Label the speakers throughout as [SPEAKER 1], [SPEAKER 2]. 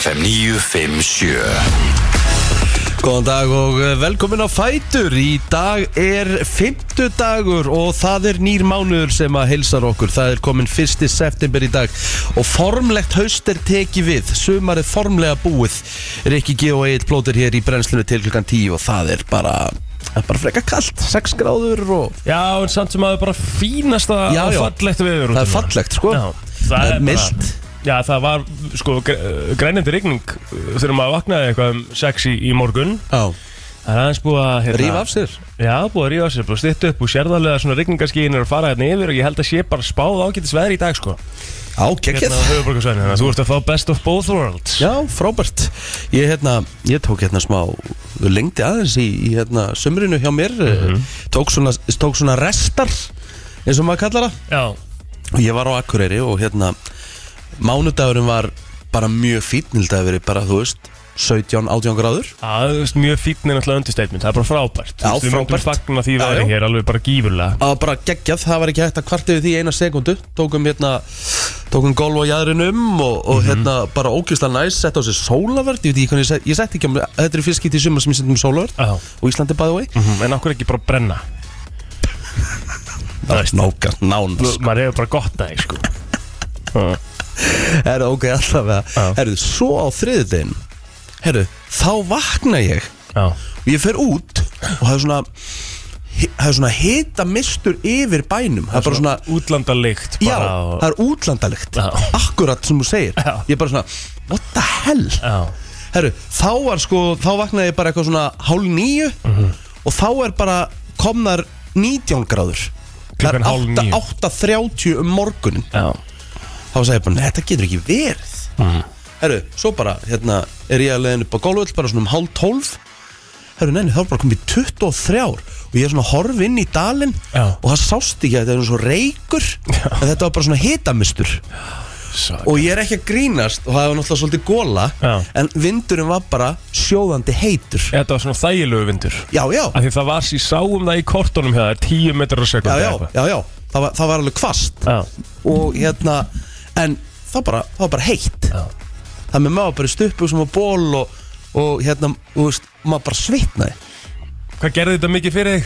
[SPEAKER 1] FM 957
[SPEAKER 2] Góðan dag og eh, velkomin á Fætur Í dag er fimmtudagur og það er nýr mánuður sem að heilsar okkur Það er komin 1. september í dag og formlegt haust er tekið við Sumar er formlega búið Rikki G og Egil plótir hér í brennslinu til klukkan 10 og það er bara, það er bara freka kalt 6 gráður og
[SPEAKER 3] Já, en samt sem að það er bara fínasta
[SPEAKER 2] Já,
[SPEAKER 3] og
[SPEAKER 2] já.
[SPEAKER 3] fallegt viður út
[SPEAKER 2] það
[SPEAKER 3] um
[SPEAKER 2] er fallegt sko
[SPEAKER 3] Já,
[SPEAKER 2] Það er
[SPEAKER 3] bara-
[SPEAKER 2] milt.
[SPEAKER 3] Já, það var sko gr- grænindi rigning uh, þegar maður vaknaði eitthvað um sex í, í morgun
[SPEAKER 2] Já,
[SPEAKER 3] Það er aðeins búið að hérna,
[SPEAKER 2] ríf af sér
[SPEAKER 3] Já, búið að rífa af sér, búið að stýttu upp og sérðarlega svona rigningarskíin er að fara hérna yfir og ég held að sé bara spáð ágætis veðri í dag sko
[SPEAKER 2] Já,
[SPEAKER 3] Hérna
[SPEAKER 2] geggjað
[SPEAKER 3] á höfuborgarsvæðinu, þannig að þú ert að fá best of both worlds
[SPEAKER 2] Já, frábært. Ég, hérna, ég tók hérna smá lengdi aðeins í, í hérna, sumrinu hjá mér, eh, tók, svona, tók svona restar, eins og maður kallar það.
[SPEAKER 3] Já,
[SPEAKER 2] Og Ég var á Akureyri og hérna, mánudagurinn var bara mjög fítnild að verið bara, þú veist, 17-18 gráður.
[SPEAKER 3] það er mjög fínn er náttúrulega understatement, það er bara frábært Þú veist,
[SPEAKER 2] Já,
[SPEAKER 3] Við
[SPEAKER 2] frábært.
[SPEAKER 3] myndum fagna því
[SPEAKER 2] Já,
[SPEAKER 3] veðri
[SPEAKER 2] já.
[SPEAKER 3] hér alveg bara gífurlega
[SPEAKER 2] Það var bara geggjað, það var ekki hægt að kvarta yfir því í eina sekundu. Tókum hérna, tókum golf á jæðrinum og, og hérna bara ógjuslega næs, sett á sig sólavert. Ég veit ekki hvernig, ég, set- ég sett ekki á mig, þetta er fyrst skipt í sumar sem ég settum sólavert.
[SPEAKER 3] Já.
[SPEAKER 2] Og Íslandi by the way.
[SPEAKER 3] Mhm, En okkur ekki bara brenna
[SPEAKER 2] Það er nákvæmt,
[SPEAKER 3] Nú,
[SPEAKER 2] nánast
[SPEAKER 3] maður hefur bara gott að sko.
[SPEAKER 2] Herru, ok, allavega
[SPEAKER 3] Já.
[SPEAKER 2] Herru, svo á þriðudegin Herru, þá vakna ég
[SPEAKER 3] Já,
[SPEAKER 2] Og ég fer út Og það er svona Það er svona hita mistur yfir bænum Það er bara svona
[SPEAKER 3] útlandalikt
[SPEAKER 2] Já,
[SPEAKER 3] bara
[SPEAKER 2] það er útlandalegt
[SPEAKER 3] Já.
[SPEAKER 2] Akkurat sem þú segir
[SPEAKER 3] Já.
[SPEAKER 2] Ég er bara svona, what the hell
[SPEAKER 3] Já,
[SPEAKER 2] Herru, þá var sko, þá vaknaði ég bara eitthvað svona hálf níu
[SPEAKER 3] Mhm.
[SPEAKER 2] og þá er bara komnar 19 gráður Það er
[SPEAKER 3] Klukkan hálf níu.
[SPEAKER 2] 8.30 um morgunin
[SPEAKER 3] já,
[SPEAKER 2] þá sagði ég bara, "Nei, þetta getur ekki verið
[SPEAKER 3] Mm.
[SPEAKER 2] herru, svo bara, hérna er ég að leiðin upp á gólvöld, bara svona um hálf tólf herru, neini, þá er bara komið 23 ár og ég er svona að horfa inn í dalinn
[SPEAKER 3] Já.
[SPEAKER 2] og það sást ekki að þetta er svona svo reykur en þetta var bara svona hitamistur
[SPEAKER 3] Saka.
[SPEAKER 2] og ég er ekki að grínast og það var náttúrulega svolítið góla
[SPEAKER 3] Já.
[SPEAKER 2] en vindurinn var bara sjóðandi heitur
[SPEAKER 3] Þetta var svona þægilegu vindur
[SPEAKER 2] já, já,
[SPEAKER 3] Af því það var sér sáum það í kortunum hjá þær 10 metrar á
[SPEAKER 2] já,
[SPEAKER 3] sekundi
[SPEAKER 2] já, já, já. Það, var, það var alveg kvast
[SPEAKER 3] já.
[SPEAKER 2] og hérna en það bara, það var bara heitt
[SPEAKER 3] Já.
[SPEAKER 2] það með maður bara stuppu sem var ból og, og hérna, þú veist, maður bara svitnaði
[SPEAKER 3] Hvað gerði þetta mikið fyrir þig?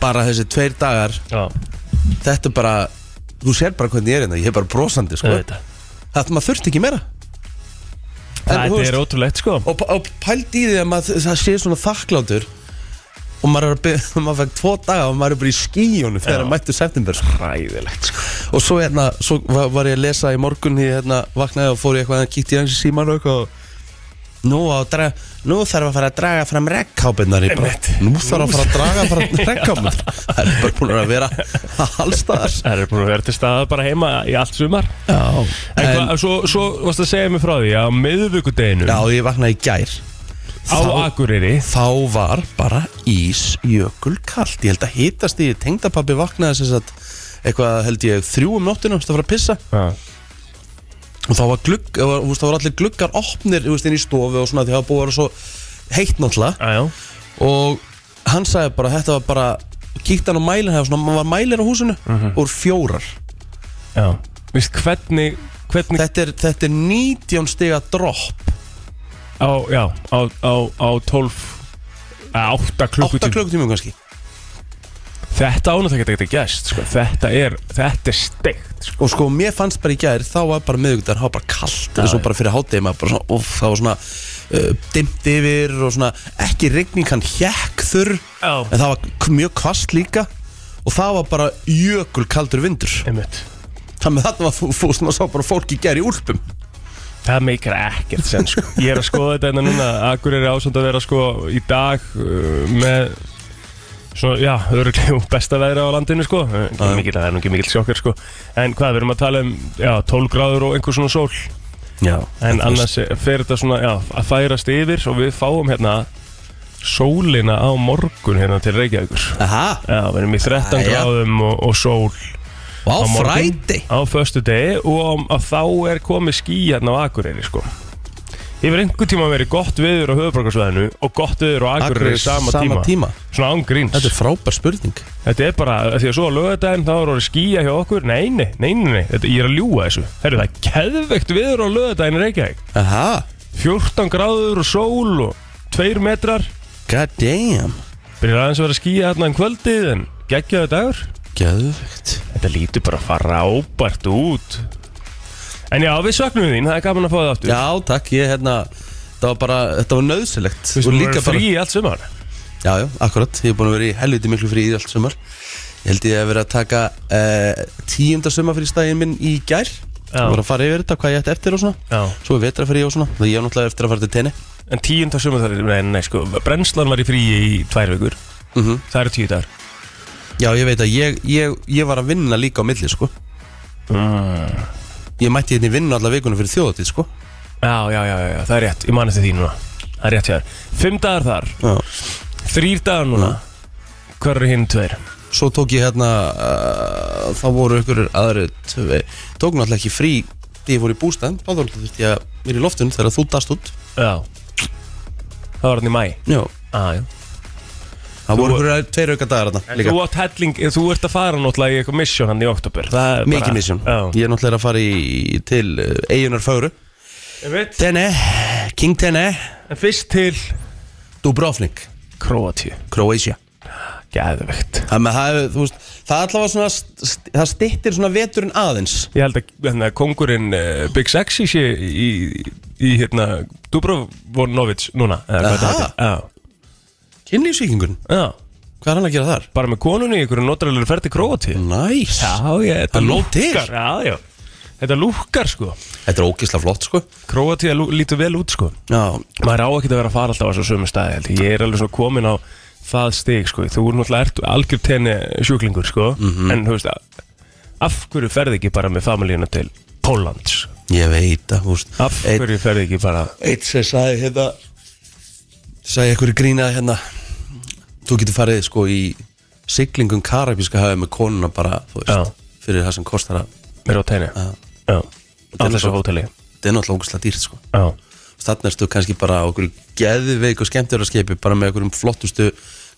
[SPEAKER 2] bara þessi tveir dagar
[SPEAKER 3] Já,
[SPEAKER 2] þetta er bara, þú sér bara hvernig ég er hérna ég er bara brosandi, sko
[SPEAKER 3] þetta
[SPEAKER 2] það maður þurfti ekki meira En, þú
[SPEAKER 3] Þetta
[SPEAKER 2] veist,
[SPEAKER 3] er ótrúlegt sko
[SPEAKER 2] og, og pælt í því að maður það sé svona þakklátur og maður er að byrja, maður fæk tvo daga og maður er bara í skíjónu þegar
[SPEAKER 3] Já.
[SPEAKER 2] að mættu september sko.
[SPEAKER 3] Ræðilegt sko
[SPEAKER 2] og svo hérna, svo var, var ég að lesa í morgun því hérna vaknaði og fór ég eitthvað að kíkti í hans í síman og eitthvað og nú, á að draga, nú þarf að fara að draga fram rekkápinnar í bara,
[SPEAKER 3] Einmitt.
[SPEAKER 2] nú þarf að fara að draga fram rekkápinnar það er bara búin að vera allstaðar
[SPEAKER 3] Það er búin að vera til staða bara heima í allt sumar
[SPEAKER 2] já,
[SPEAKER 3] En,
[SPEAKER 2] en,
[SPEAKER 3] hvað, svo, svo varst að segja mér frá því að á miðvikudeginu
[SPEAKER 2] já, ég vaknaði í gær
[SPEAKER 3] á Akureyri
[SPEAKER 2] þá var bara ísjökul kallt ég held að hitast í tengdapappi vaknaði sem sagt eitthvað held ég þrjú um nóttinu að fara að pissa
[SPEAKER 3] Já,
[SPEAKER 2] og þá var, glugg, það var, þú veist, það var allir gluggar opnir þú veist, inn í stofu og svona því það var búið að vera svo heitt náttúrulega
[SPEAKER 3] já, já.
[SPEAKER 2] og hann sagði bara þetta var bara kíkti hann á mælinn það var svona, maður var mælir á húsinu úr fjórar
[SPEAKER 3] já. Vist hvernig, hvernig
[SPEAKER 2] þetta er, þetta er 19 stiga dropp
[SPEAKER 3] á, já, á, á, á 12 á 8
[SPEAKER 2] 8
[SPEAKER 3] klukkutíma
[SPEAKER 2] klukkutímum kannski
[SPEAKER 3] þetta ánum það geta geta gæst sko. þetta er, þetta er steikt sko.
[SPEAKER 2] og sko mér fannst bara í gær þá var bara miðugdar, það var bara kallt eins og bara fyrir hátegi maður bara svona, uff, það var svona uh, dimmt yfir og svona ekki rigning hann hjekk þurr
[SPEAKER 3] Já.
[SPEAKER 2] en það var k- mjög kvast líka og það var bara jökul kaldur vindur
[SPEAKER 3] einmitt
[SPEAKER 2] þannig að þarna var fú- fú- svona sá bara fólk í gær í úlpum
[SPEAKER 3] Það meikar ekkert sen sko. Ég er að skoða þetta hérna núna Akkur er ásand að vera sko í dag uh, með Svona, já, örugglega besta veðra á landinu sko Eh, ekki
[SPEAKER 2] Já.
[SPEAKER 3] mikill, Það er nú ekki mikill sjokkar sko En hvað, við erum að tala um já, 12 gráður og einhver svona sól
[SPEAKER 2] Já,
[SPEAKER 3] En annars er- fer þetta svona, já, að færast yfir Og við fáum hérna sólina á morgun hérna til Reykjavíkur
[SPEAKER 2] Aha,
[SPEAKER 3] Já, við erum í 13
[SPEAKER 2] Jæja.
[SPEAKER 3] gráðum og, og sól
[SPEAKER 2] og á
[SPEAKER 3] á um, morgun.
[SPEAKER 2] fræti
[SPEAKER 3] á föstu degi og á, á, þá er komið ský hérna á Akureyri sko. Yfir einhver tíma verið gott viður á höfuborgarsvæðinu og gott viður á Akureyri
[SPEAKER 2] Akureyri
[SPEAKER 3] sama,
[SPEAKER 2] sama
[SPEAKER 3] tíma.
[SPEAKER 2] tíma.
[SPEAKER 3] Svona ángríns
[SPEAKER 2] Þetta er frábær spurning
[SPEAKER 3] Þetta er bara, af því að svo á lögadaginn þá er orðið skýja hjá okkur Nei, nei, nei, nei, nei. Þetta, ég er að ljúga þessu Herru, það er keðvegt viður á lögadaginn í Reykjavík
[SPEAKER 2] Aha,
[SPEAKER 3] 14 gráður og sól og 2 metrar
[SPEAKER 2] god damn
[SPEAKER 3] Byrjar aðeins að vera að skýja hérna um kvöldið en geggjaðu dagur
[SPEAKER 2] Gjöðvegt
[SPEAKER 3] Þetta lítur bara að fara ábært út En já, við söknum þín, það er gaman að fá það aftur
[SPEAKER 2] Já, takk, ég hérna Það var bara, þetta var nöðsilegt
[SPEAKER 3] Við erum bara frí allt sumar
[SPEAKER 2] Já, já, akkurat, ég er búin að vera í helviti miklu frí í allt sumar Ég held ég hef verið að taka uh, tíunda sumarfrístæðin minn í gær
[SPEAKER 3] Já.
[SPEAKER 2] Ég var að fara yfir þetta, hvað ég ætti eftir og svona
[SPEAKER 3] Já.
[SPEAKER 2] Svo er vetrafrí og svona, það ég á náttúrulega eftir að fara til tenni
[SPEAKER 3] En tíund á sumar, það er, nei, nei, sko Brennslan var í frí í tvær vikur
[SPEAKER 2] Mhm.
[SPEAKER 3] Það eru tíu dagar
[SPEAKER 2] Já, ég veit að ég, ég, ég var að vinna líka á milli, sko
[SPEAKER 3] mm.
[SPEAKER 2] Ég mætti hérna í vinnu alla vikunum fyrir þjóðatíð, sko
[SPEAKER 3] já, já, já, já, já, það er rétt, ég mani eftir því núna Það er rétt hjá þér Fimm dagar þar,
[SPEAKER 2] já.
[SPEAKER 3] þrýr dagar núna Hvar eru hinn tveir?
[SPEAKER 2] Svo tók ég hérna, uh, þá voru ykkur aðri tvei Tók náttúrulega ekki frí því ég fór í bústæðin Þá þurfti ég að vera í loftun þegar þú dast út
[SPEAKER 3] Já Það var hann í mæ
[SPEAKER 2] Já,
[SPEAKER 3] ah, já.
[SPEAKER 2] það voru ykkur tveir auka dagar þarna
[SPEAKER 3] En
[SPEAKER 2] líka.
[SPEAKER 3] Þú, átt helling, þú ert að fara náttúrulega í eitthvað misjón hann í oktober Það er bara-
[SPEAKER 2] Mikið misjón
[SPEAKER 3] Já
[SPEAKER 2] Ég er náttúrulega að fara í, til uh, eigunar fögru
[SPEAKER 3] Ég veit
[SPEAKER 2] Tene, King Tene
[SPEAKER 3] En fyrst til
[SPEAKER 2] Dubrovnik,
[SPEAKER 3] Kroatíu
[SPEAKER 2] Croatia
[SPEAKER 3] Gæðvegt
[SPEAKER 2] Það með það, hefur, þú veist, það allavega svona st- st- Það stittir svona veturinn aðeins
[SPEAKER 3] Ég held að hérna, kongurinn uh, Big Sexy sé í, í hérna, Dubrovnovic núna eða hvað
[SPEAKER 2] Aha.
[SPEAKER 3] þetta heitir.
[SPEAKER 2] Kynlífsvíkingun,
[SPEAKER 3] Já, já
[SPEAKER 2] hvað er hann að gera þar?
[SPEAKER 3] Bara með konunni í einhverju notralegur ferð til Kroatíu
[SPEAKER 2] Næs,
[SPEAKER 3] Já, ég, þetta
[SPEAKER 2] Það nóg til.
[SPEAKER 3] lúkkar Já, já Þetta lúkkar sko
[SPEAKER 2] þetta er ógisla flott sko
[SPEAKER 3] Kroatíu lú- lítur vel út sko
[SPEAKER 2] Já,
[SPEAKER 3] maður á ekki að vera að fara alltaf á þessu sömu staði held ég. ég er alveg svona komin á það stig sko. þú er náttúrulega ert algjör tenni sjúklingur sko.
[SPEAKER 2] Mhm.
[SPEAKER 3] en þú veist að af hverju ferði ekki bara með familíuna til Pólans
[SPEAKER 2] ég veit að, þú veist
[SPEAKER 3] af
[SPEAKER 2] einn-
[SPEAKER 3] hverju ferði ekki bara
[SPEAKER 2] Eitt sem sagði hérna sagði einhverju grínað hérna þú getur farið sko í siglingum karabíska hafið með konuna bara þú veist, fyrir það sem kostar að
[SPEAKER 3] með á tenni
[SPEAKER 2] Já.
[SPEAKER 3] Já. á
[SPEAKER 2] Þetta er
[SPEAKER 3] þessu
[SPEAKER 2] svo-
[SPEAKER 3] hóteli
[SPEAKER 2] þetta er náttúrulega ógisla dýrt sko
[SPEAKER 3] Já.
[SPEAKER 2] þannig erstu kannski bara á okkur geðveik og skemmtjörarskipi bara með okkur flottustu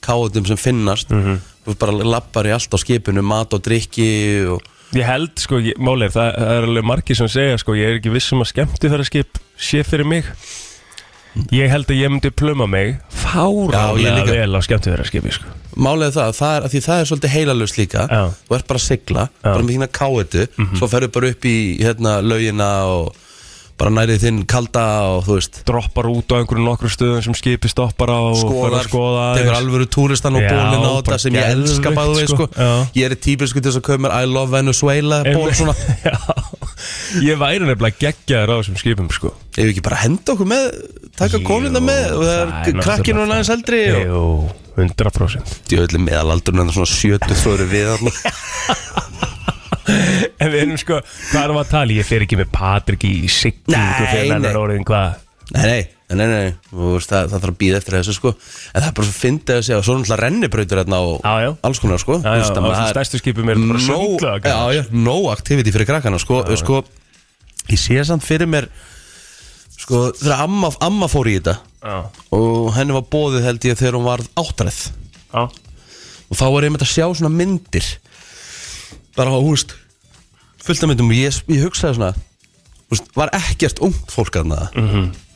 [SPEAKER 2] káðum sem finnast
[SPEAKER 3] Mhm.
[SPEAKER 2] þú bara lappar í allt á skipinu mat og drikki og
[SPEAKER 3] ég held sko, ég- málið er, það, það er alveg margir sem segja sko, ég er ekki viss um að skemmti þeirra skip sé fyrir mig ég held að ég myndi pluma mig fárálega
[SPEAKER 2] Mm. líka.
[SPEAKER 3] vel á skemmti þeirra skipi sko.
[SPEAKER 2] málega það, það er, af því það er svolítið heilalust líka
[SPEAKER 3] Já. Mhm.
[SPEAKER 2] þú ert bara að sigla, bara með þína káetu svo ferðu bara upp í hérna laugina og bara nærið þinn kalda og þú veist
[SPEAKER 3] droppar út á einhverju nokkru stöðum sem skipi stoppar á og fer
[SPEAKER 2] skoðar,
[SPEAKER 3] að skoða
[SPEAKER 2] tekur
[SPEAKER 3] aðeins.
[SPEAKER 2] alvöru túristan og
[SPEAKER 3] Já,
[SPEAKER 2] bólin á
[SPEAKER 3] bara
[SPEAKER 2] þetta sem ég
[SPEAKER 3] geðveikt,
[SPEAKER 2] elska bæðu veið sko,
[SPEAKER 3] sko. Já.
[SPEAKER 2] ég er típisku til þess að kömur I love Venezuela
[SPEAKER 3] Einmitt.
[SPEAKER 2] ból svona
[SPEAKER 3] Já, ég væri nefnilega geggjaður á þessum skipum sko
[SPEAKER 2] Ef við ekki bara henda okkur með, taka
[SPEAKER 3] Jú,
[SPEAKER 2] konuna með og það er
[SPEAKER 3] náttúrulega
[SPEAKER 2] krakkinn og aðeins eldri og...
[SPEAKER 3] Jú, 100%
[SPEAKER 2] Djöðli meðalaldurinn er svona sjötu þóru við hann
[SPEAKER 3] En við erum sko, hvað erum við að tala? Ég fer ekki með Patrik í siglingu
[SPEAKER 2] Nei,
[SPEAKER 3] þegar hann
[SPEAKER 2] nei.
[SPEAKER 3] er orðin hvað
[SPEAKER 2] Nei, nei, nei, nei, nei. Þú Veist, það, það þarf að býða eftir þessu sko En það er bara svo fyndið að segja og svo er náttúrulega rennibrautur hérna og
[SPEAKER 3] Já, já.
[SPEAKER 2] alls konar sko
[SPEAKER 3] Já, já, á þessum stærstu skipum er þetta bara sundlaugar,
[SPEAKER 2] no, Já, já, no activity fyrir krakkana sko, sko Ég sé samt fyrir mér sko, þegar amma, amma fór í þetta
[SPEAKER 3] Já,
[SPEAKER 2] og henni var bóðið held ég þegar hún var áttræð
[SPEAKER 3] já,
[SPEAKER 2] og þá var ég með að sjá svona myndir bara á húst fullt af myndum og ég, ég hugsaði svona húst, var ekkert ungt fólk að það mm
[SPEAKER 3] Mhm.
[SPEAKER 2] -hmm.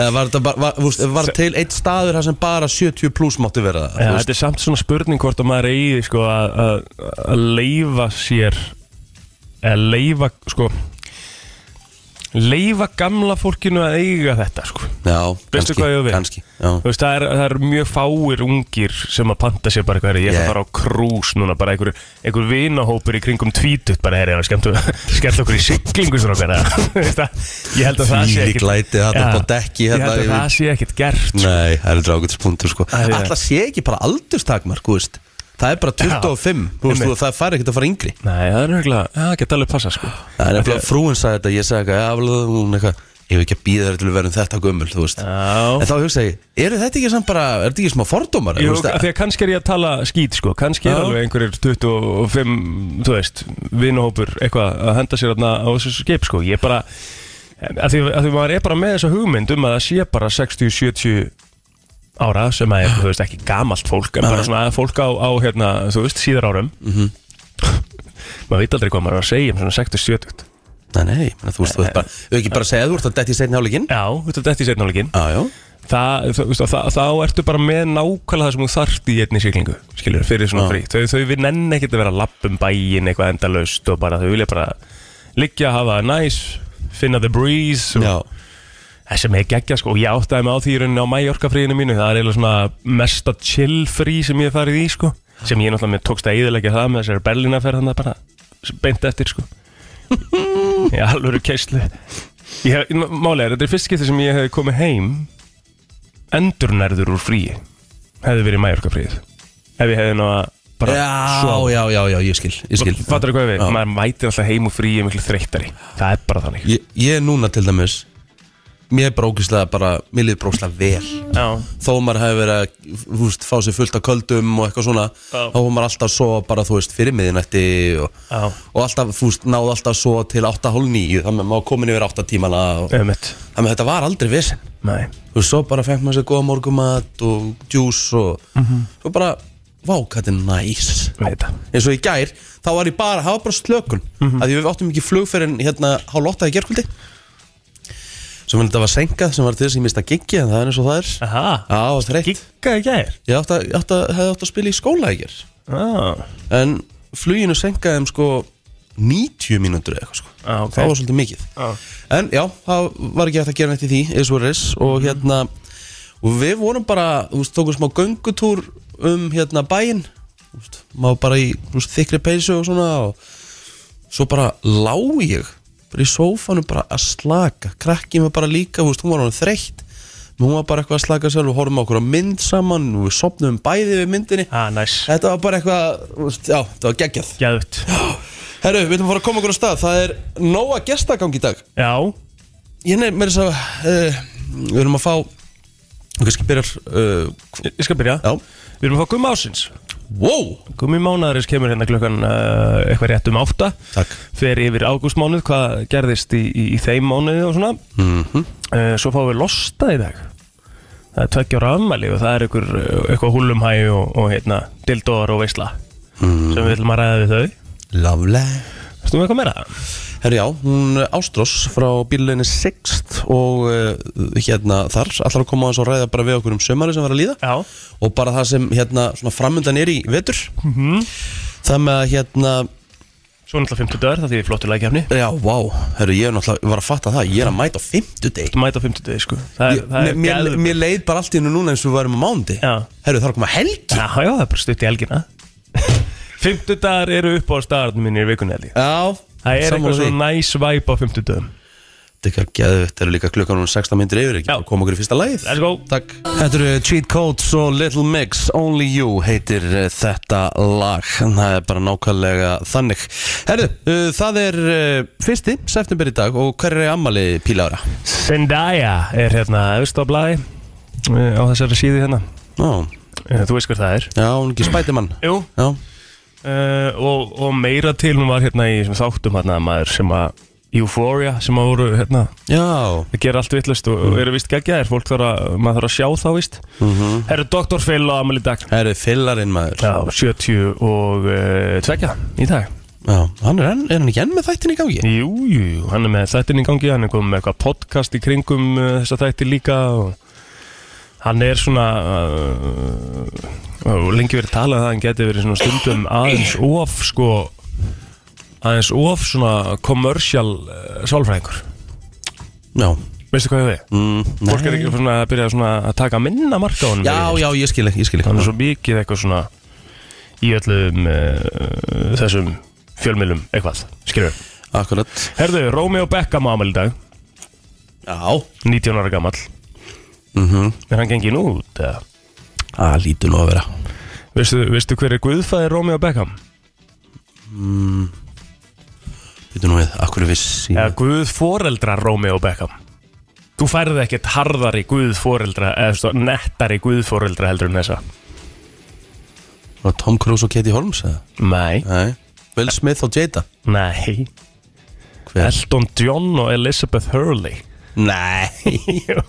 [SPEAKER 2] eða var, þetta bara- var, húst, var til eitt staður þar sem bara 70 pluss mátti vera
[SPEAKER 3] já
[SPEAKER 2] þú veist.
[SPEAKER 3] þetta er samt svona spurning hvort að maður eigi sko að- að að leifa sér að leifa sko leifa gamla fólkinu að eiga þetta sko
[SPEAKER 2] já,
[SPEAKER 3] Veistu
[SPEAKER 2] kannski,
[SPEAKER 3] hvað ég á við?
[SPEAKER 2] kannski já.
[SPEAKER 3] Þú veist, það er, það er mjög fáir ungir sem að panta sér bara eitthvað, herri, ég ætla
[SPEAKER 2] Yeah.
[SPEAKER 3] að fara á krús núna, bara einhver, einhver vinahópur í kringum tvítut, bara herri, það skemmt, skemmt okkur í siglingu svona okkar, ég held að það sé
[SPEAKER 2] Þvílík
[SPEAKER 3] ekkit
[SPEAKER 2] læti þarna
[SPEAKER 3] Já,
[SPEAKER 2] upp á dekki,
[SPEAKER 3] ég
[SPEAKER 2] hérna
[SPEAKER 3] held að
[SPEAKER 2] yfir-
[SPEAKER 3] það sé ekkit gert, sko.
[SPEAKER 2] nei, það er drákvæmt spundur sko
[SPEAKER 3] Æ, já.
[SPEAKER 2] alltaf sé ekki bara aldurstakmark þú veist. það er bara 25 þú veist,
[SPEAKER 3] einmitt.
[SPEAKER 2] þú- það fær ekkert að fara yngri
[SPEAKER 3] nei, það er nörgulega, það geta alveg passa, sko,
[SPEAKER 2] það er nefnilega frúin sagði þetta, ég sagði eitthvað, já, blablabla, hún eitthvað ég hef ekki að býða þær til að vera um þetta gömul þú veist En
[SPEAKER 3] já,
[SPEAKER 2] þá hugsa ég, eru þetta ekki samt bara, er þetta ekki smá fordómar?
[SPEAKER 3] Jú,
[SPEAKER 2] Þú veist,
[SPEAKER 3] því að kannski er ég að tala skýt, sko, kannski er
[SPEAKER 2] Já.
[SPEAKER 3] alveg einhverjir 25, þú veist, vinahópur, eitthvað, að henda sér þarna á þessu skip, sko, ég bara, Af því, af því maður er bara með þessa hugmynd um að það sé bara 60-70 ára sem að er, þú veist, ekki gamalt fólk en bara svona fólk á, á hérna, þú veist, síðar árum maður veit aldrei hvað maður er að segja um svona 60-70
[SPEAKER 2] Nei, nei, ég meina, þú veist, þú veist bara Þau ekki bara að segja að þú ert að detti í seinni hálfleikin
[SPEAKER 3] Já, þetta er þetta í setnálegin
[SPEAKER 2] Já, já
[SPEAKER 3] það, þú veist, og það, þá ertu bara með nákvæmlega það sem þú þarft í einni siglingu skilur, fyrir svona frí, þau, þau við nenni ekkert að vera lapp um bæin eitthvað endalaust og bara þau vilja bara liggja, hafa það næs finna the breeze og
[SPEAKER 2] Já,
[SPEAKER 3] það sem er geggja sko, og ég áttaði mig á því í rauninni á mæjorkafríinu mínu, það er eiginlega svona mesta chill frí sem ég hef farið í sko sem ég náttúrulega mér tókst að eðilegja það með þessari Berlínaferð þannig bara beint eftir sko í alvöru keislu ég hef, málega, þetta er fyrst skipti sem ég hef komið heim endurnærður úr fríi hefði verið mæjorkafríið ef ég hefði ná að bara
[SPEAKER 2] já,
[SPEAKER 3] sofa.
[SPEAKER 2] já, já, já, ég skil, ég skil
[SPEAKER 3] fattar hvað við,
[SPEAKER 2] Já.
[SPEAKER 3] maður mætir alltaf heim úr fríi miklu þreyttari, það er bara þannig
[SPEAKER 2] Ég, ég núna til dæmis Mér er brókislega bara, mér liður brókislega vel
[SPEAKER 3] já,
[SPEAKER 2] Þó maður hefur verið að, þú veist, fá sér fullt af köldum og eitthvað svona
[SPEAKER 3] Já.
[SPEAKER 2] Þá var maður alltaf svo bara, þú veist, fyrir miðinætti og,
[SPEAKER 3] Já.
[SPEAKER 2] og alltaf, þú veist, náðu alltaf svo til 8.30 Þannig að maður komin yfir 8 tímana og,
[SPEAKER 3] ömmett,
[SPEAKER 2] Þannig að þetta var aldrei vesen
[SPEAKER 3] nei
[SPEAKER 2] Þú veist, svo bara fengt maður sér góða morgumat og djús og svo bara, vá, hvað þetta er næs
[SPEAKER 3] veit það
[SPEAKER 2] eins og í gær, þá var ég bara, það var bara slökun mm -hmm. að því við áttum ekki flugferðin hérna hálf ótta í gerkvöldi sem þetta var senkað, sem var til þess að ég mista giggi en það er eins og það er,
[SPEAKER 3] Aha,
[SPEAKER 2] já, það var þreytt
[SPEAKER 3] gigga í gær
[SPEAKER 2] ég átti að, ég átti að, hefði átt að spila í skóla í gær
[SPEAKER 3] ah,
[SPEAKER 2] en fluginu senkaði um sko 90 mínútur eða eitthvað sko
[SPEAKER 3] ah, ok. Ah.
[SPEAKER 2] það var svolítið mikið
[SPEAKER 3] Já.
[SPEAKER 2] en já, það var ekki hægt að gera neitt í því eins og reis og
[SPEAKER 3] Mhm.
[SPEAKER 2] hérna og við vorum bara, þú veist, tókum smá göngutúr um hérna bæinn þú veist, maður bara í þú veist, þykri peysu og svona og svo bara lá ég bara í sófanum bara að slaka krakkið mig bara líka, þú veist, hún var hann þreytt menn hún var bara eitthvað að slaka sér við horfum á okkur á mynd saman og við sopnum bæði við myndinni
[SPEAKER 3] ah, næs
[SPEAKER 2] Þetta var bara eitthvað, þú veist, já, þetta var geggjað
[SPEAKER 3] Gæðut
[SPEAKER 2] Herru, við ætlum að fara að koma okkur á stað Það er nóga gestagang í dag
[SPEAKER 3] Já,
[SPEAKER 2] Ég nefnir mér þess að uh, Við erum að fá Við kannski byrjar uh,
[SPEAKER 3] ég ég skal byrja
[SPEAKER 2] Já
[SPEAKER 3] Við erum að fá Gummi Ásins
[SPEAKER 2] Wow
[SPEAKER 3] Gummi Mánaðurins kemur hérna klukkan uh, eitthvað rétt um átta
[SPEAKER 2] Takk
[SPEAKER 3] Fer yfir ágústmánuð, hvað gerðist í, í, í þeim mánuði og svona
[SPEAKER 2] Mhm.
[SPEAKER 3] uh, Svo fáum við losta í dag Það er tveggjóra afmæli og það er ykkur, uh, eitthvað húlumhæi og, og hérna, dildóðar og veisla
[SPEAKER 2] Hmm.
[SPEAKER 3] sem við ætlum að ræða við þau
[SPEAKER 2] Lovely
[SPEAKER 3] Ertu með eitthvað meira?
[SPEAKER 2] Herru, já, hún eh, Ástrós frá bíluleginni 6 og uh, hérna þar allar að koma aðeins og ræða bara við okkur um sömari sem var að líða
[SPEAKER 3] Já
[SPEAKER 2] og bara það sem hérna svona framundan er í vetur það með að hérna
[SPEAKER 3] Svo náttúrulega 50 dagar, það því við flottur lækjafni
[SPEAKER 2] já, vá, herru, ég er náttúrulega var að fatta það, ég er að mæta á fimmtudegi
[SPEAKER 3] mæta á 50 degi sko það er,
[SPEAKER 2] Ég-
[SPEAKER 3] það er
[SPEAKER 2] mér,
[SPEAKER 3] gæður-
[SPEAKER 2] mér, mér leið bara allt í hennu núna eins og við varum á mándi
[SPEAKER 3] Já.
[SPEAKER 2] Herru þarf að koma helgi
[SPEAKER 3] Já, já, það er bara stutt í helgina 50 dagar eru upp á staðarnum minni í vikunni helgi
[SPEAKER 2] Já
[SPEAKER 3] Það er
[SPEAKER 2] sammála
[SPEAKER 3] eitthvað
[SPEAKER 2] því.
[SPEAKER 3] svo næs væp á 50 dagum
[SPEAKER 2] Þetta er ekki að geða þetta eru líka klukkan núna 16 myndir yfir ekki
[SPEAKER 3] Já.
[SPEAKER 2] bara Koma okkur í fyrsta lagið
[SPEAKER 3] Let's go
[SPEAKER 2] Takk Þetta eru Cheat Codes og Little Mix Only You heitir eh, þetta lag En Það er bara nákvæmlega þannig Herru, uh, það er uh, fyrsti september í dag og hver er ammali pílára?
[SPEAKER 3] Zendaya er hérna efst á blæði á þessari síðu hérna
[SPEAKER 2] Já,
[SPEAKER 3] Eh, Þú veist hver það er
[SPEAKER 2] já, hún er ekki spætimann
[SPEAKER 3] Jú eh,
[SPEAKER 2] Já,
[SPEAKER 3] og, og meira til hún var hérna í þessum þáttum hérna maður sem að Euphoria sem að voru hérna
[SPEAKER 2] já
[SPEAKER 3] Það gera allt vittlust og, og eru vist geggjaðir Fólk þarf að, maður þarf að sjá þá vist mm Herru Dr. Phil á Amelie Dag
[SPEAKER 2] Herru, fillarinn maður
[SPEAKER 3] Já, 70 og uh, tvekja í dag
[SPEAKER 2] Já, hann er, enn, er hann ekki enn með þættin í gangi?
[SPEAKER 3] Jú, jú, jú, hann er með þættin í gangi, hann er komið með eitthvað podcast í kringum uh, þessa þætti líka og hann er svona, uh, og lengi verið talað að hann geti verið svona stundum aðeins of, sko, aðeins of svona commercial uh, sálfræðingur.
[SPEAKER 2] Já
[SPEAKER 3] Veistu hvað ég við?
[SPEAKER 2] mm, nei.
[SPEAKER 3] Fólk er ekki svona að byrja svona að taka minna marka á honum.
[SPEAKER 2] Já, já, ég skil ekki, ég skil
[SPEAKER 3] Hann
[SPEAKER 2] ekki
[SPEAKER 3] er svo mikið eitthvað svona í öllum uh, þessum fjölmiðlum eitthvað, skilur.
[SPEAKER 2] Akkurat
[SPEAKER 3] Herðu, Rómi og Beckham á amal í dag.
[SPEAKER 2] Já
[SPEAKER 3] 19 ára gammal
[SPEAKER 2] mm
[SPEAKER 3] Er hann gengið nú út? eða?
[SPEAKER 2] Það lítur nú að vera
[SPEAKER 3] Veistu, veistu hver er guðfæðir Romeo Beckham?
[SPEAKER 2] Lítur nú við, akkur vissi
[SPEAKER 3] Eða guðforeldra Romeo Beckham? Þú færði ekkert harðari guðforeldra eða svo, nettari guðforeldra heldur en þessa
[SPEAKER 2] Var Tom Cruise og Katie Holmes eða?
[SPEAKER 3] Nei,
[SPEAKER 2] Nei Will Smith og Jada
[SPEAKER 3] nei
[SPEAKER 2] Hver?
[SPEAKER 3] Elton John og Elizabeth Hurley
[SPEAKER 2] Nei
[SPEAKER 3] Jú.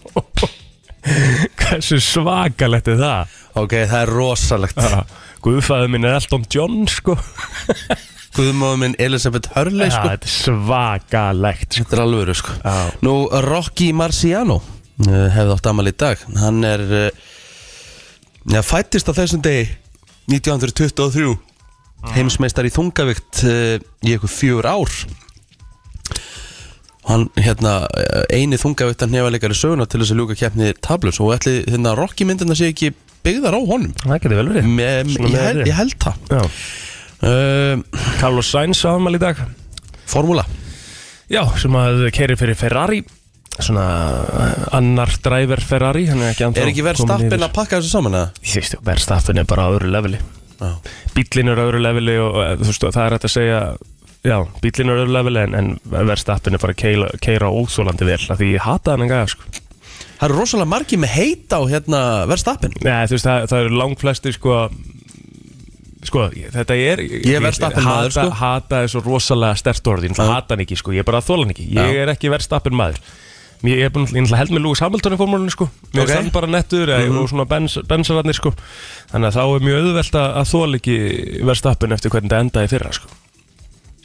[SPEAKER 3] Hversu svakalegt er það?
[SPEAKER 2] Ok, það er rosalegt
[SPEAKER 3] Guðfæður minn er Elton John sko
[SPEAKER 2] Guðmóður minn Elisabeth Hurley
[SPEAKER 3] Já,
[SPEAKER 2] sko.
[SPEAKER 3] Þetta er svakalegt sko.
[SPEAKER 2] Þetta er alveg verið sko
[SPEAKER 3] Já.
[SPEAKER 2] Nú, Rocky Marciano uh, hefði átt amal í dag Hann er uh, já, fættist á þessum degi 1923
[SPEAKER 3] Mm.
[SPEAKER 2] heimsmeistar í þungavikt uh, í eitthvað fjögur ár hann hérna uh, eini þungaviktan hefa leikari söguna til þess að ljúka keppni tablus og ætli hérna Rocky myndina sé ekki byggðar á honum
[SPEAKER 3] Það getur vel verið
[SPEAKER 2] Me,
[SPEAKER 3] Svona
[SPEAKER 2] ég, hel,
[SPEAKER 3] meðri.
[SPEAKER 2] ég held það
[SPEAKER 3] Já.
[SPEAKER 2] uh,
[SPEAKER 3] Carlos Sainz á afmæli í dag
[SPEAKER 2] Formúla
[SPEAKER 3] Já, sem að keiri fyrir Ferrari Svona eh, annar driver Ferrari hann Er ekki, ennþá
[SPEAKER 2] Er ekki verið
[SPEAKER 3] kominn
[SPEAKER 2] stappin
[SPEAKER 3] yfir.
[SPEAKER 2] að pakka þessu saman eða?
[SPEAKER 3] Ég veist, verðstappin er bara á öðru leveli
[SPEAKER 2] Já.
[SPEAKER 3] Bíllinn er á öðru leveli og eh, þú veist, það er hægt að segja Já, bíllinn er á öðru leveli en, en verðstappin er bara að keila, keira óþólandi vel af Því ég hata hann en gæða sko.
[SPEAKER 2] Það eru rosalega margi með heita á hérna verðstappin
[SPEAKER 3] Nei, þú veist, það, það eru langflestir sko Sko, ég- þetta er
[SPEAKER 2] er Verstappen maður,
[SPEAKER 3] hata-
[SPEAKER 2] sko.
[SPEAKER 3] Hata er svo rosalega stert orðin Það
[SPEAKER 2] Já.
[SPEAKER 3] hata hann ekki, sko, ég er bara að þóla hann ekki Ég
[SPEAKER 2] Já.
[SPEAKER 3] er ekki verðstappin maður Mér ég er búin að held með Lúis Hamilton í formúlinu, sko Mér
[SPEAKER 2] Ok. Mhm.
[SPEAKER 3] er þann bara nettur mm og svona bens, bensararnir, sko Þannig að þá er mjög auðvelt að, að þóla ekki verðstappin eftir hvernig það endaði í fyrra, sko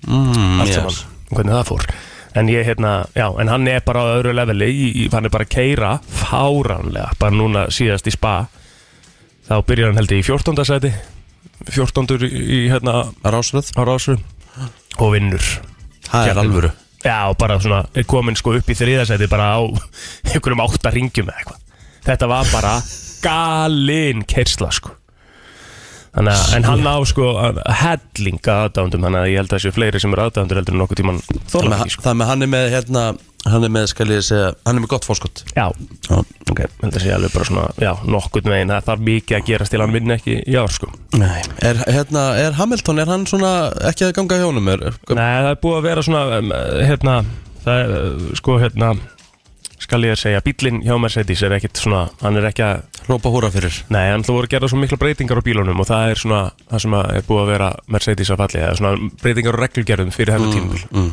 [SPEAKER 2] mm,
[SPEAKER 3] Allt saman, hvernig það fór En ég, hérna, já, en hann er bara á öðru leveli í- í- Hann er bara að keira fáránlega Bara núna síðast í spa Þá byrjar hann held ég í 14. sæti 14. í, í hérna á
[SPEAKER 2] Rásröð
[SPEAKER 3] rásu Og vinnur
[SPEAKER 2] Það er
[SPEAKER 3] Keppnin.
[SPEAKER 2] alvöru
[SPEAKER 3] Já, og bara svona, er komin sko upp í þriðasæti Bara á einhverjum átta ringjum eða eitthvað Þetta var bara galin kersla sko Þannig að, en hann á sko að- helling aðdándum, þannig að ég held að þessi fleiri sem eru aðdándur heldur en nokkuð tíman
[SPEAKER 2] Það
[SPEAKER 3] þóla
[SPEAKER 2] með,
[SPEAKER 3] ekki sko.
[SPEAKER 2] það með hann er með hérna Hann er með, skal ég segja, hann er með gott fórskott
[SPEAKER 3] Já,
[SPEAKER 2] Já, ok
[SPEAKER 3] held að sé alveg bara svona, já, nokkurn veginn það þarf mikið að gerast til hann vinna ekki í ár sko
[SPEAKER 2] Nei. Er, hérna, er Hamilton, er hann svona ekki að ganga hjá honum? Er, er,
[SPEAKER 3] Nei, það er búið að vera svona, um, hérna, það er, uh, sko, hérna, skal ég að segja, bílinn hjá Mercedes er ekkit svona, hann er ekki að,
[SPEAKER 2] Rópa húra fyrir
[SPEAKER 3] nei, hann það voru að gera svo mikla breytingar á bílunum og það er svona, það sem að er búið að vera Mercedes að falli, það er svona breytingar á reglugerðum fyrir hennu tímul
[SPEAKER 2] mm,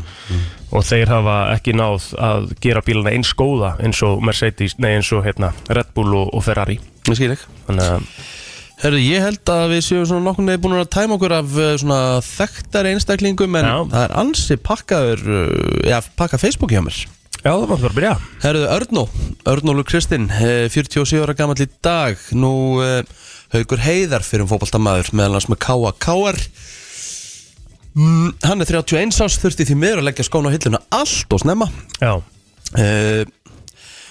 [SPEAKER 3] og þeir hafa ekki náð að gera bíluna eins góða eins og Mercedes, nei, eins og, hérna, Red Bull og, og Ferrari,
[SPEAKER 2] Ég skil ekki
[SPEAKER 3] þannig að,
[SPEAKER 2] Herru, ég held að við séum svona nokkur nefn búin að tæma okkur af eh, svona þekktar einstaklingum en
[SPEAKER 3] Já.
[SPEAKER 2] það er ansi pakkaður eh, já, pakka Facebook hjá mér
[SPEAKER 3] já, það var bara að byrja.
[SPEAKER 2] Herðu Örnó, Örnólu Kristinn, eh, 47 ára gamall í dag Nú eh, Haukur Heiðar fyrir um fótboltamaður meðal hans með K.A. K.R. Mm, Hann er 31 árs, þurfti því miður að leggja skóna á hilluna allt og snemma
[SPEAKER 3] Já.
[SPEAKER 2] eh,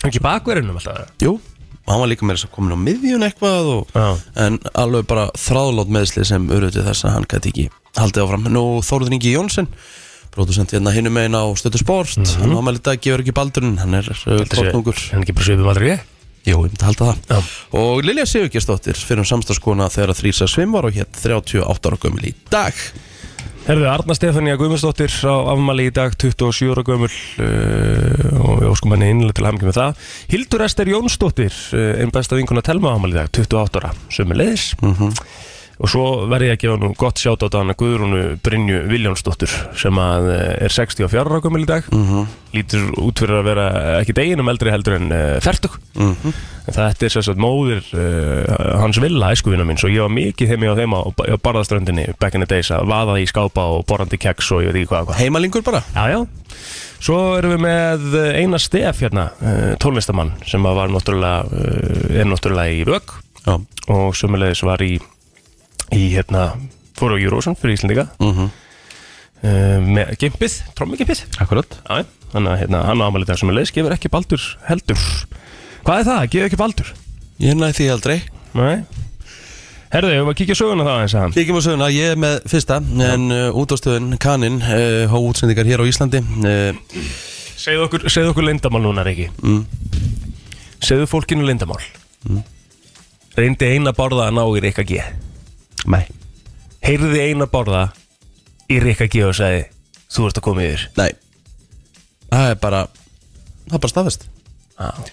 [SPEAKER 3] Ekki bakverðinum alltaf
[SPEAKER 2] Jú, hann var líka meira þess að komin á miðjun eitthvað og,
[SPEAKER 3] Já.
[SPEAKER 2] En alveg bara þráðlót meðsli sem urðuði þess að hann gæti ekki haldið áfram Nú Þóruður Ingi Jónsson Bróðusent hérna hinum megin á stötu sport mm -hmm. Hann ámæli dag gefur ekki baldurinn Hann er tóknungur
[SPEAKER 3] Hann ekki bara svipum aldrei ég
[SPEAKER 2] Jó, ég myndi halda það
[SPEAKER 3] Já.
[SPEAKER 2] Og Lilja Sigurgjastóttir fyrir um samstagskona þegar að þrýsa svim var og hér 38 ára gömul í dag
[SPEAKER 3] Herðu, Arna Stefania Guðmundsdóttir á afmæli í dag 27 ára gömul uh, og við óskum henni innlega til hamngjum með það Hildur Ester Jónsdóttir, uh, einn besta vinkuna Telma á afmæli í dag, 28 ára, sömu leiðis og svo verði ég að gefa nú gott sjátt á þannig Guðrúnu Brynju Viljónsdóttir sem að eh, er 64 ára gömul í dag lítur út fyrir að vera ekki deginum eldri heldur en uh, fertug en þetta er sérstaklega móðir uh, hans villa æskuvina mín svo ég var mikið heimi á þeim á, á barðaströndinni back in the days að vaða í skápa og borandi keks og ég veit ekki hvað og hvað
[SPEAKER 2] Heimalingur bara
[SPEAKER 3] Já, já. Svo erum við með eh, Einar Stef hérna, uh, tónlistamann sem að var náttúrulega, uh, er náttúrulega í vögg
[SPEAKER 2] Já,
[SPEAKER 3] og sömulegis var í, í hérna, fór á Eurovision fyrir Íslandika
[SPEAKER 2] mm
[SPEAKER 3] uh, með gimpið, trommigimpið
[SPEAKER 2] akkurat
[SPEAKER 3] Já, já. þannig að hérna, hann á amalita sem er leiðis gefur ekki baldur heldur Hvað er það? Gefur ekki baldur?
[SPEAKER 2] Ég næði því aldrei
[SPEAKER 3] Nei Herðu, ég var að kíkja á söguna það eins að hann
[SPEAKER 2] Líkjum á söguna, ég er með fyrsta En uh, útástöðun Kanin uh, Há útsendingar hér á Íslandi uh,
[SPEAKER 3] Segðu okkur, segðu okkur lindamál núna, Riki mm. Segðu fólkinu lindamál
[SPEAKER 2] Mm.
[SPEAKER 3] Reyndi eina borða að ná í Rikka G
[SPEAKER 2] Nei
[SPEAKER 3] Heyrði eina borða í Rikka G og sagði Þú ert að koma yfir
[SPEAKER 2] Nei Það er bara Það er bara staðfest
[SPEAKER 3] ah.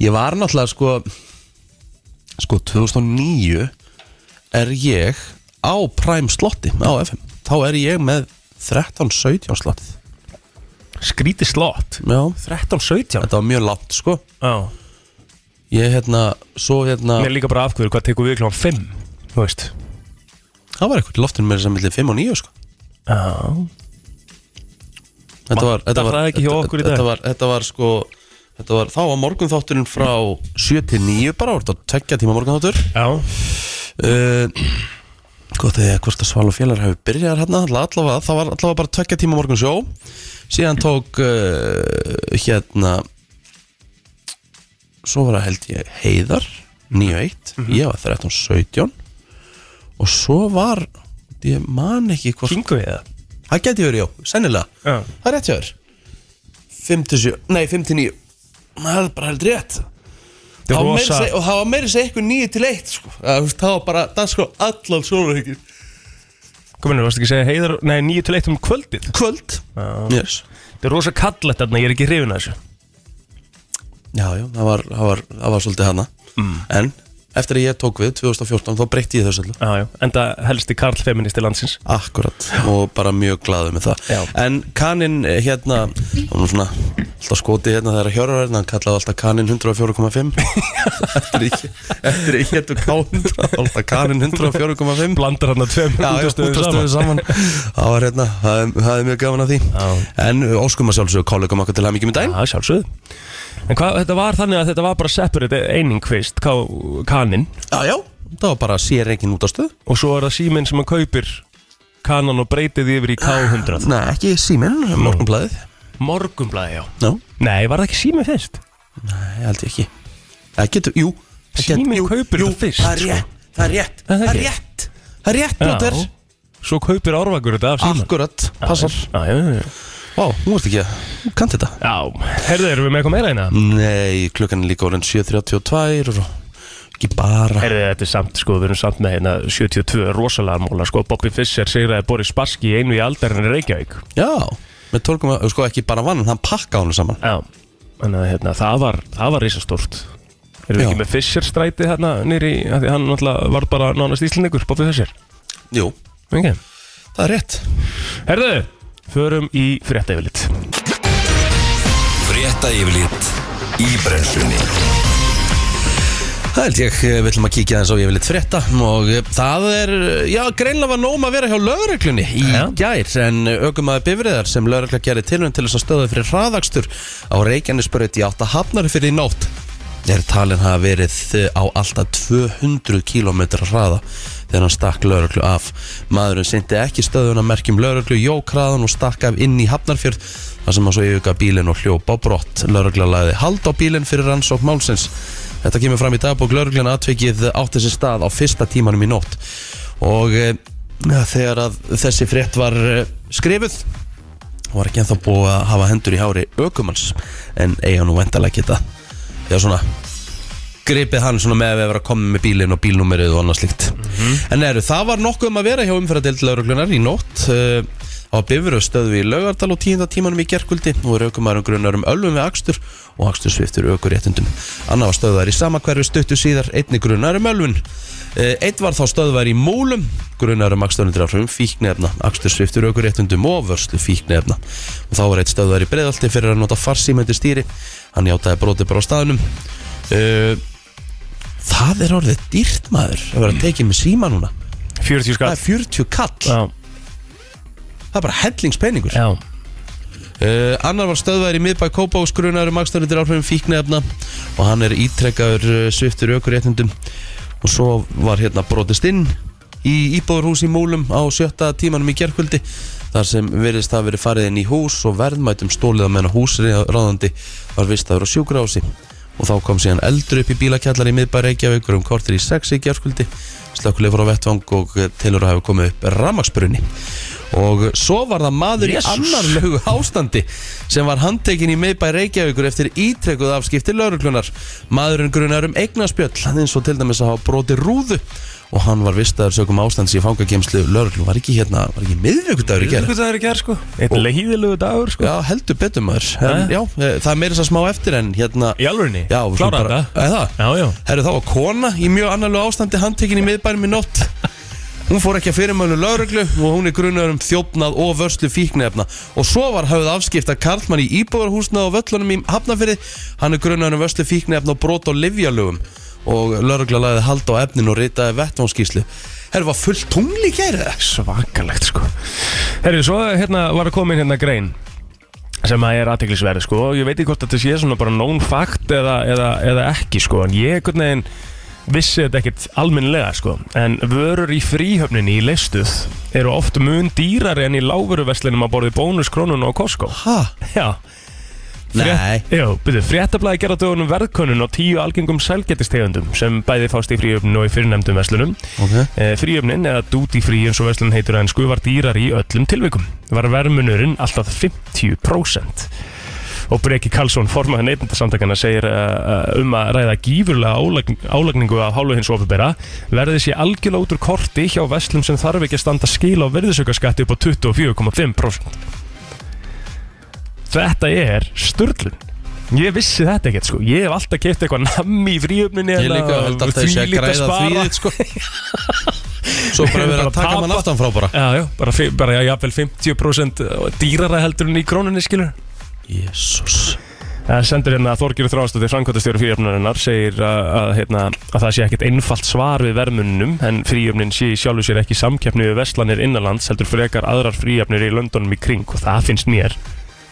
[SPEAKER 2] Ég var náttúrulega sko Sko 2009 Er ég á Prime slotti Á FM Þá er ég með 13-17 slottið
[SPEAKER 3] skríti slott
[SPEAKER 2] Já,
[SPEAKER 3] 13-17
[SPEAKER 2] þetta var mjög langt sko
[SPEAKER 3] Já.
[SPEAKER 2] Ég hérna, svo hérna
[SPEAKER 3] Mér er líka bara afhverju hvað tekur við kláðan 5 Þú veist
[SPEAKER 2] Það var eitthvað loftin meira sem millir 5 og 9 sko
[SPEAKER 3] Já
[SPEAKER 2] Þetta var, þetta
[SPEAKER 3] Vantar
[SPEAKER 2] var,
[SPEAKER 3] það ekki hjá
[SPEAKER 2] þetta-
[SPEAKER 3] okkur í dag?
[SPEAKER 2] Þetta var, þetta var sko Þetta var, þá var morgunþátturinn frá 7 til 9 bara, voru þetta tekja tíma morgunþáttur
[SPEAKER 3] Já
[SPEAKER 2] uh, Gott eða hvort að Sval og Félar hefur byrjað hérna, alla- allavega, það var allavega bara tekja tíma morgun sjó Síðan tók uh, hérna Svo var það held ég Heiðar, 9-1 Ég var 13-17 Og svo var, ég man ekki hvort
[SPEAKER 3] Kingu við það
[SPEAKER 2] Það geti verið, já, sennilega
[SPEAKER 3] Já.
[SPEAKER 2] Það er rétt hjá þér 5 til 7, nei 5 til 9 Það er bara held rétt
[SPEAKER 3] Þetta er
[SPEAKER 2] Það var meira
[SPEAKER 3] rosa
[SPEAKER 2] að segja- Og það var meira að segja eitthvað 9 til 1 sko. Það þú veist, það var bara, það er sko allan sólurhengir
[SPEAKER 3] Kominu, varstu ekki að segja heiðar Nei, 9 til 1 um kvöldið
[SPEAKER 2] Kvöld
[SPEAKER 3] Já
[SPEAKER 2] yes.
[SPEAKER 3] Þetta er rosa kallet þarna, ég er ekki hrifin að þessu
[SPEAKER 2] Já, já, það var, það var, það var svolítið hana mm. En eftir að ég tók við 2014 þá breytti ég þessu allir
[SPEAKER 3] Já, já Enda helsti karlfeministi landsins
[SPEAKER 2] Akkurat og bara mjög glaðu með það
[SPEAKER 3] Já.
[SPEAKER 2] En kaninn eh, hérna hann var svona alltaf skoti hérna þegar Hjörvar hérna, hann kallaði alltaf kaninn 104,5 eftir ég eftir ég hétu K100 alltaf kaninn 104,5
[SPEAKER 3] Blandar hann að tveim
[SPEAKER 2] Já, já,
[SPEAKER 3] útastöðum
[SPEAKER 2] útastöðu saman Það var hérna, það er- það er mjög gaman að því
[SPEAKER 3] Já.
[SPEAKER 2] En uh, óskum að sjálfsögðu kollegum okkar til það mikið með daginn
[SPEAKER 3] Já, sjálfsögð En hvað, þetta var þannig að þetta var bara separate eining fyrst ká- Kaninn
[SPEAKER 2] Já, já, það var bara sér engin útastöð
[SPEAKER 3] Og svo er það síminn sem hann kaupir kanan og breytið yfir í K100
[SPEAKER 2] Nei, ekki síminn, morgunblæðið
[SPEAKER 3] Morgumblæði, já
[SPEAKER 2] Já,
[SPEAKER 3] Nei, var það ekki síminn fyrst?
[SPEAKER 2] Nei, held ég ekki Það getur, jú það getur-
[SPEAKER 3] Síminn
[SPEAKER 2] jú,
[SPEAKER 3] kaupir
[SPEAKER 2] jú,
[SPEAKER 3] þetta fyrst, sko.
[SPEAKER 2] Það er rétt, það
[SPEAKER 3] Er það
[SPEAKER 2] er rétt, það er
[SPEAKER 3] ekki?
[SPEAKER 2] rétt Það er rétt, Blóter
[SPEAKER 3] Svo kaupir árvakur þetta af síminn
[SPEAKER 2] Akkurat, Ah, passar
[SPEAKER 3] Já, já, já, já.
[SPEAKER 2] Vá, hún veist ekki að kanta þetta
[SPEAKER 3] já herðu, erum við með eitthvað meira hérna?
[SPEAKER 2] Nei, klukkan er líka orðin 7.32 og ekki bara
[SPEAKER 3] Herðu, þetta er samt, sko, við erum samt með hérna 72 rosalega móla, sko Bobby Fischer segir að Boris Baski einu í aldarinn í Reykjavík
[SPEAKER 2] Já, með tólkum að, sko ekki bara vann, hann pakka honum saman
[SPEAKER 3] Já, þannig að hérna, það var, það var risastórt Erum við
[SPEAKER 2] Já.
[SPEAKER 3] ekki með Fischer stræti hérna nýri, að því hann náttúrulega var bara nánast íslendingur, Bobby Fischer
[SPEAKER 2] Jú,
[SPEAKER 3] okay.
[SPEAKER 2] það er rétt
[SPEAKER 3] Herðu, förum í frétta yfirlit
[SPEAKER 1] Frétta yfirlit í brenslunni
[SPEAKER 2] Það held ég, eh, við ætlum að kíkja þess að ég vil eitt frétta og eh, það er, eh, já, greinlega var nóma að vera hjá lögreglunni í
[SPEAKER 3] Já.
[SPEAKER 2] gær en aukumæði bifriðar sem lögregla gerir tilhund til þess að stöða fyrir hraðakstur á Reykjanesbraut í átta hafnari fyrir í nótt er talin hafa verið eh, á alltaf 200 km hraða þegar hann stakk lögreglu af maðurinn syndi ekki stöðuna merkjum lögreglu jók hraðan og stakk af inn í hafnarfjörð þar sem hann svo yfuga bílinn og hljópa á brott lögregla lagði hald á bílinn fyrir rannsók málsins Þetta kemur fram í dagbók lauruglan atvikið átti sér stað á fyrsta tímanum í nótt og e, ja, þegar að þessi frétt var e, skrifuð var ekki ennþá búið að hafa hendur í hári aukumans en eiga nú vendalega geta já svona gripið hann svona með að vera komið með bílinn og bílnúmerið og annað slíkt en eru það var nokkuð um að vera hjá umferðardeild lauruglunar í nótt uh, á Bifuröð stöðu í laugardal og tíunda tímanum í gerkvöldi og raukumarum grunar um ölvum við akstur og akstur sviftur aukuréttundum annar var stöðvar í sama hverfi stuttu síðar einni grunar um ölvun uh, einn var þá stöðvar í múlum grunar um aksturundir áhrifum fíknefna akstur sviftur aukuréttundum og vörslu fíknefna og þá var eitt stöðvar í breðalti fyrir að nota farsímöndi stýri hann játaði broti bara á staðnum Uh, Það er orðið dýrt maður að vera tekið með síma núna
[SPEAKER 3] 40
[SPEAKER 2] Það er
[SPEAKER 3] skatt
[SPEAKER 2] 40 kall,
[SPEAKER 3] Já,
[SPEAKER 2] það er bara hellingspenningur uh,
[SPEAKER 3] já,
[SPEAKER 2] Eh, Annar var stöðvæðir í miðbæk Kópáks grunar um akstaröndir áhrifum fíknefna og hann er ítrekkaður uh, sviftur aukuréttundum og svo var hérna brotist inn í íbúðurhús í Múlum á sjötta tímanum í gerkvöldi þar sem virðist það verið farið inn í hús og verðmætum stólið að menna húsráðandi var vistaður á sjúkrahúsi og þá kom síðan eldur upp í bílakjallar í miðbæ Reykjavíkur um kortir í 6 í gerskvöldi slökkuleg fór á vettvang og eh, telur að hafa komið upp ramaksbrunni og svo var það maður í annarlegu ástandi sem var handtekinn í miðbæ Reykjavíkur eftir ítrekkuð afskipti lauruglunar maðurinn grunar um eignaspjöll eins og til dæmis að hafa broti rúðu og hann var vistaður sögum ástands í fangakemslu lauruglun var ekki hérna, var ekki miðvíkudagur í gerð
[SPEAKER 3] það er ekki hér sko Eitt leiðilegu dagur sko
[SPEAKER 2] Já, heldur betur maður en,
[SPEAKER 3] Jæja.
[SPEAKER 2] Já, eh, það er meira þess að smá eftir en hérna
[SPEAKER 3] Í alvörinni?
[SPEAKER 2] Já, við skulum
[SPEAKER 3] Klára
[SPEAKER 2] bara-
[SPEAKER 3] þetta?
[SPEAKER 2] Eh, það?
[SPEAKER 3] Já, já
[SPEAKER 2] Herru, þá var kona í mjög annarlu ástandi handtekinn í miðbænum í nótt Hún fór ekki að fyrirmölu lauruglu og hún er grunar um þjófnað og vörslu fíknefna og svo var höfð afskipta Karlmann í íbúðarhúsna og völlunum í Hafnafyrði hann er grunar um vörslu fíknefna og brot og livjalögum og laurugla lagði hald á efnin og ritaði vettvánskíslu Herru, var fullt tungli gæri
[SPEAKER 3] svakalegt sko Herri, svo hérna var að koma inn hérna grein sem að er aðteklisverð sko og ég veit ekki hvort þetta sé svona bara known fact eða, eða, eða ekki sko en ég einhvern veginn vissi þetta ekkert almennlega sko en vörur í fríhöfninni í leistuð eru oft mun dýrari enn í lágvöruverslinum að borði bónus krónun og Costco
[SPEAKER 2] Ha?
[SPEAKER 3] Já
[SPEAKER 2] Nei.
[SPEAKER 3] Jó, byrju, fréttablaði gerða dögunum verðkönnun á tíu algengum sælgetistegundum sem bæði fást í fríöfnin og í fyrirnefndum verslunum.
[SPEAKER 2] Ok.
[SPEAKER 3] E, fríöfnin, eða duty free eins og verslun heitur að ennsku, var dýrar í öllum tilvikum. Var verðmunurinn alltaf 50%. Og Breki Karlsson, formaður neytendasamtakana, segir uh, um að ræða gífurlega álag, álagningu af hálfu hins ofubera verði sé algjörlega út úr korti hjá verslum sem þarf ekki að standa skil á verðisaukaskatti upp á 24,5%. Þetta er störlun Ég vissi þetta ekkert sko Ég hef alltaf keitt eitthvað nammi í fríöfninni
[SPEAKER 2] Ég líka held alltaf að sé að græða fríðið sko Svo bara verið að
[SPEAKER 3] Bara
[SPEAKER 2] taka
[SPEAKER 3] tapa.
[SPEAKER 2] mann aftan frá bara
[SPEAKER 3] Já, já, bara, fi- bara já, jafnvel 50% dýrara heldur en í krónunni skilur
[SPEAKER 2] Jésús
[SPEAKER 3] Það sendur hérna Þorgjur Þránsdóttir, framkvæmtastjóri fríöfnarinnar segir að, að, hérna, að það sé ekkert einfalt svar við vermunum en fríöfnin sé í sjálfu sér ekki samkeppni við veslanir innanlands heldur frekar aðrar fríöfnir í Londonum í kring og það finnst mér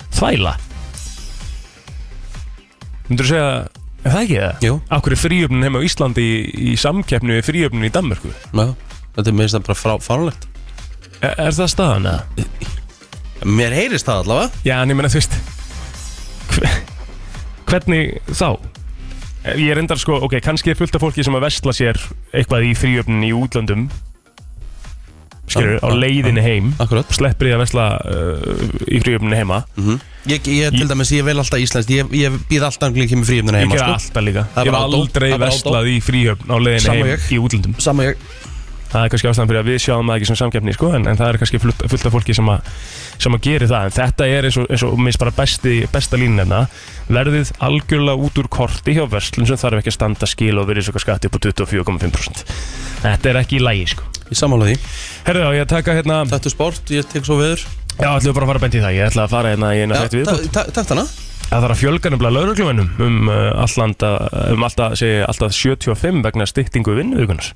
[SPEAKER 3] þvæla Myndur þú segja er það ekki það?
[SPEAKER 2] Jú.
[SPEAKER 3] Akkur er fríöfnin heima á Íslandi í, í samkeppni við fríöfnin í Danmörku?
[SPEAKER 2] Já, Þetta er meðist það bara frá, fárlegt
[SPEAKER 3] Er, er það staðan eða?
[SPEAKER 2] Mér heyrist það allavega
[SPEAKER 3] Já, en ég meina þú veist hve- Hvernig þá? Ég er endar sko, ok, kannski er fullt af fólki sem að vestla sér eitthvað í fríöfnin í útlöndum skilur, á
[SPEAKER 2] Já, já,
[SPEAKER 3] leiðinni heim
[SPEAKER 2] Akkurat
[SPEAKER 3] sleppir því að vestla uh, í fríöfninni heima
[SPEAKER 2] Mhm. Ég, ég til
[SPEAKER 3] Ég-
[SPEAKER 2] dæmis, ég vel alltaf íslenskt Ég, ég býð alltaf um anglir kemur fríöfnuna
[SPEAKER 3] Ég
[SPEAKER 2] heima
[SPEAKER 3] gera
[SPEAKER 2] sko.
[SPEAKER 3] alltaf líka
[SPEAKER 2] Það er
[SPEAKER 3] Ég hef
[SPEAKER 2] bara átó.
[SPEAKER 3] aldrei
[SPEAKER 2] Það er bara átó.
[SPEAKER 3] vestlað í fríhöfn á leiðinni
[SPEAKER 2] Sama
[SPEAKER 3] heim
[SPEAKER 2] ég.
[SPEAKER 3] í útlöndum
[SPEAKER 2] Sama ég
[SPEAKER 3] Það er kannski ástæðan fyrir að við sjáum það ekki sem samkeppni sko, en, en það er kannski fullt, fullt af fólki sem að, sem að geri það en þetta er eins og, eins og minnst bara besti, besta línin hérna verðið algjörlega út úr korti hjá verslun sem þarf ekki að standa skil og verið svo skatti upp á 24,5% Þetta er ekki í lægi sko
[SPEAKER 2] Ég samála því
[SPEAKER 3] Herðu þá, ég taka hérna
[SPEAKER 2] Þetta er sport, ég tek svo veður
[SPEAKER 3] Já, ætlum við bara að fara að benda í það, ég ætla að fara hérna í eina
[SPEAKER 2] Já,
[SPEAKER 3] þætt við
[SPEAKER 2] ta- ta- Takk hana
[SPEAKER 3] Það þarf að fjölga nefnilega lauruglumennum um, uh, allt landa, um alltaf, segi, alltaf 75 vegna styttingu vinnuvíkunar.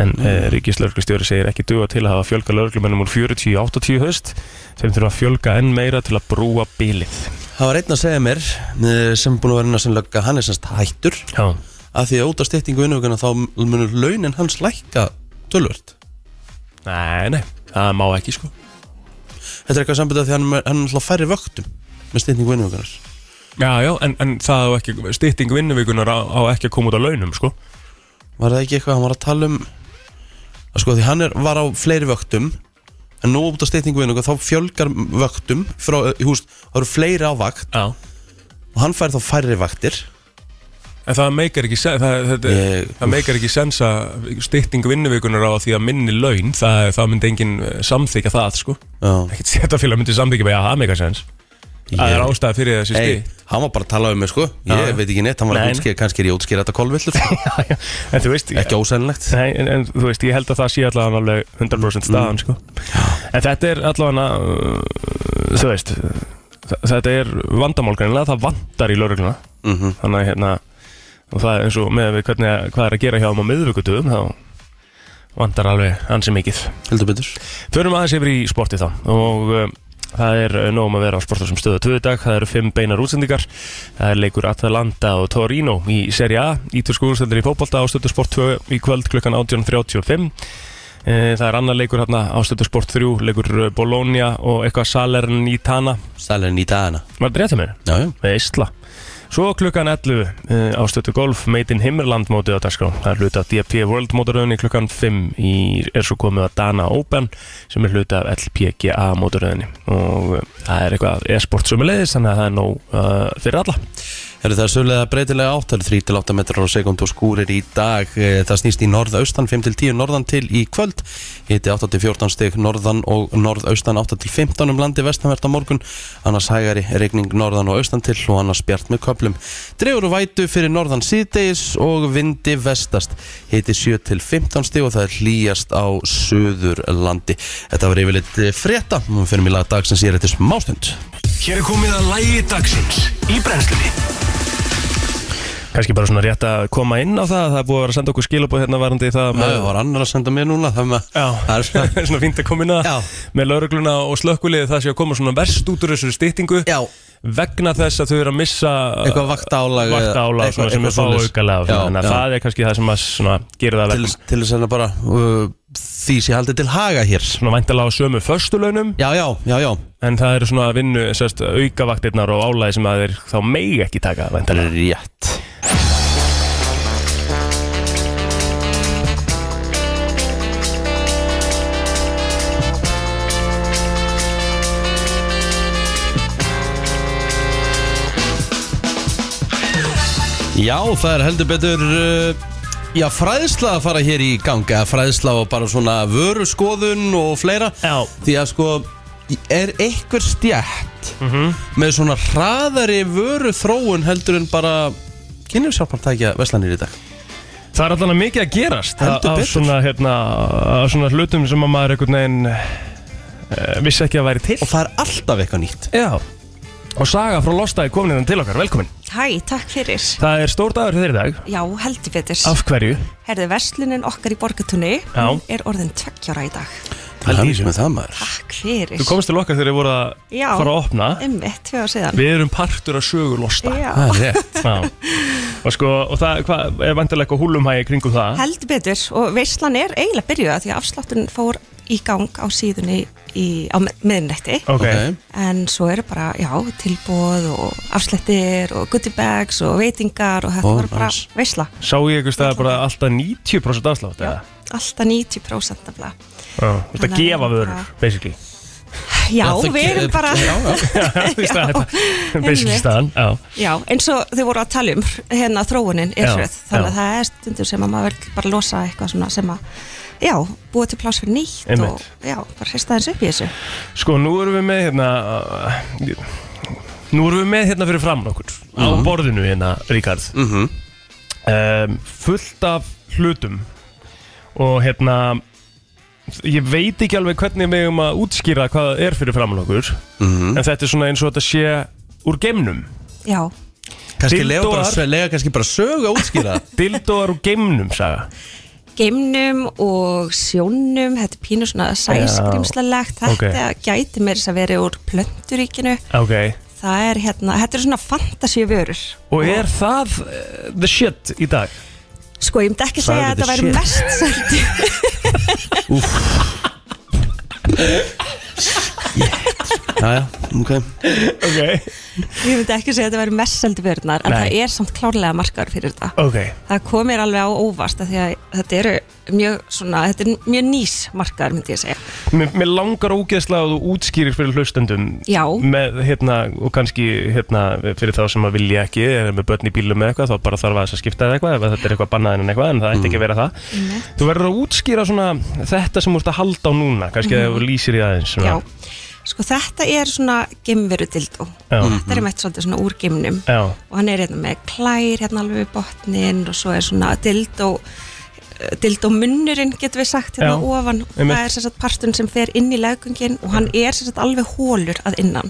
[SPEAKER 3] En mm. uh, ríkislauruglustjóri segir ekki duga til að hafa fjölga lauruglumennum úr 40 í 80 höst sem þurfa að fjölga enn meira til að brúa bílið.
[SPEAKER 2] Það var einn að segja mér eh, sem búin að vera innan sem lögga hann er semst hættur
[SPEAKER 3] Já.
[SPEAKER 2] að því að út af styttingu vinnugana þá munur launin hans lækka tölvört
[SPEAKER 3] Nei, nei, það má ekki sko.
[SPEAKER 2] Þetta er eitthvað sambundið því að hann, hann er alltaf færri vöktum með styttingu vinnugunar
[SPEAKER 3] Já, já, en, en það á ekki, styttingu vinnuvíkunar á, á ekki að koma út á launum sko.
[SPEAKER 2] Var það ekki eitthvað hann var að tala um að sko því hann er, var á fleiri vöktum en nú út af styttingu vinnugunar þá fjölgar vöktum frá, eh, í húst, þá eru fleiri á vakt
[SPEAKER 3] Já.
[SPEAKER 2] og hann fær þá færri vaktir
[SPEAKER 3] En það meikar ekki, sen- það, það,
[SPEAKER 2] Ég-
[SPEAKER 3] það meikar ekki sens að stytting vinnuvíkunar á því að minni laun, það, það myndi enginn eh, samþykja það, sko.
[SPEAKER 2] Já.
[SPEAKER 3] Ekkert setafélag myndi samþykja með að það meikar sens. Það er ástæða fyrir þessi
[SPEAKER 2] Ei,
[SPEAKER 3] stytt.
[SPEAKER 2] hann var bara að tala um mig sko Ég
[SPEAKER 3] Já.
[SPEAKER 2] veit ekki neitt, hann var
[SPEAKER 3] Nei,
[SPEAKER 2] að
[SPEAKER 3] nei.
[SPEAKER 2] útskýra kannski er ég að útskýra þetta kolvillur sko.
[SPEAKER 3] En þú veist,
[SPEAKER 2] ekki ósennilegt
[SPEAKER 3] Nei, en, en þú veist, ég held að það sé allavega alveg 100% staðan, sko. En þetta er allavega, uh, þú veist, þa- þetta er vandamál greinilega, það vantar í laurugluna.
[SPEAKER 2] mm
[SPEAKER 3] Þannig að, hérna, og það er eins og með við hvernig, hvað er að gera hjá um á miðvíkutöðum, þá vantar alveg ansi mikið.
[SPEAKER 2] Heldur betur
[SPEAKER 3] Förum aðeins yfir í sporti þá og uh, það er uh, nóg um að vera á sportar sem stöða tvöðu dag, það eru fimm beinar útsendingar það er leikur Atalanta og Torino í Serie A, ítursku úrstendur í fótbolta á stöðu sport 2 í kvöld klukkan 18.35 Eh, Það er annar leikur hérna á stöðu sport 3, leikur uh, Bologna og eitthvað Salern í Tana.
[SPEAKER 2] Sælinn í dagana
[SPEAKER 3] Var þetta rétt hjá mér?
[SPEAKER 2] Já, já
[SPEAKER 3] með Ísla. Svo klukkan 11 uh, á stötu golf Made in Himmerland mótið á dagskrá. Það er hluti af DP World mótaröðinni klukkan 5 í, er svo komið að Dana Open sem er hluti af LPGA mótaröðinni og uh, það er eitthvað e-sport sömulegis þannig að það er nóg uh, fyrir alla
[SPEAKER 2] Herru, það er sögulega breytilega áttar 3-8 metrar á sekund og skúrir í dag Eh, Það snýst í norðaustan 5-10 norðan til í kvöld Hiti 8-14 stig norðan og norðaustan 8-15 um landi vestanvert á morgun Annars hægari regning norðan og austan til og annars bjart með köplum Dregur og vætu fyrir norðan síðdeis og vindi vestast Hiti 7-15 stig og það er hlýjast á söðurlandi Þetta var yfirleitt eh, frétta Nú fyrir mig laga dag sem sér eftir smástund
[SPEAKER 1] Hér er komið að lægi dagsins í brennslunni
[SPEAKER 3] kannski bara svona rétt að koma inn á það það er búið að vera að senda okkur skilabóð hérna varandi í það
[SPEAKER 2] Það var annar að senda mér núna Það með- það er svona
[SPEAKER 3] svona fínt að koma inn að
[SPEAKER 2] Já.
[SPEAKER 3] með laurugluna og slökkulið það sé að koma svona verst út úr þessu styttingu
[SPEAKER 2] Já.
[SPEAKER 3] vegna þess að þau eru að missa uh,
[SPEAKER 2] Eitthvað vaktaálag eða-
[SPEAKER 3] vaktaálag
[SPEAKER 2] eitthvað-
[SPEAKER 3] eitthvað, sem er
[SPEAKER 2] eitthvað
[SPEAKER 3] fá
[SPEAKER 2] svoleiðis.
[SPEAKER 3] aukalega
[SPEAKER 2] Já,
[SPEAKER 3] þannig
[SPEAKER 2] já.
[SPEAKER 3] að það er kannski það sem að svona, gerir það að
[SPEAKER 2] til,
[SPEAKER 3] verkum
[SPEAKER 2] til þess að bara uh, því sé haldið til haga hér
[SPEAKER 3] svona væntalega á sömu föstulaunum
[SPEAKER 2] Já, já, já, já
[SPEAKER 3] en það eru svona vinnu sérst, aukavaktirnar og álæði sem að þeir þá megi ekki taka væntalega
[SPEAKER 2] Rétt Já, það er heldur betur uh, Já, fræðsla að fara hér í ganga Fræðsla og bara svona vöru skoðun og fleira
[SPEAKER 3] Já.
[SPEAKER 2] Því að sko Er einhver stjætt með svona hraðari vöru þróun heldur en bara kynlífsjálpartækja veslanir í dag
[SPEAKER 3] Það er allavega mikið að gerast
[SPEAKER 2] Heldur
[SPEAKER 3] á
[SPEAKER 2] betur.
[SPEAKER 3] svona, hérna, á svona hlutum sem að maður einhvern veginn uh, vissi ekki að væri til
[SPEAKER 2] og það er alltaf eitthvað nýtt
[SPEAKER 3] Já Og Saga frá Losta er komin hérna til okkar, velkomin
[SPEAKER 4] Hæ, takk fyrir.
[SPEAKER 3] Það er stór dagur fyrir þér í dag
[SPEAKER 4] Já, heldur betur.
[SPEAKER 3] Af hverju?
[SPEAKER 4] Herðu, verslunin okkar í borgatunni
[SPEAKER 3] Já.
[SPEAKER 4] hún er orðin tveggjára í dag.
[SPEAKER 2] Það er nýtt með það maður
[SPEAKER 4] Takk fyrir.
[SPEAKER 3] Þú komst til okkar þegar þið voru að
[SPEAKER 4] Já.
[SPEAKER 3] fara að opna
[SPEAKER 4] Einmitt, tvö ár síðan.
[SPEAKER 3] Við erum partur af sögu Losta
[SPEAKER 4] Já,
[SPEAKER 2] Það er rétt
[SPEAKER 3] Já Og sko, og það hva, er vantilega eitthvað húlumhægi kringum það
[SPEAKER 4] heldur betur. Og verslan er eiginlega byrjuða því að afsláttun fór í gang á síðunni í, á mi- miðnætti.
[SPEAKER 3] Ok,
[SPEAKER 4] En svo eru bara, já, tilbóð og afslættir og goodie bags og veitingar og þetta
[SPEAKER 2] Ó,
[SPEAKER 4] var bara
[SPEAKER 2] nice.
[SPEAKER 4] versla.
[SPEAKER 3] Sá ég einhvers staðar bara alltaf 90% afslátt eða?
[SPEAKER 4] Alltaf 90% af það.
[SPEAKER 3] Já Þú ert að
[SPEAKER 4] Þannig að
[SPEAKER 3] gefa
[SPEAKER 4] við
[SPEAKER 3] vörur,
[SPEAKER 4] bara-
[SPEAKER 3] basically
[SPEAKER 4] Já,
[SPEAKER 2] Það
[SPEAKER 4] við erum
[SPEAKER 2] ge-
[SPEAKER 4] bara...
[SPEAKER 2] Já, já
[SPEAKER 3] Já, þú veist að þetta er Basically
[SPEAKER 4] einmitt.
[SPEAKER 3] staðan, já
[SPEAKER 4] Já, eins og þau voru að tala um hérna þróunin er
[SPEAKER 3] Já,
[SPEAKER 4] hröð, þannig
[SPEAKER 3] já.
[SPEAKER 4] að það er stundur sem að maður vil bara losa eitthvað svona sem að já, búa til pláss fyrir nýtt
[SPEAKER 3] Einmitt.
[SPEAKER 4] og já, bara hrista þessu upp í þessu
[SPEAKER 3] Sko, nú erum við með hérna uh, Nú erum við með hérna fyrir framann okkur Á borðinu hérna, Ríkard
[SPEAKER 2] Mhm.
[SPEAKER 3] um, Fullt af hlutum Og hérna Ég veit ekki alveg hvernig við um að útskýra hvað það er fyrir framann okkur
[SPEAKER 2] Mhm.
[SPEAKER 3] En þetta er svona eins og þetta sé úr geimnum
[SPEAKER 4] Já,
[SPEAKER 2] Kannski lega bara,
[SPEAKER 3] Dildoar.
[SPEAKER 2] lega kannski bara sögu að útskýra
[SPEAKER 3] Dildóar úr geimnum, saga
[SPEAKER 4] geimnum og sjónum þetta er pínu svona sæskrimslalegt þetta gæti mér þess að vera úr plönduríkinu,
[SPEAKER 3] Ok
[SPEAKER 4] það er hérna þetta er svona fantasíuvörur
[SPEAKER 3] Og er það uh, the shit í dag?
[SPEAKER 4] Sko, ég myndi ekki
[SPEAKER 2] Það
[SPEAKER 4] segja
[SPEAKER 2] er
[SPEAKER 4] að þetta væri
[SPEAKER 2] shit.
[SPEAKER 4] mest seldu
[SPEAKER 2] Já, já, ok
[SPEAKER 3] Ok
[SPEAKER 4] ég myndi ekki segja að þetta væri mest seldu vörurnar en
[SPEAKER 3] Nei.
[SPEAKER 4] það er samt klárlega markar fyrir þetta
[SPEAKER 3] Ok
[SPEAKER 4] það kom mér alveg á óvart af því að þetta eru mjög svona, þetta er mjög nýs markaður myndi ég segja
[SPEAKER 3] Mér, mér langar ógeðslega að þú útskýrir fyrir hlustendum
[SPEAKER 4] Já.
[SPEAKER 3] með, hérna, og kannski hérna, fyrir þá sem að vilja ekki eða með börn í bílum eða eitthvað þá bara þarf að þess að skipta eða eitthvað ef þetta er eitthvað bannað en eitthvað en það ætti ekki að vera það Þú verður að útskýra svona þetta sem þú ert að halda á núna kannski mm. að þú lýsir í aðeins svona.
[SPEAKER 4] Mhm. já, sko þetta er svona gemveru dildó
[SPEAKER 3] Já. Eh.
[SPEAKER 4] þetta er meitt svolítið svona úr gemnum
[SPEAKER 3] Já.
[SPEAKER 4] og hann er hérna með klær hérna alveg við botnin og svo er svona dildó dildó munnurinn getur við sagt hérna
[SPEAKER 3] Já,
[SPEAKER 4] ofan og
[SPEAKER 3] einmitt.
[SPEAKER 4] það er sérstætt partun sem fer inn í leggungin og hann er sérstætt alveg hólur að innan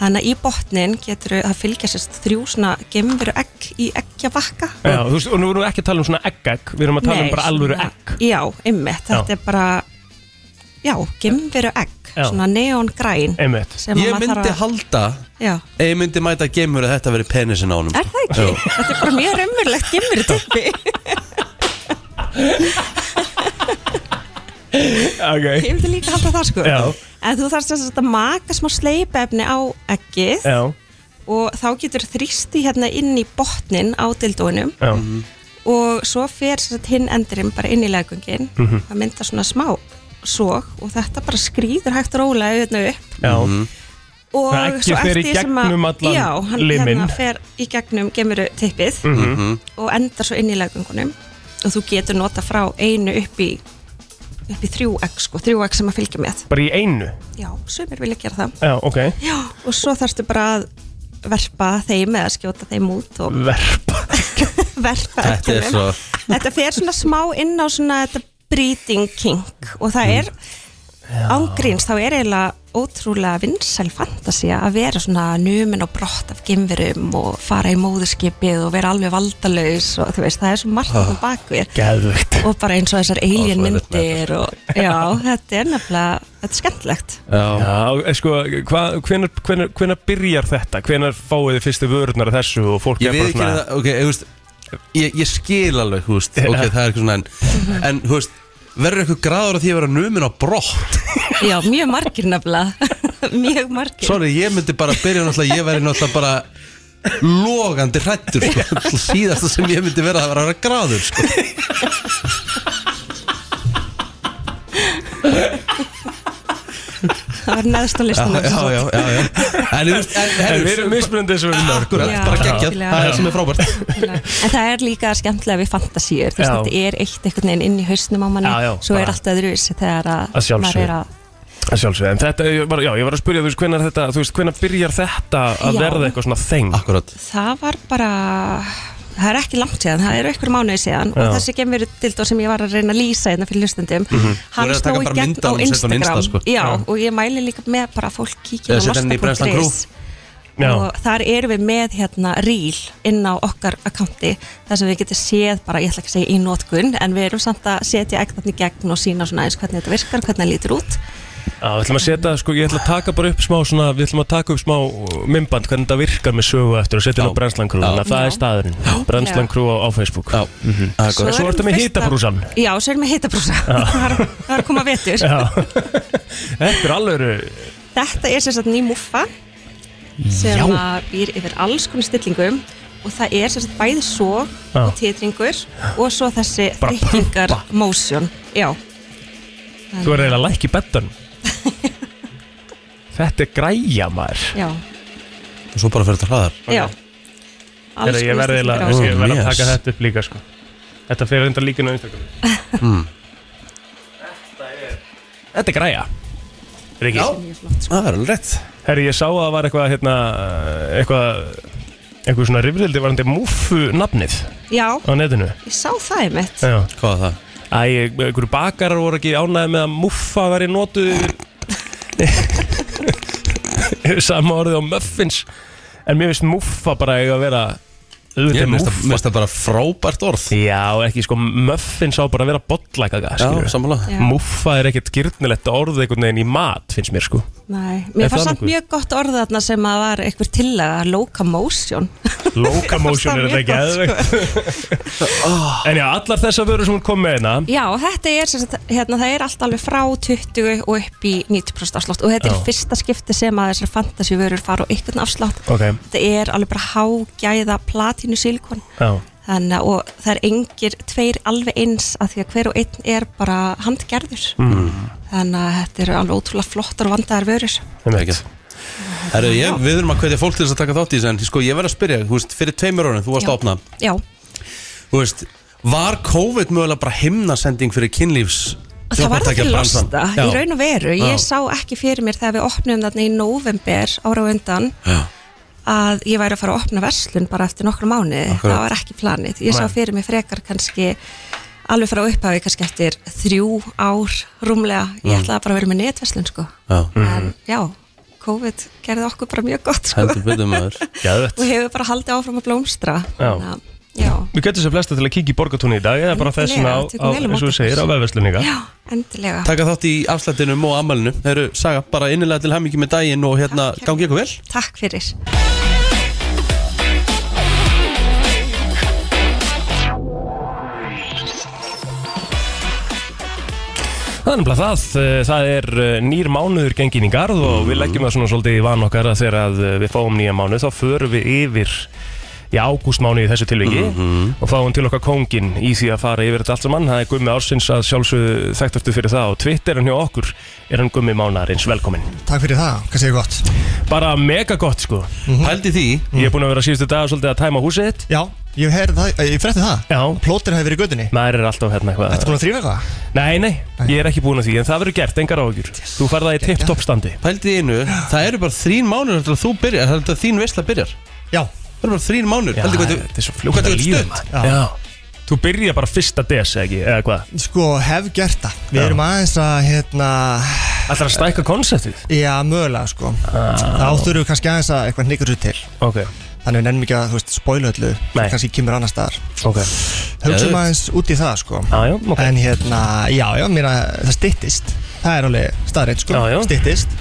[SPEAKER 4] þannig að í botnin getur það fylgja sérstætt þrjú svona gemveru egg í eggja
[SPEAKER 3] Já, þú veist, og nú erum við ekki að tala um svona egg-egg við erum að tala
[SPEAKER 4] Nei,
[SPEAKER 3] um bara alvöru
[SPEAKER 4] svona-
[SPEAKER 3] egg
[SPEAKER 4] Já, ymmið,
[SPEAKER 3] Já.
[SPEAKER 4] þetta er bara Já, gemveru egg
[SPEAKER 3] Já.
[SPEAKER 4] Svona neongræn
[SPEAKER 3] einmitt
[SPEAKER 4] sem að
[SPEAKER 2] Ég
[SPEAKER 4] maður
[SPEAKER 2] myndi
[SPEAKER 4] þarf að-
[SPEAKER 2] halda
[SPEAKER 4] Já,
[SPEAKER 2] ef Ég myndi mæta geimur að þetta veri penisin á honum
[SPEAKER 4] er það ekki? Þetta er bara mjög raunverulegt gemveru tippi Ég
[SPEAKER 3] okay.
[SPEAKER 4] myndi líka halda það sko
[SPEAKER 3] Já.
[SPEAKER 4] En þú þarfst þess að maka smá sleipefni á eggið
[SPEAKER 3] Já,
[SPEAKER 4] og þá getur þrýsti hérna inn í botnin á dildóinum
[SPEAKER 3] já,
[SPEAKER 4] og svo fer sem sagt hinn endurinn bara inn í legungin
[SPEAKER 3] Mhm.
[SPEAKER 4] það hérna myndar svona smá sóg og þetta bara skrýður hægt rólega auðvitað upp
[SPEAKER 3] já
[SPEAKER 4] og
[SPEAKER 3] Það eggið
[SPEAKER 4] svo
[SPEAKER 3] fer í
[SPEAKER 4] eftir því sem að-
[SPEAKER 3] gegnum allan
[SPEAKER 4] já, hann
[SPEAKER 3] liminn.
[SPEAKER 4] hérna fer í gegnum gemuru tippið og endar svo inn í lagungunum og þú getur nota frá einu upp í upp í 3x sko, 3x sem að fylgja með
[SPEAKER 3] Bara í einu?
[SPEAKER 4] já, sumir vilja gera það
[SPEAKER 3] Já, ok.
[SPEAKER 4] já, og svo þarfstu bara að verpa þeim eða skjóta þeim út og
[SPEAKER 3] Verpa.
[SPEAKER 4] verpa
[SPEAKER 2] Þetta er
[SPEAKER 4] eggjunum.
[SPEAKER 2] svo-
[SPEAKER 4] þetta fer svona smá inn á svona þetta breeding kink og
[SPEAKER 2] Mm.
[SPEAKER 4] það er ángríns, þá er eiginlega ótrúlega vinsæl fantasía að vera svona numin og brott af gimverum og fara í móðurskipið og vera alveg valdalaus og þú veist, það er svo margt á bakvið
[SPEAKER 3] Gæðvögt.
[SPEAKER 4] og bara eins og þessar
[SPEAKER 2] Ah. svo er
[SPEAKER 4] alien
[SPEAKER 2] þetta
[SPEAKER 4] myndir og já, þetta er nefnilega þetta er skemmtilegt
[SPEAKER 2] Já,
[SPEAKER 3] Já, eh, sko, hvað, hvenar, hvenar, hvenar byrjar þetta? Hvenar fáið þið fyrstu vörurnar af þessu og fólk
[SPEAKER 2] ég
[SPEAKER 3] er
[SPEAKER 2] veit
[SPEAKER 3] bara
[SPEAKER 2] ekki það, ok, þú veist ég, ég skil alveg, þú veist, ok, það er eitthvað svona en, en þú veist, verður eitthvað gráður að því að vera numin á brott
[SPEAKER 4] já, mjög margir nefnilega mjög margir
[SPEAKER 2] sorry, ég myndi bara byrja náttúrulega, ég væri náttúrulega bara logandi hrættur sko. síðasta sem ég myndi vera að vera að vera gráður sko.
[SPEAKER 4] það var neðst á listanum
[SPEAKER 2] já, já, já, já en þú veist, en,
[SPEAKER 3] En
[SPEAKER 2] herru,
[SPEAKER 3] við erum mismunandi þessu við mörg.
[SPEAKER 2] akkurat,
[SPEAKER 4] Já,
[SPEAKER 2] bara geggjað,
[SPEAKER 4] algjörlega.
[SPEAKER 2] það er það sem er frábært
[SPEAKER 4] en það er líka skemmtilega við fantasíur þú veist,
[SPEAKER 3] Já.
[SPEAKER 4] þetta er eitt einhvern veginn inn í hausnum á manni
[SPEAKER 3] Já, já,
[SPEAKER 4] svo
[SPEAKER 3] bara-
[SPEAKER 4] er allt öðruvísi þegar að,
[SPEAKER 3] Að sjálfsögðu.
[SPEAKER 4] maður er að
[SPEAKER 3] Að Sjálfsög, en þetta, ég var, já, ég var að spyrja, þú veist, hvenar þetta, þú veist, hvenar byrjar þetta að
[SPEAKER 4] Já.
[SPEAKER 3] verða eitthvað svona þeng?
[SPEAKER 2] akkurat,
[SPEAKER 4] það var bara það er ekki langt síðan, það eru einhver mánuði síðan
[SPEAKER 3] Já.
[SPEAKER 4] og þessi gemveru dildó sem ég var að reyna að lýsa hérna fyrir hlustendum,
[SPEAKER 2] Þú verður
[SPEAKER 4] hann
[SPEAKER 2] Mhm. að
[SPEAKER 4] sló
[SPEAKER 2] taka
[SPEAKER 4] í
[SPEAKER 2] bara
[SPEAKER 4] gegn
[SPEAKER 2] mynd af
[SPEAKER 4] á
[SPEAKER 2] honum og setja hann á
[SPEAKER 4] Instagram
[SPEAKER 2] Insta, sko.
[SPEAKER 4] já, og ég mæli líka með bara að fólk kíkja
[SPEAKER 2] Eða
[SPEAKER 4] inn á
[SPEAKER 2] setja hann í Brennslan Crew.
[SPEAKER 4] masta.is
[SPEAKER 3] Já.
[SPEAKER 4] og þar erum við með hérna reel inn á okkar akkánti þar sem við getum séð bara, ég ætla ekki að segja í nótkun en við erum samt að setja ektatni gegn og sína svona eins hvernig þetta virkar, hvernig það lítur út
[SPEAKER 3] Já, við ætlum að setja, sko, ég ætla að taka bara upp smá svona, við ætlum að taka upp smá uh, mymband hvernig þetta virkar með sögu eftir og setja inn á
[SPEAKER 2] Já.
[SPEAKER 3] Brennslan Crew,
[SPEAKER 2] Já.
[SPEAKER 3] þannig að það
[SPEAKER 4] Já.
[SPEAKER 3] er staðurinn, Brennslan
[SPEAKER 4] Já.
[SPEAKER 3] Crew á, á Facebook.
[SPEAKER 2] já, það er
[SPEAKER 3] Svo
[SPEAKER 2] gott
[SPEAKER 3] er- ertu
[SPEAKER 4] erum
[SPEAKER 3] með
[SPEAKER 4] fyrsta-
[SPEAKER 3] hitabrúsan.
[SPEAKER 4] Já, svo erum við hitabrúsa Það er- það er að koma vetur
[SPEAKER 3] Já. Þetta er alveg,
[SPEAKER 4] Þetta er sem sagt ný muffa sem
[SPEAKER 3] Já.
[SPEAKER 4] að býr yfir alls konar stillingum og það er sem sagt bæði svo
[SPEAKER 3] Já.
[SPEAKER 4] og titringur og svo þessi
[SPEAKER 3] Bara
[SPEAKER 4] þrykkingar motion Já,
[SPEAKER 3] þú er eiginlega læk í bettan. Þetta er græja maður.
[SPEAKER 4] já,
[SPEAKER 2] og svo bara fyrir þetta hraðar
[SPEAKER 4] já Alls
[SPEAKER 3] Þegar ég
[SPEAKER 4] konar
[SPEAKER 3] verði eiginlega-
[SPEAKER 4] stillingar á.
[SPEAKER 3] ég verði að
[SPEAKER 2] Yes.
[SPEAKER 3] taka þetta upp líka sko. Þetta fyrir enda líka inn á Instagram
[SPEAKER 2] Hmm.
[SPEAKER 3] Þetta er græja Riki
[SPEAKER 2] það er alveg rétt
[SPEAKER 3] Herri, ég sá að það var eitthvað hérna, eitthvað eitthvað svona rifrildi varandi múfu nafnið
[SPEAKER 4] Já,
[SPEAKER 3] á netinu
[SPEAKER 4] ég sá það í mitt
[SPEAKER 3] Já.
[SPEAKER 2] hvað var það?
[SPEAKER 3] Æ, einhverju bakarar voru ekki ánæði með að múffa veri notuð sama orðið á muffins en mér finnst múffa bara eiga að vera auðvitað
[SPEAKER 2] Ég
[SPEAKER 3] er
[SPEAKER 2] mér finnst það-
[SPEAKER 3] múffa.
[SPEAKER 2] mér finnst það bara frábært orð
[SPEAKER 3] Já, ekki sko, muffins á bara að vera bollakaga,
[SPEAKER 2] Já,
[SPEAKER 3] skilur
[SPEAKER 2] sammála
[SPEAKER 4] Já.
[SPEAKER 3] Muffa er ekkert gyrnilegt orð einhvern veginn í mat, finnst mér sko
[SPEAKER 4] Nei,
[SPEAKER 3] Er
[SPEAKER 4] mér
[SPEAKER 3] það
[SPEAKER 4] fannst samt
[SPEAKER 3] nokkuð?
[SPEAKER 4] mjög gott orð þarna sem að var einhver tillaga, locomotion
[SPEAKER 3] Locomotion er þetta ekki eðvegt En já, allar þessar vörur sem hún kom með hérna
[SPEAKER 4] sko. Já, þetta er sem sagt, hérna, það er allt alveg frá 20 og upp í 90% afslátt og þetta
[SPEAKER 3] Já.
[SPEAKER 4] er fyrsta skipti sem að þessar fantasívörur fara á einhvern afslátt
[SPEAKER 3] Ok,
[SPEAKER 4] þetta er alveg bara hágæða platínu sílikon
[SPEAKER 3] já,
[SPEAKER 4] þannig að og það er engir tveir alveg eins af því að hver og einn er bara handgerður
[SPEAKER 3] Mm.
[SPEAKER 4] þannig að þetta eru alveg ótrúlega flottar og vandaðar vörur
[SPEAKER 3] um
[SPEAKER 2] Ekki. Herru, ég, við erum að hvetja fólk til þess að taka þátt í þessu en sko, ég verð að spyrja, þú veist, fyrir tveimur árunum þú varst
[SPEAKER 4] Já.
[SPEAKER 2] að opna,
[SPEAKER 4] Já,
[SPEAKER 2] þú veist var COVID mögulega bara himnasending fyrir kynlífs
[SPEAKER 4] Og það var ekki
[SPEAKER 2] bransan?
[SPEAKER 4] losta í
[SPEAKER 2] Já.
[SPEAKER 4] raun og veru ég
[SPEAKER 2] Já.
[SPEAKER 4] sá ekki fyrir mér þegar við opnum þarna í november ára og undan
[SPEAKER 2] Já.
[SPEAKER 4] að ég væri að fara að opna verslun bara eftir nokkra mánuði,
[SPEAKER 2] Akkurat.
[SPEAKER 4] það var ekki planið ég sá fyrir mig frekar kannski alveg frá upphafi kannski eftir þrjú ár rúmlega,
[SPEAKER 2] Mm.
[SPEAKER 4] ég ætlaði bara að vera með netverslun sko,
[SPEAKER 2] Já.
[SPEAKER 4] en já COVID gerði okkur bara mjög gott sko
[SPEAKER 2] heldur betur maður
[SPEAKER 4] og
[SPEAKER 3] Geðvett
[SPEAKER 4] hefur bara haldið áfram að blómstra
[SPEAKER 3] Já.
[SPEAKER 4] Þannig að- já,
[SPEAKER 3] Við getum sér flesta til að kíkja í borgatúni í dag eða bara
[SPEAKER 4] Nefnilega,
[SPEAKER 3] þessuna á, á
[SPEAKER 4] tökum vel á
[SPEAKER 3] eins og
[SPEAKER 4] móti
[SPEAKER 3] þú segir, á
[SPEAKER 4] okkur.
[SPEAKER 3] vefversluninga
[SPEAKER 4] já, endilega
[SPEAKER 2] taka þátt í afslættinum og ammælinu Herru, Saga, bara innilega til hamingi með daginn og hérna,
[SPEAKER 4] Takk,
[SPEAKER 2] gangi ykkur vel
[SPEAKER 4] Takk fyrir
[SPEAKER 3] Það er nefnilega það, eh, það er eh, nýr mánuður gengin í garð og við leggjum það svona svolítið í van okkar að þegar að eh, við fáum nýja mánuð þá förum við yfir í ágústmánu í þessu tilviki og fáum til okkar kóngin í því að fara yfir þetta allt saman það er Gummi Ársins að sjálfsögðu þekktastu fyrir það og Twitter en hjá okkur er hann Gummi Mánarins velkomin
[SPEAKER 5] Takk fyrir það, hvað segir gott
[SPEAKER 3] bara mega gott sko
[SPEAKER 2] Pældi því
[SPEAKER 3] ég er búin að vera síðustu dag svolítið að tæma húsið þitt
[SPEAKER 5] Já, ég, heyrði það, eh, ég frétti það
[SPEAKER 3] já
[SPEAKER 5] Plótir hefur verið í gödunni
[SPEAKER 3] maður er alltaf hérna eitthvað
[SPEAKER 5] Ertu búin að þrýfa eitthvað?
[SPEAKER 3] nei nei ég er ekki búin að því en það verður gert engar áhugjur þú færð það í tipp-topp standi
[SPEAKER 2] Pældi því einu Það eru bara þrín mánur Þannig að þú byrjar Þannig að þín veisla byrjar
[SPEAKER 5] Já,
[SPEAKER 2] Það eru bara þrín mánur Pældi hvað
[SPEAKER 3] þetta er svo fljótt
[SPEAKER 2] hvað
[SPEAKER 3] að
[SPEAKER 2] þetta
[SPEAKER 3] líða
[SPEAKER 2] er stutt.
[SPEAKER 3] maður. Já. þú byrja bara fyrsta des eða ekki eða hvað
[SPEAKER 5] sko hef gert það Við erum aðeins að, hérna,
[SPEAKER 3] ætlar að stækka konseptið
[SPEAKER 5] já, mögulega sko
[SPEAKER 3] Ah.
[SPEAKER 5] Það áttur við kannski aðeins að eitthvað hnyggur út til
[SPEAKER 3] ok
[SPEAKER 5] Þannig við nefnum ekki að, þú veist, spoilu öllu
[SPEAKER 3] Nei.
[SPEAKER 5] Kannski kemur annar staðar
[SPEAKER 3] ok
[SPEAKER 5] Hugsaum
[SPEAKER 2] Geðveikt.
[SPEAKER 5] aðeins út í það sko
[SPEAKER 3] já já Ah, ok
[SPEAKER 5] En hérna, já, já, mér að það styttist Það er alveg staðreitt sko,
[SPEAKER 3] Já, já.
[SPEAKER 5] styttist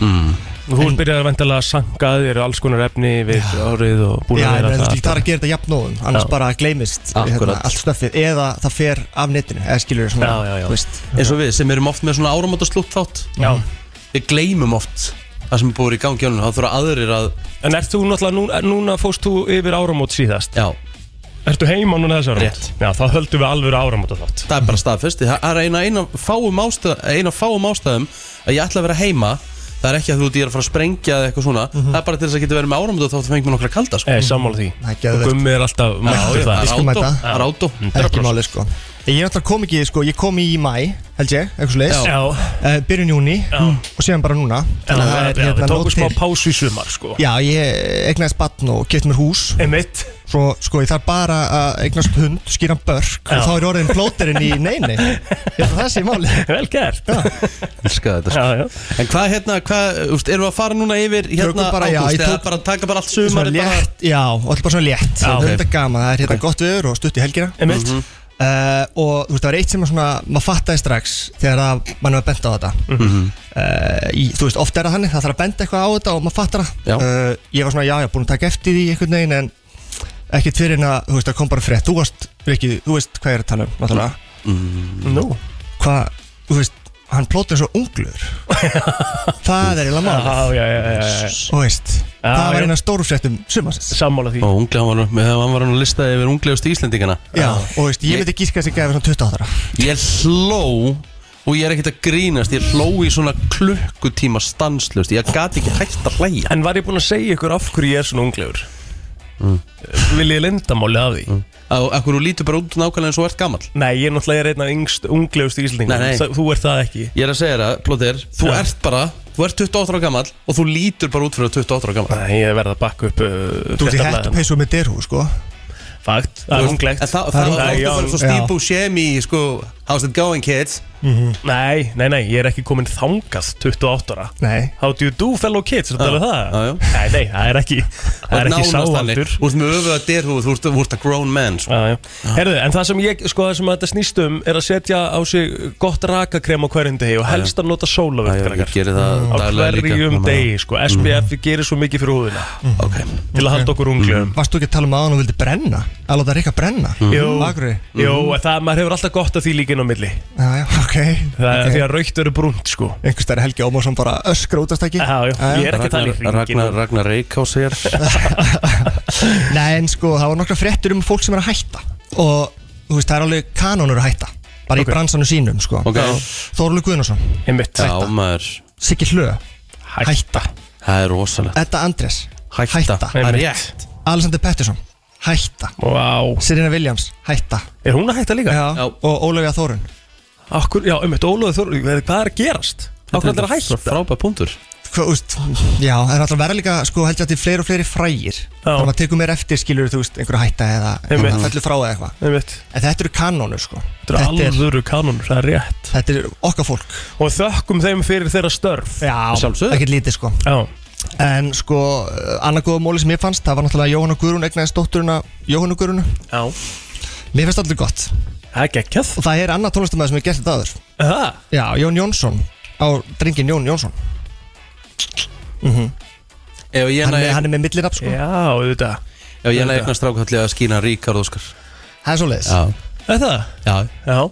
[SPEAKER 3] þú byrjar væntanlega að sanka þér alls konar efni við árið og búin
[SPEAKER 5] Já,
[SPEAKER 3] að
[SPEAKER 5] en
[SPEAKER 3] vera
[SPEAKER 5] þú
[SPEAKER 3] það
[SPEAKER 5] skilur það er að gera þetta jafnóðum annars
[SPEAKER 3] Já.
[SPEAKER 5] bara gleymist hérna,
[SPEAKER 2] Akkurat.
[SPEAKER 5] allt stöffið eða það fer af netinu eða skilur svona,
[SPEAKER 3] Já, já, já.
[SPEAKER 5] þú veist
[SPEAKER 2] Eins og við sem erum oft með svona áramóta slútt þátt
[SPEAKER 3] já
[SPEAKER 2] Við gleymum oft Það sem er búið í gangi ánum Það þurfa aðrir að
[SPEAKER 3] en ert þú náttúrulega núna, núna fóst þú yfir áramót síðast
[SPEAKER 2] Já
[SPEAKER 3] ertu heima núna þessu áramót
[SPEAKER 2] Rétt.
[SPEAKER 3] já þá höldum við alveg áramót að þátt
[SPEAKER 2] Það er bara staðfesti Það er eina, eina, fáum ástæð, eina fáum ástæðum Að ég ætla að vera heima Það er ekki að þú ert að fara að sprengja eða eitthvað svona
[SPEAKER 5] Mhm.
[SPEAKER 2] Það er bara til þess að geta verið með áramóta þátt Það fengi mér nokkra kalda
[SPEAKER 5] Eh,
[SPEAKER 2] sko.
[SPEAKER 3] eða sammála því
[SPEAKER 5] Það er geðveikt.
[SPEAKER 3] og gummi er alltaf mættur
[SPEAKER 2] Það
[SPEAKER 5] Við
[SPEAKER 2] er
[SPEAKER 3] það
[SPEAKER 5] skulum
[SPEAKER 2] átó,
[SPEAKER 5] mæta.
[SPEAKER 2] það er átó
[SPEAKER 5] ekki máli sko Ég er náttúrulega kom ekki, sko, ég kom í mæ held ég, eitthvað svo leiðis
[SPEAKER 3] já
[SPEAKER 5] byrjun júni
[SPEAKER 3] Já.
[SPEAKER 5] og síðan bara núna
[SPEAKER 3] Já,
[SPEAKER 5] þannig að það
[SPEAKER 3] já,
[SPEAKER 5] er
[SPEAKER 3] já, við
[SPEAKER 5] hérna nóg
[SPEAKER 3] tókum smá
[SPEAKER 5] til.
[SPEAKER 3] pásu í sumar sko
[SPEAKER 5] Já, ég eignaðist batn og kefti mér hús
[SPEAKER 3] Emitt
[SPEAKER 5] Svo, sko, ég þarf bara að eignast hund, skýra hann börk
[SPEAKER 3] Já.
[SPEAKER 5] og þá er orðin plóterinn í neini Ég held að það sé máli
[SPEAKER 3] Vel gert Já,
[SPEAKER 2] Elskar þetta sko.
[SPEAKER 3] já
[SPEAKER 2] En hvað hérna, hvað, úst, erum við að fara núna yfir hérna
[SPEAKER 5] Tökum bara, já,
[SPEAKER 2] ágúst
[SPEAKER 5] ég
[SPEAKER 2] eða
[SPEAKER 5] tók-
[SPEAKER 2] bara taka bara allt
[SPEAKER 5] Svona
[SPEAKER 2] sumari bara
[SPEAKER 5] létt, já, og alltaf bara svona létt
[SPEAKER 3] Já,
[SPEAKER 5] Það
[SPEAKER 3] ok.
[SPEAKER 5] er þetta gaman, það er hérna gott viður og stutt í helgina
[SPEAKER 3] Emitt
[SPEAKER 5] uh, og þú veist, það var eitt sem að svona, maður fattaði strax þegar að mann var bent á þetta mm þú veist, oft er það þannig, það þarf að benda eitthvað á þetta og maður fattar
[SPEAKER 2] Já.
[SPEAKER 5] það uh, ég var svona, já, já, búin að taka eftir því einhvern veginn en ekkert fyrir en að, þú veist, það kom bara frétt þú veist, Rikki, þú veist hvað ég er að tala um náttúrulega,
[SPEAKER 3] Nú
[SPEAKER 5] hvað, þú veist hann plótir svo unglur það er eiginlega mál,
[SPEAKER 3] Já, já, já, já, já
[SPEAKER 5] þú veist
[SPEAKER 3] Já,
[SPEAKER 5] það var
[SPEAKER 3] já.
[SPEAKER 5] eina stórfréttum sumasins
[SPEAKER 3] Sammála því
[SPEAKER 2] Og ungli, hann var, nú- með- hann var hann að lista yfir unglegustu Íslendingana
[SPEAKER 5] Já, og veist, ég myndi gíska þessi gæði svona 28 ára
[SPEAKER 2] Ég hló og ég er ekkert að grínast Ég hló í svona klukkutíma stanslust Ég gati ekki hægt að hlæja
[SPEAKER 3] En var ég búinn að segja ykkur af hverju ég er svona unglegur? Mm. Eh, Vil ég lindamáli af því?
[SPEAKER 2] Á- Akkur þú lítur bara út nákvæmlega eins og ert gammal
[SPEAKER 3] Nei, ég er náttúrulega er einn af yngst unglegust íslendingum
[SPEAKER 2] Nei, nei.
[SPEAKER 3] Þa- Þú ert það ekki
[SPEAKER 2] Ég er að segja þér að, Plóter, þú
[SPEAKER 3] Já.
[SPEAKER 2] ert bara Þú ert 28 ára gammal og þú lítur bara út fyrir að 28 ára gammal
[SPEAKER 3] Nei, ég verð að bakka upp uh,
[SPEAKER 5] Þú ert í
[SPEAKER 3] fréttablaðið.
[SPEAKER 5] hættu peysu með derhú, sko
[SPEAKER 3] Fakt, það er
[SPEAKER 2] En
[SPEAKER 3] unglegt
[SPEAKER 2] það, það, það,
[SPEAKER 5] Nei,
[SPEAKER 2] það,
[SPEAKER 3] já,
[SPEAKER 2] það er svo
[SPEAKER 5] já.
[SPEAKER 2] stípu semi, sko How's it going, kids?
[SPEAKER 3] Nei, nei, nei, ég er ekki kominn þangað 28 ára
[SPEAKER 5] Nei,
[SPEAKER 3] How do you do fellow kids, er þetta alveg um það?
[SPEAKER 2] já, já.
[SPEAKER 3] Nei, nei, það er ekki, það er ekki sáaldur
[SPEAKER 2] Þú ert með öfuða derhúð, þú ert- þú ert að grown man sko.
[SPEAKER 3] Já, já. Herðu, en það sem ég, sko, það sem þetta snýst um er að setja á sig gott rakakrem á hverjum degi og helst að nota
[SPEAKER 2] Já, já,
[SPEAKER 3] sólavörð
[SPEAKER 2] ég gerir það
[SPEAKER 3] á
[SPEAKER 2] daglega líka
[SPEAKER 3] hverjum
[SPEAKER 2] Mamma.
[SPEAKER 3] degi, sko, SPF gerir svo mikið fyrir húðina
[SPEAKER 2] Ok,
[SPEAKER 3] til að halda okkur ungljöfum
[SPEAKER 5] varstu ekki að tala um aðan og vildi brenna? Að láta Rikka brenna?
[SPEAKER 3] Jú.
[SPEAKER 5] Akkurri?
[SPEAKER 2] Mhm.
[SPEAKER 3] Jó, en það, maður hefur alltaf gott af því líka inn á milli
[SPEAKER 5] Já, já, ok
[SPEAKER 3] það er
[SPEAKER 5] Ok.
[SPEAKER 3] því að raukt verður brúnt, sko
[SPEAKER 5] Einhvers stærri Helgi Ómarsson bara öskra út að stæki
[SPEAKER 3] Já, já, ég er ekki að tala í
[SPEAKER 2] Ragnar,
[SPEAKER 3] ringin
[SPEAKER 2] Ragnar, Ragnar Reykjás hér
[SPEAKER 5] Nei, en sko, það var nokkra fréttur um fólk sem er að hætta Og, þú veist, það er alveg kanónur að hætta Bara
[SPEAKER 3] Ok.
[SPEAKER 5] í bransanu sínum, sko
[SPEAKER 2] Ok.
[SPEAKER 5] Þorlu Guðnason,
[SPEAKER 3] Einmitt,
[SPEAKER 2] Já, maður,
[SPEAKER 5] Siggi Hlö,
[SPEAKER 3] hætt
[SPEAKER 5] hætta
[SPEAKER 2] það er rosalega
[SPEAKER 5] Edda Andres,
[SPEAKER 2] Hætta,
[SPEAKER 5] hætta.
[SPEAKER 2] það er
[SPEAKER 3] Einmitt.
[SPEAKER 2] rétt
[SPEAKER 5] Alexander Pettersson, hætta
[SPEAKER 3] Vá,
[SPEAKER 5] Serena Williams, hætta
[SPEAKER 3] er hún að hætta líka?
[SPEAKER 2] Já.
[SPEAKER 5] Og Ólafja Þórun
[SPEAKER 3] Akkur, já, einmitt, Ólóður Þór, hvað er að gerast? Akkur er að hætta?
[SPEAKER 2] Frábær punktur
[SPEAKER 5] Hva, úst, já, það er alltaf verða líka sko, held ég að til fleiri og fleiri frægir
[SPEAKER 3] Já.
[SPEAKER 5] þannig að maður tekur mér eftir skilur þú veist einhverja hætta eða
[SPEAKER 3] Einmitt.
[SPEAKER 5] það fellur frá eða eitthvað
[SPEAKER 3] Einmitt,
[SPEAKER 5] en þetta eru kanónur sko
[SPEAKER 3] þetta er alvöru kanonur, það er rétt
[SPEAKER 5] þetta er okkar fólk
[SPEAKER 3] Og þökkum þeim fyrir þeirra störf
[SPEAKER 5] já,
[SPEAKER 2] Sjálfsögðu.
[SPEAKER 5] ekkert lítið sko
[SPEAKER 3] Já,
[SPEAKER 5] en sko uh, annað góða móli sem ég fannst það var náttúrulega Jóhanna Guðrún egnaðist dótturuna Jóhanna Guðrún
[SPEAKER 3] já
[SPEAKER 5] mér finnst allir gott
[SPEAKER 3] Það er geggjað
[SPEAKER 5] og það er annað tónlistamæður sem ég gert þetta aður
[SPEAKER 3] Það
[SPEAKER 5] já, Jón Jónsson á drengin Jón Jónsson
[SPEAKER 2] Ef ég
[SPEAKER 5] hann, er-
[SPEAKER 2] næ-
[SPEAKER 5] hann er með millirab sko
[SPEAKER 3] Já, auðvitað
[SPEAKER 2] ef ég næ eitthvað strákalli að skýna Ríkard Óskar
[SPEAKER 5] það er svo leiðis
[SPEAKER 2] Já,
[SPEAKER 3] Er það?
[SPEAKER 2] já
[SPEAKER 3] Já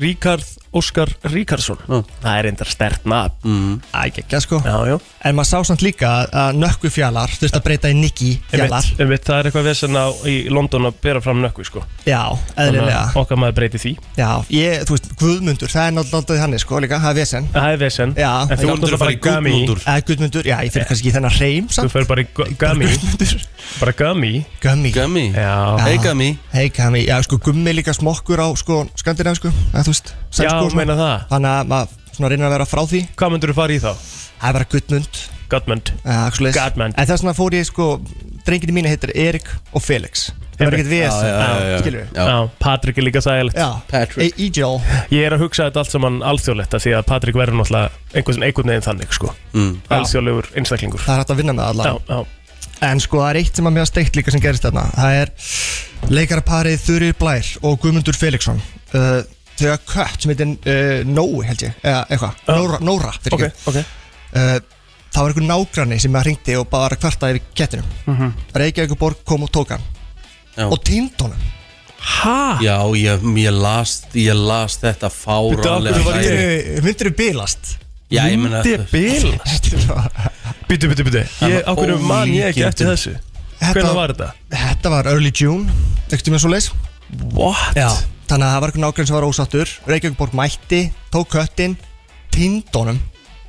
[SPEAKER 3] Ríkard Óskar Ríkarsson
[SPEAKER 2] Já.
[SPEAKER 3] Mm. Það er reyndar stert nafn mm.
[SPEAKER 5] Ægækja sko
[SPEAKER 3] Já, já
[SPEAKER 5] En maður sá samt líka að- að nökku fjalar þurfti að breyta í nikki fjalar
[SPEAKER 3] Einmitt, einmitt, það er eitthvað vesen á í London að bera fram nökku sko.
[SPEAKER 5] Já,
[SPEAKER 3] Þannig
[SPEAKER 5] eðlilega
[SPEAKER 3] að okkar maður breyti því
[SPEAKER 5] Já, ég, þú veist, Guðmundur, það er náttúrulega hann sko líka, það er vesen
[SPEAKER 3] Það er vesen
[SPEAKER 5] Já.
[SPEAKER 3] En þú
[SPEAKER 5] Þú
[SPEAKER 3] ert
[SPEAKER 2] Guðmundur að fara í
[SPEAKER 3] náttúrulega bara gami
[SPEAKER 2] Guðmundur
[SPEAKER 5] Eða Guðmundur, já, ég fyrir kannski í þennan reym
[SPEAKER 3] Þú
[SPEAKER 5] samt
[SPEAKER 3] fer bara í gu- gami
[SPEAKER 5] Guðmundur
[SPEAKER 3] Bara gami
[SPEAKER 5] Gummi
[SPEAKER 2] Gummi
[SPEAKER 3] Já,
[SPEAKER 2] Hey Gummi
[SPEAKER 5] Hei Gummi, já sko Gummi líka smokkur á sko skandinavisku, eða þú veist
[SPEAKER 3] já
[SPEAKER 5] sænsku og svona.
[SPEAKER 3] meina það
[SPEAKER 5] Þannig að maður svona reynir að vera frá því
[SPEAKER 3] Hvað myndur þú fara í þá?
[SPEAKER 5] Það er bara Guðmund
[SPEAKER 3] Godmund
[SPEAKER 5] eða eitthvað svoleiðis.
[SPEAKER 3] Gudmund.
[SPEAKER 5] En þess vegna fór ég sko, drenginu mínu heitir Erik og Felix Það var
[SPEAKER 3] Erik.
[SPEAKER 5] ekkert við
[SPEAKER 2] Já, já, já, já.
[SPEAKER 5] skilur við
[SPEAKER 2] Já.
[SPEAKER 3] Já, Patrik er líka sægilegt
[SPEAKER 5] Já,
[SPEAKER 2] Patrick.
[SPEAKER 5] E- Egil
[SPEAKER 3] Ég er að hugsa þetta allt saman alþjóðlegt að því að Patrik verður náttúrulega einhvern, einhvern veginn þannig sko.
[SPEAKER 2] Mm.
[SPEAKER 3] Alþjóðlegur einstaklingur
[SPEAKER 5] Það er hægt að vinna með alla
[SPEAKER 3] Já, já,
[SPEAKER 5] En sko það er eitt sem að mér að steikt líka sem gerist þarna Það er leikaraparið Þurir Blær og Guðmundur Felixson uh, Þau hafa kött sem heitir uh, Nói held ég Eða eitthvað,
[SPEAKER 3] Já.
[SPEAKER 5] Nóra, Nóra fyrir
[SPEAKER 3] ok,
[SPEAKER 5] okay.
[SPEAKER 3] ok
[SPEAKER 5] uh, Það var einhver nágranni sem að ringdi og bara kvarta yfir kettinum mm
[SPEAKER 3] Mhm.
[SPEAKER 5] -hmm. Reykjavíkuborg kom og tók hann
[SPEAKER 2] Já.
[SPEAKER 5] Og týnd honum
[SPEAKER 3] Hæ?
[SPEAKER 2] Já, ég, ég, las, ég las
[SPEAKER 3] Bíddu,
[SPEAKER 2] þetta
[SPEAKER 3] af hverju var
[SPEAKER 2] fárálega
[SPEAKER 3] ég-
[SPEAKER 5] Myndir þú bilast?
[SPEAKER 2] Já, ég meina
[SPEAKER 3] Myndi bil Bítu, bítu, bítu Ég,
[SPEAKER 2] var
[SPEAKER 3] á hverju man ég ekki
[SPEAKER 2] ólíkindum.
[SPEAKER 3] eftir þessu? Hvernig var þetta?
[SPEAKER 5] Þetta var early June, ekkert um eins og leys
[SPEAKER 3] What?
[SPEAKER 5] Þannig að það var einhver nágrann sem var ósattur Reykjavíkborg mætti, tók köttin Tindónum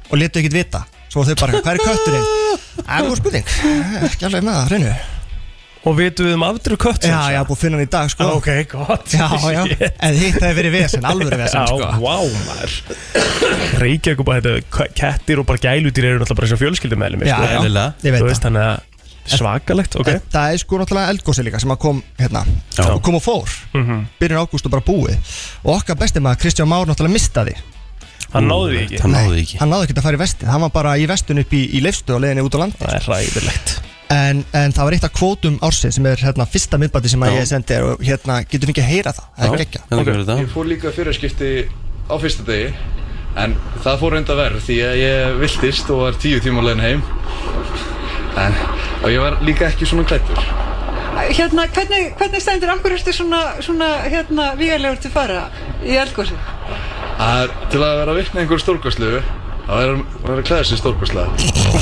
[SPEAKER 5] Og letu ekkert vita Svo voru þau bara, hvað er kötturinn? Það er góð spurning, ekki alveg með það, hreinu
[SPEAKER 3] Og vitum við um aftur kött
[SPEAKER 5] Já, ég haf búið að finna hann í dag, sko
[SPEAKER 3] Ok, gott
[SPEAKER 5] Já, já,
[SPEAKER 3] Shit.
[SPEAKER 5] en hitt hefði verið vesen, alvöru vesen,
[SPEAKER 3] Já,
[SPEAKER 5] sko
[SPEAKER 3] wow, maður Reykjavík og bara þetta k- Kettir og bara gælutýr eru náttúrulega bara eins og fjölskyldum með sko.
[SPEAKER 5] Já, já,
[SPEAKER 2] eðlilega.
[SPEAKER 5] ég
[SPEAKER 3] Þú
[SPEAKER 5] veit
[SPEAKER 3] veist
[SPEAKER 5] það
[SPEAKER 3] þannig að Svakalegt, ok
[SPEAKER 5] En Það er sko náttúrulega eldgósi líka sem að kom hérna
[SPEAKER 2] Já.
[SPEAKER 5] kom og fór, byrjun ágúst og bara búið og okkar besti maður Kristján Már náttúrulega mistaði
[SPEAKER 3] Hann náði því ekki
[SPEAKER 2] Hann náði
[SPEAKER 5] Nei,
[SPEAKER 2] því ekki
[SPEAKER 5] Hann náði ekki að fara í vestið, hann var bara í vestun upp í, í leifstu og leiðinni út á landi
[SPEAKER 3] Það er ræðilegt
[SPEAKER 5] en, en það var eitt af kvótum ársið sem er hérna fyrsta miðbæti sem að
[SPEAKER 2] Já.
[SPEAKER 5] ég sendi þér og hérna getur fengið að heyra það, það er gekkja
[SPEAKER 2] Hvernig verður
[SPEAKER 6] Ég
[SPEAKER 2] það?
[SPEAKER 6] fór líka fyrirskipti á fyrsta degi En það fór enda verð því að ég viltist og var tíu tíma á leiðin heim En, og ég var líka ekki svona klættur
[SPEAKER 7] Hérna, hvernig, hvernig stendur, af hverju ertu svona, svona hérna, vígalegur til fara í eldgósi?
[SPEAKER 6] Það er til að vera vitni einhver stórkvæslu Að vera, að vera að klæða sér stórkvæsla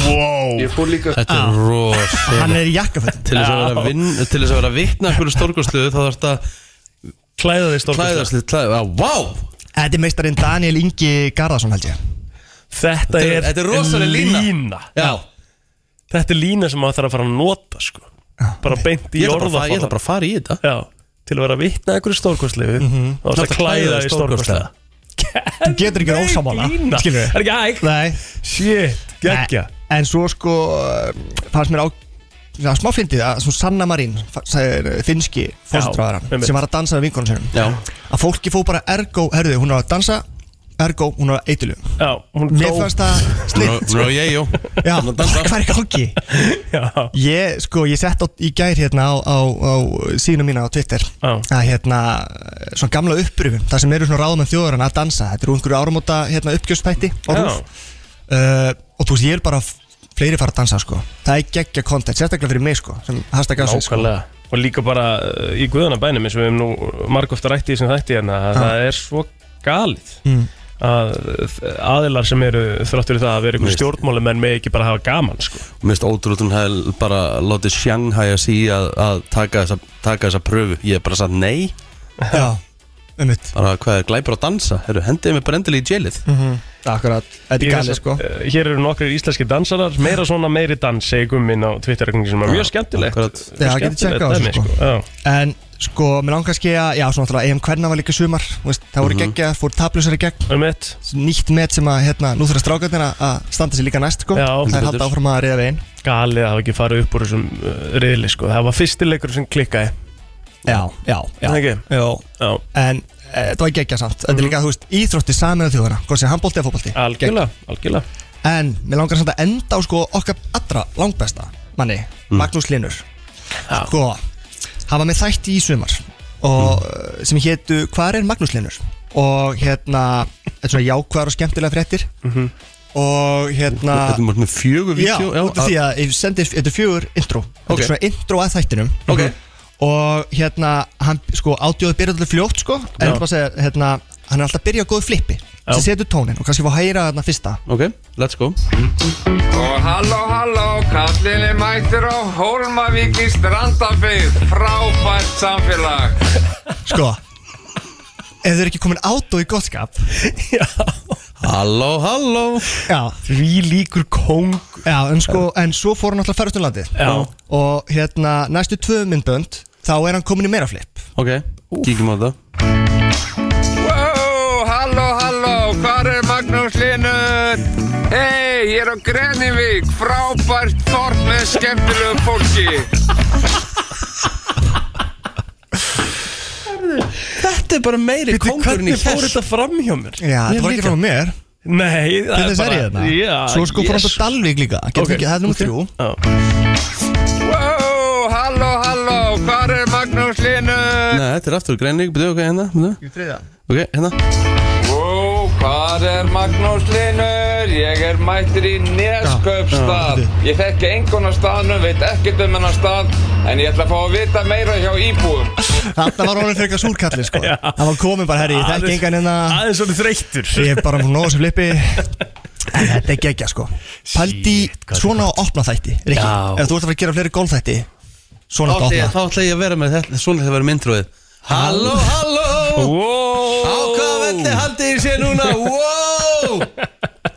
[SPEAKER 3] Wow
[SPEAKER 6] Ég fór líka
[SPEAKER 2] Þetta er rosa
[SPEAKER 5] Hann er í jakkaföld
[SPEAKER 2] Til þess að vera vinn- til þess að vera vitna hverju stórkostluðu þá þarf þetta
[SPEAKER 3] Klæða þig stórkostlega
[SPEAKER 2] klæðast litt klæða Vá!
[SPEAKER 5] Þetta er meistarinn Daniel Ingi Garðarsson held ég
[SPEAKER 3] Þetta
[SPEAKER 2] Þetta
[SPEAKER 3] er,
[SPEAKER 2] er- þetta er rosaleg lína. Já,
[SPEAKER 3] Þetta er lína sem maður þarf að fara að nota sko. Bara beint í
[SPEAKER 2] ég ætla bara að fara- ég ætla
[SPEAKER 3] orðaforða
[SPEAKER 2] bara að fara í þetta
[SPEAKER 3] Já, til að vera að vitna einhverju stórkostlegu mm -hmm. og það
[SPEAKER 2] Mhm. Láta
[SPEAKER 3] klæða í stórkostlega
[SPEAKER 5] Þú getur ekki verið ósammála, skilur
[SPEAKER 3] Það
[SPEAKER 5] við
[SPEAKER 3] er ekki hægt
[SPEAKER 5] Nei,
[SPEAKER 3] Shit, geggja
[SPEAKER 5] Nei, En svo sko uh, fannst mér á Já, smá fyndið að svo Sanna Marín fa- sagði, uh, finski fórstráðaran
[SPEAKER 3] einmitt.
[SPEAKER 5] sem var að dansa með vinkonum sinum
[SPEAKER 2] Já.
[SPEAKER 5] að fólki fóð bara ergo, herðu, hún var að dansa ergo, hún var að eitulu
[SPEAKER 3] Já, hún
[SPEAKER 5] mér
[SPEAKER 3] dó
[SPEAKER 5] fannst það snitt
[SPEAKER 2] Nú er ég, jú
[SPEAKER 5] Já,
[SPEAKER 2] Hún er að dansa.
[SPEAKER 5] hvað er gangi?
[SPEAKER 3] Já,
[SPEAKER 5] Ég, sko, ég sett á, í gær hérna á, á, á sínu mína á Twitter
[SPEAKER 3] Já.
[SPEAKER 5] að hérna, svona gamla uppröfum þar sem eru svona ráðum en þjóðurinn að dansa þetta eru einhverju áramóta hérna, uppgjöfstætti og,
[SPEAKER 3] já.
[SPEAKER 5] uh, og þú veist, ég vil bara f- fleiri fara að dansa, sko það er geggja content, sérstaklega fyrir mig, sko sem hashtag ásins, sko
[SPEAKER 3] nákvæmlega Og líka bara uh, í guðanabænum eins og við hefum nú margóft að rætti í þessum þætti en að það er svo galið
[SPEAKER 2] Hmm.
[SPEAKER 5] Mm.
[SPEAKER 3] að uh, aðilar sem eru þráttur í það að vera einhver
[SPEAKER 2] Veist.
[SPEAKER 3] stjórnmálumenn með ekki bara hafa gaman sko.
[SPEAKER 2] Mér finnst ótrúlega hún hefði bara látið Shanghai að sí að, að taka, þessa, taka þessa pröfu Ég hef bara sagt nei
[SPEAKER 5] Já, um mitt
[SPEAKER 2] bara hvað er glæpur að dansa Herru, hendiði mig bara endilega í jailið
[SPEAKER 5] Akkurat, þetta er
[SPEAKER 3] Ég
[SPEAKER 5] galið,
[SPEAKER 3] vissi-
[SPEAKER 5] sko
[SPEAKER 3] Eh, Hér eru nokkrir íslenski dansarar Meira svona meiri dans segir Gummin á Twitter-reikningi sem er mjög skemmtilegt
[SPEAKER 2] akkurat.
[SPEAKER 5] Já, það getur tjekkað á þessu, sko. En sko, mér langar kannski að, já, svona alltaf, EM Kvenna var líka í sumar, þú veist, það voru mm -hmm. geggja, fór tablusar í gegn,
[SPEAKER 3] Um eitt
[SPEAKER 5] nýtt met sem að, hérna, nú þurfa strákarnir að- að standa sér líka næst, sko,
[SPEAKER 3] Já.
[SPEAKER 5] það er halda áfram að reyða veginn.
[SPEAKER 3] galið að hafa ekki farið upp úr þessum uh, riðli sko. Það var fyrsti leikur sem klikkaði
[SPEAKER 5] Já, já, já.
[SPEAKER 3] Það ekki?
[SPEAKER 5] Jó,
[SPEAKER 3] Já,
[SPEAKER 5] en e, það var geggja samt, þetta er líka, þú veist, íþrótti samin að þjóðana, hvort sem handbólti eða fótbólti.
[SPEAKER 3] algjörlega, algjörlega
[SPEAKER 5] Gegn. En mér langar samt að enda á, sko, okkar allra langbesta manni, Magnús Linur.
[SPEAKER 3] Mhm. Já.
[SPEAKER 5] Sko, hafa með þætti í sumar og
[SPEAKER 3] Mhm.
[SPEAKER 5] mm. sem hétu Hvar er Magnús Linur? Og hérna, þetta er svona jákvæðar og skemmtilega fréttir
[SPEAKER 3] Mhm.
[SPEAKER 5] og hérna
[SPEAKER 2] Þetta er mjög með fjögur
[SPEAKER 5] Já,
[SPEAKER 2] vídeo
[SPEAKER 5] út af því að ég sendi, þetta er fjögur intro Þetta
[SPEAKER 2] Ok.
[SPEAKER 5] er svona intro að þættinum
[SPEAKER 2] Ok.
[SPEAKER 5] Og hérna, hann, sko, ádjóði byrjaði allir fljótt, sko En
[SPEAKER 3] Já.
[SPEAKER 5] ég ætla bara að segja, hérna, hann er alltaf að byrja á góðu flippi sem setur tónin og kannski fá að hæra þarna fyrsta
[SPEAKER 2] Ok, let's go
[SPEAKER 8] Og halló, halló, kallin er mættur á Hólmavík í Strandafið, frábært samfélag.
[SPEAKER 5] sko ef þau eru ekki komin át og í gott skap
[SPEAKER 2] Halló, halló
[SPEAKER 5] já,
[SPEAKER 3] Því líkur kong
[SPEAKER 5] já en sko en svo fór hann alltaf að ferðast um landið
[SPEAKER 3] Já.
[SPEAKER 5] og hérna næstu tvö myndbönd þá er hann komin í meira flip
[SPEAKER 2] Ok, kíkjum á það
[SPEAKER 8] Wow, halló, halló, hvar er Magnús Linur? Hei, ég er á Grenivík, frábært þorp með skemmtilegu fólki.
[SPEAKER 2] Þetta er bara meiri kongurinn í
[SPEAKER 3] Hvernig fór
[SPEAKER 2] þess
[SPEAKER 3] þetta fram hjá mér?
[SPEAKER 5] já,
[SPEAKER 2] Ég
[SPEAKER 5] það var ekki
[SPEAKER 2] líka.
[SPEAKER 5] frá mér
[SPEAKER 3] Nei, það
[SPEAKER 5] Hvernig sér ég þetta?
[SPEAKER 3] Já,
[SPEAKER 5] Svo sko fór hann
[SPEAKER 3] Jesus.
[SPEAKER 5] til Dalvík líka Getur
[SPEAKER 3] Ok,
[SPEAKER 5] ekki, það er nummer
[SPEAKER 3] ok.
[SPEAKER 5] þrjú
[SPEAKER 3] Já.
[SPEAKER 8] Wow, halló, halló, hvar er Magnús Linur?
[SPEAKER 2] Nei, þetta er aftur greining, byrju, ok, hérna byrju. Ok, hérna
[SPEAKER 8] Wow, hvað er Magnús Linur? Ég er mættur í Neskaupstað. Ég þekki engun af staðnum, veit ekkert um hennar stað, en ég ætla að fá að vita meira hjá íbúum.
[SPEAKER 5] Þarna var hann frekar súrkallið sko Hann var komin bara, herri, ég þekki
[SPEAKER 3] Aðeins-
[SPEAKER 5] engan en að
[SPEAKER 3] Aðeins svona þreyttur
[SPEAKER 5] hérna. Ég er bara múin nóg sem flippi En þetta er gegja sko Paldi svona á opna þætti Rikki,
[SPEAKER 3] Já.
[SPEAKER 5] ef þú ert að fara að gera fleiri golfþætti Svona
[SPEAKER 2] Þá
[SPEAKER 5] átt
[SPEAKER 2] ætla
[SPEAKER 5] að
[SPEAKER 2] ég-
[SPEAKER 5] opna
[SPEAKER 2] Þá ætla ég að vera með þetta Svona þegar verðum introið Halló, halló Á hvaða velli haldið ég sé núna Wow